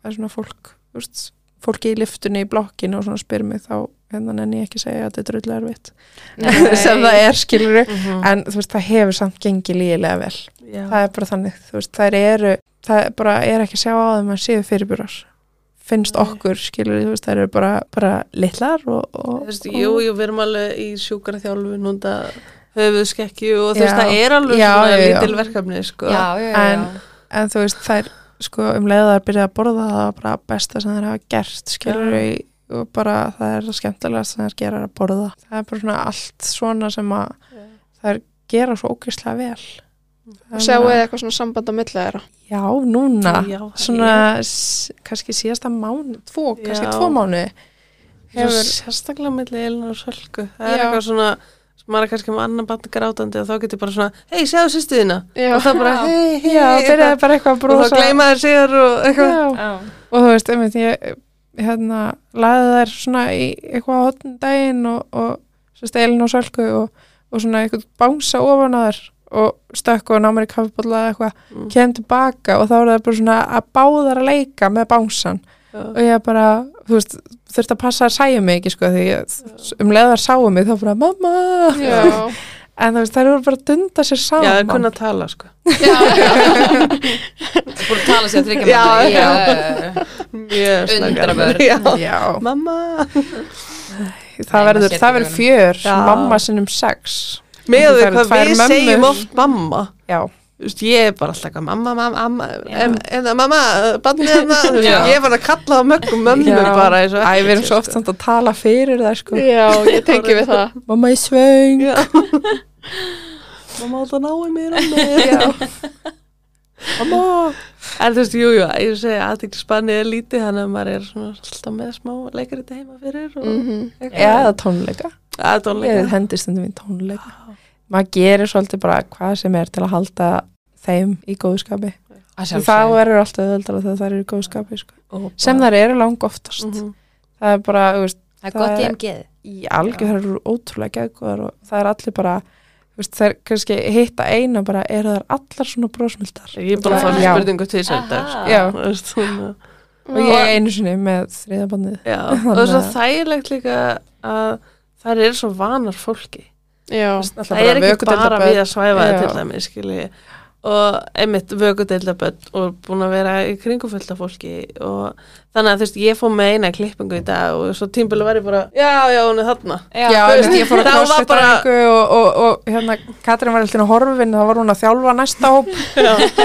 S4: það er svona fólk þú veist, fólki í liftunni í blokkinu og svona spyr mig þá hérna nenni ég ekki að segja að þetta er drullu erfitt
S2: Nei.
S4: [LAUGHS] sem það er skilur
S3: -hmm.
S4: en þú veist það hefur samt gengið lígilega vel
S3: Já,
S4: það er bara þannig, þú veist, þær eru það er bara er ekki að sjá á þeim að séu fyrirbjörars finnst
S3: Nei.
S4: okkur, skilur þú veist, þær eru bara, bara litlar og,
S3: þú
S4: og
S3: veist, jú, jú, við erum alveg í sjúkara þjálfu núnda höfuðskekkju og þú veist,
S4: Já.
S3: það er alveg
S4: Já,
S3: svona
S4: já, já.
S3: lítil verkefni sko.
S1: já, já, já,
S4: En-
S1: já.
S4: en þú veist, þær sko um leiða þær byrja að borða það var bara besta sem þær hafa gert, skilur
S3: Já.
S4: og bara það er það skemmtilega sem þær gera er að borða, það er bara svona allt svona sem að
S3: Já.
S4: þær gera svo ógeðslega vel
S2: og sjáu þið eitthvað svona samband á milli þeirra
S4: Já, núna
S3: Já, það
S4: svona s- kannski síðasta mánu tvo, kannski
S3: Já.
S4: tvo mánu
S3: Hefur...
S4: hefur
S3: Sérstaklega milli Elin og Sölku. Það er
S4: Já.
S3: eitthvað svona sem maður er kannski með annan bann grátandi og þá getur bara svona, hei, sjáðu sýstuðina
S2: Já.
S3: og þá bara,
S4: [LAUGHS]
S3: hei, hei,
S4: Já, byrjaði bara eitthvað að
S3: og
S4: brosa
S3: þá gleyma þér sér og eitthvað
S4: Já. og þú veist, einmitt, ég hérna, laði þær svona í eitthvað á hotn daginn og, og svo stelin og sölku og, og svona eitthvað bánsa ofan að þær og stökku og námar í kaffibólla eða eitthvað,
S3: Mm.
S4: kem tilbaka og þá er það bara svona að báðar að leika með bánsan og ég bara, þú veist, þurfti að passa að sæja mig ekki sko, því ég, um leiðar sáum mig þá bara, mamma
S2: Já,
S4: en þú veist, þær voru bara að dunda sér
S3: Já,
S4: saman
S3: það er kunna að tala, sko
S1: Búin að tala sér þryggja
S3: Já,
S1: mánuði í,
S3: já.
S1: uh,
S3: Mjög snakar
S1: Undrabörn.
S3: Já,
S4: Já,
S3: mamma
S4: það
S1: Nei, maður
S4: verður,
S1: sér
S4: það verður
S1: tilfinningunum.
S4: fjör,
S3: Já.
S4: mamma sinnum sex
S3: Með
S4: Það
S3: því
S4: eru
S3: hvað
S4: tvær
S3: við
S4: mömmur.
S3: segjum oft mamma
S4: Já,
S3: Þú veist, ég er bara alltaf eitthvað mamma, mamma, mamma
S1: Já.
S3: en en það mamma, bannið hérna þú veist,
S1: Já.
S3: ég er bara að kalla á mögum mömmu
S4: Já.
S3: bara eins og
S4: Æ, við erum
S3: ekkert sko.
S4: svo
S3: sé,
S4: oft samt að tala fyrir það sko.
S2: já, ég tengi við það.
S4: Mamma í svöng
S3: [LAUGHS] Já. mamma alltaf náði mér mamma en þú veist, jú, jú, ég segi aðtíklisbannið er lítið þannig að maður er svona alltaf með smá leikarita heima fyrir og
S2: Mm
S4: Mhm. Já, eða tónleika
S3: aðdónleika
S4: Ég hendi stundum í tónleika Maður gerir svolítið bara hvað sem er til að halda þeim í góðskapi
S1: að
S4: Það
S1: sjálfsögðu.
S4: verður alltaf öðvöldar þegar það eru í góðskapi sko. Sem þær eru lang oftast
S3: Mhm.
S4: Það er bara, þú veist,
S1: Það er gott
S4: það
S1: í
S4: er-
S1: MG-ið.
S4: í algjör það eru ótrúlega geðgóðar og það er allir bara þú veist, þær kannski hitta eina bara eru þær allar svona brósmildar
S3: ég er bara að fá
S4: Já.
S3: spurningu til þess
S1: Aha.
S3: að
S4: Já.
S3: þetta
S4: og ég einu sinni með þriðabandið
S3: Já, [LAUGHS] og það er svo þægilegt líka að þær eru svo vanar fólki.
S2: Já,
S3: Það er ekki bara við að svæfa það
S4: Já.
S3: til dæmi, skilji. Og einmitt vökudeildaböld og búin að vera í kringum fullt af fólki og þannig að þú veist, ég fór með eina klippingu í dag og svo tímbilu var ég bara, já, já, hún er þarna.
S4: Já,
S3: Þú
S4: veist,
S3: veist,
S4: ég fór að
S3: [LAUGHS] þá var
S4: crossfit bara...
S3: bara-
S4: og, og, og hérna, Katrín var alltaf horfin þá var hún að þjálfa næsta hóp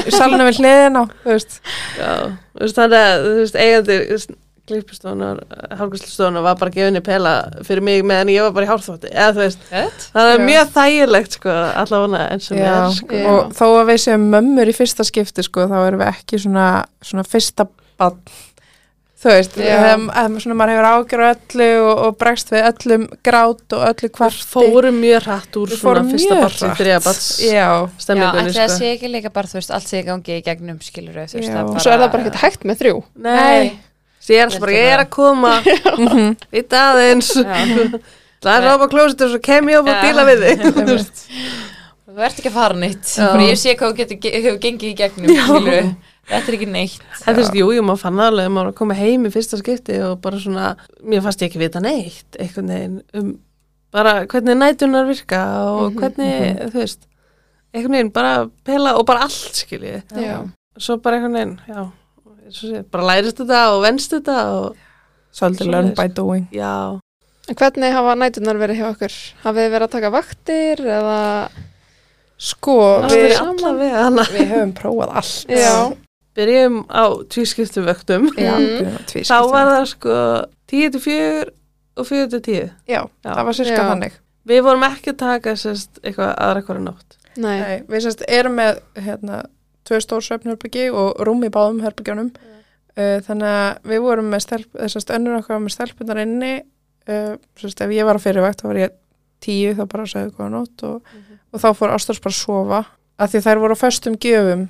S4: í salinu við hliðina þú veist.
S3: Já, þú veist, þannig að, þú veist, eigandi klippustónar, hálfkvæslustónar var bara gefinni pela fyrir mig meðan ég var bara í hálfþótti, eða þú veist,
S1: Gött.
S3: það er
S4: Já.
S3: mjög þægilegt, sko, allavega eins og
S4: Já,
S3: er, sko.
S2: Já.
S4: og þó að við séum mömmur í fyrsta skipti sko, þá erum við ekki svona, svona fyrsta bann þú veist,
S2: Já.
S4: þegar þegar svona maður hefur ágjör öllu og, og bregst við öllum grát og öllu kvarti
S3: fórum mjög hrætt úr
S4: Við
S3: svona
S4: fórum
S3: fyrsta
S4: mjög
S3: barns í
S4: hratt.
S3: þriða barns
S4: Já,
S1: Já,
S3: stemningunni
S1: ætli það
S3: sko.
S1: sé ekki líka bara, þú veist, allt sé í gangi í gegnum skilur þú veist,
S4: Já.
S1: það
S4: Og
S2: og svo er það bara ekkert hægt með þrjú.
S3: nei, svo ég er alltaf bara, ég er að koma ít aðeins
S1: Já.
S3: það er rápa klósit og svo kem ég upp og
S1: Já.
S3: díla við þig
S4: einmitt.
S1: Þú ert ekki að fara neitt
S3: Já.
S1: Bara ég sé hvað þú getur ge- hefur gengið í gegnum skilur Þetta er ekki neitt
S3: en þú veist, jú, jú, maður fann aðlega maður var að koma heim í fyrsta skipti og bara svona mér fannst ég ekki vita neitt einhvern veginn um bara hvernig nætunar virka og hvernig, þú veist einhvern veginn bara pela og bara allt skiljið,
S2: Já.
S3: svo bara einhvern veginn já, eins og sé, bara lærist þetta og venst þetta og
S4: Svolítið learn by doing
S3: já,
S2: En hvernig hafa nætunar verið hjá okkur? Hafið þið verið að taka vaktir eða...
S4: Sko,
S3: það
S4: við,
S3: er alla við hana
S4: við höfum prófað allt
S2: Já,
S3: byrjum á tvískiptu vöktum
S4: Já,
S2: Mm.
S4: byrjum á tvískiptum.
S3: þá var það sko 10 til 4 og 4 til 10
S4: Já, það var sérska
S2: Já.
S4: þannig
S3: við vorum ekki að taka sérst eitthvað aðra hverju nótt
S2: nei.
S4: Nei, við sérst erum með hérna, tvö stór svefnherbyggi og rúm í báðum herbyggjunum uh, þannig að við vorum með stelp, sérst, önnur okkar var með stelpunar inni uh, sérst, ef ég var á fyrirvægt þá var ég tíu þá bara sagði góða nótt og, og þá fór Ástars bara að sofa að því þær voru á föstum gjöfum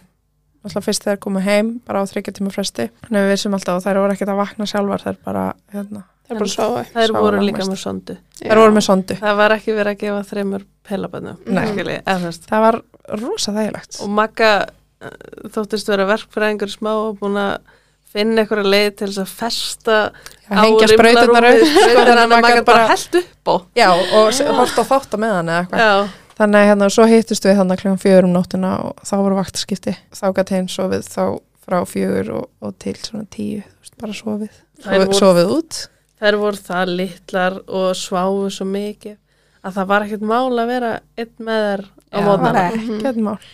S4: alltaf fyrst þegar koma heim bara á þryggja tíma fresti þannig að við vissum alltaf og þær voru ekkert að vakna sjálfar þær bara, hérna,
S2: Það er bara að sofa.
S3: þær
S4: Sá
S3: voru
S4: var
S3: líka
S4: mest.
S3: með sondu
S4: þær voru með sondu
S3: það var ekki verið að gefa þreymur pelabönnum
S4: Nei.
S3: og
S4: það var rosa þægilegt
S3: Magga eh, þóttist vera verkfræðingur smá og búin að finna einhverja leið til þess að festa
S4: að hengja sprautunar upp sko,
S3: þannig að
S4: maður
S3: Magga
S4: gat
S3: bara held upp á
S4: Já, og hort á þátt á meðan eða eitthvað.
S3: já,
S4: Þannig að hérna, svo hittust við þannig kljóðum fjögur um nóttina og þá voru vaktaskipti. Þá gæti hinn sofið þá frá fjögur og, og til svona tíu, þú veist, bara sofið.
S3: Þær
S4: Sofið,
S3: voru-
S4: sofið út.
S3: þær voru það litlar og sváu svo mikið að það var ekkert mál að vera einn með þær á
S1: Já.
S4: Það var
S3: mótnana
S4: ekkert mál.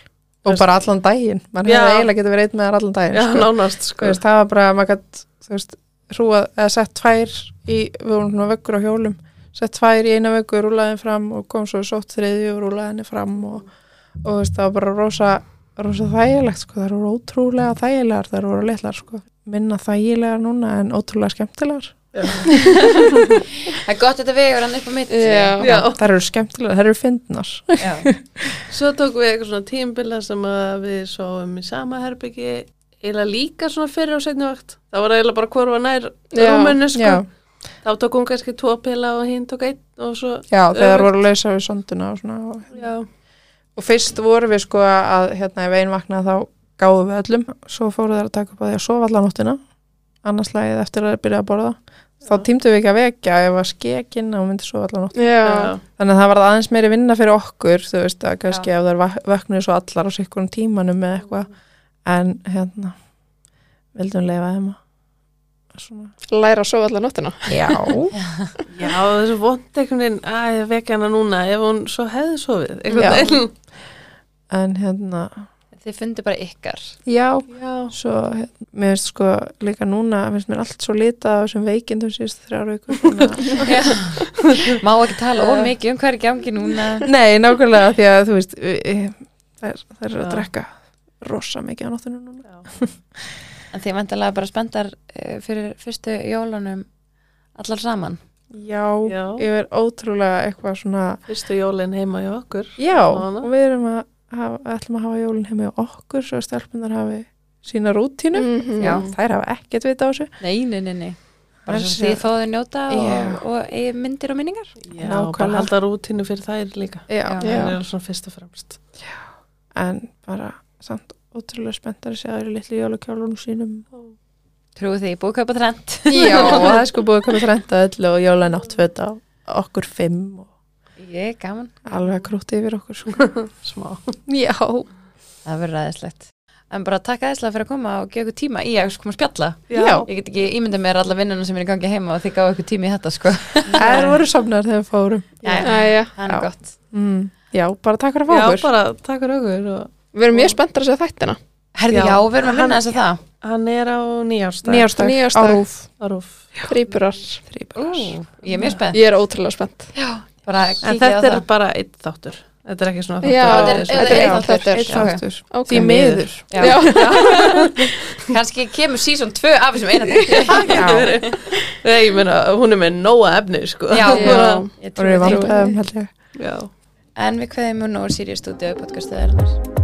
S4: Og bara allan daginn. Man
S3: Já.
S4: hefði eiginlega getið verið einn með þær allan daginn.
S3: já,
S4: sko.
S3: nánast
S4: Þú
S3: sko
S4: veist, það var bara, maður gætt, þú veist, hrúað, eða sett tvær í, við vorum svona vöggur á hjólum, sett tvær í eina vöggu, rúlaði henni fram og kom svo í sótt þriðju og rúlaði henni fram og, og þú veist, það var bara rosa, rosa þægilegt, sko, það voru ótrúlega þægilegar, það voru litlar, sko, minna þægilegar núna en ótrúlega skemmtilegar
S1: Það er gott þetta vegur hann upp á mitt
S2: Já.
S3: Já.
S4: þær eru skemmtilega, þær eru fyndnar
S1: Já.
S3: Svo tók við eitthvað svona tímbila sem að við sváum í sama herbyggi eiginlega líka svona fyrir og setni vakt það var eiginlega bara hvorfa nær
S2: Já,
S3: rúmunu sko,
S4: já,
S3: þá tók hún kannski tvo pila og hinn tók einn og svo
S4: já, þegar
S3: Öfugt.
S4: voru lausa við sonduna og svona og
S3: já,
S4: Og fyrst vorum við sko að hérna ef einn vaknaði þá gáðum við öllum svo fóru þær að taka upp að því að sofa allan nóttina annars lagið eftir að byrja að borða þá tímtum við ekki að vekja ef að skekinn og myndi sofa allan nóttina
S2: Já.
S4: þannig að það var aðeins meiri vinna fyrir okkur þú veist að kannski ef þær vak- vöknuðu svo allar á sikkurum tímanum eða eitthvað en hérna vildum leifa þeim að svona
S2: Læra að sofa allan nóttina.
S4: já,
S3: já þessu vond einhvern veginn að ég vekja hana núna ef hún svo hefði
S4: Já.
S3: sofið einhvern veginn
S4: en hérna
S1: Þið fundu bara ykkar [LAUGHS]
S4: já,
S3: já,
S4: svo hérna, mér finnst sko líka núna finnst mér allt svo litað á þessum veikindum síðust þrjár vikur þannig að-
S1: Má ekki tala of mikið um hvað er í gangi núna
S4: Nei, nákvæmlega því að þú veist eh, þær, þær eru að
S3: Já.
S4: drekka rosa mikið á nóttinu núna
S1: En þið vantilega bara spendar eh, fyrir fyrstu jólunum allar saman
S4: Já,
S3: Já.
S4: ég verð ótrúlega eitthvað svona
S3: fyrstu jólin heima hjá okkur
S4: Já,
S3: Svona.
S4: og við erum að hafa, ætlum að hafa jólinn heima hjá okkur svo að stelpunar hafi sína rútínu
S2: Mhm.
S1: Já.
S4: þær hafa ekkert vita á þessu
S1: Nei, nei, nei, nei Bara
S4: Þessi-
S1: svo þið fáðu njóta
S4: Já.
S1: og, og eigið myndir og minningar
S3: já,
S4: Nákvæmlega.
S3: bara halda rútinu fyrir þær líka
S4: Já,
S1: Já.
S3: það er svona fyrst og fremst
S4: en bara samt ótrúlega spenntar að segja þær í litlu jólakjólunum sínum
S1: Trúið því, búkaupa trend
S4: Já, [LAUGHS] og það er sko búið að koma þrænta öllu og jólanáttföt á okkur fimm og
S1: [LAUGHS] Ég, gaman
S4: alveg krúti yfir okkur sko.
S3: smá
S4: [LAUGHS] Já,
S1: Það verður aðeinslegt En bara takk aðeinslega fyrir að koma og gefa ykkur tíma í að sko, koma að spjalla
S4: Já.
S1: Ég get ekki ímyndað mér alla vinnunum sem er í gangi heima og þið gáðu ykkur tími í þetta sko
S4: þær voru sofnar þegar við fórum
S1: Jæja,
S2: Æja.
S1: Það
S4: Já.
S1: er gott
S4: mm. Já, bara takk fyrir að fá
S3: já,
S4: okkur
S3: bara takk fyrir okkur og
S2: Við erum mjög spenntar að segja þættina.
S1: Herði,
S3: Já.
S1: já, við erum að minna þess að það
S3: hann er á nýjástæð
S4: Nýjástag, á
S2: Nýjástag.
S4: rúf
S3: Rúf.
S2: Þrýburar.
S1: Ú, Ég er mjög spennt
S2: Ég er ótrúlega spennt.
S1: Bara kíkja á
S3: En þetta er
S1: það
S3: bara einn þáttur. Þetta er ekki svona
S2: Já,
S3: þáttur.
S1: þetta
S3: svona-
S1: er-
S4: Já,
S1: einn þáttur.
S4: einn
S1: Ok.
S4: þáttur.
S2: Ok.
S4: Því miður
S1: Já. [LAUGHS]
S2: Já.
S1: Kanski kemur sísón 2 af þessum eina þætti.
S3: Já. [LAUGHS] Nei, ég meina, hún er með nóa efni, sko.
S1: Já,
S3: [LAUGHS]
S2: Já.
S1: ég
S4: Það eru
S1: trúi því
S4: vandræðum held ég
S3: Já.
S1: En við kveðum nú úr Sirius Studio podcastuðarinnar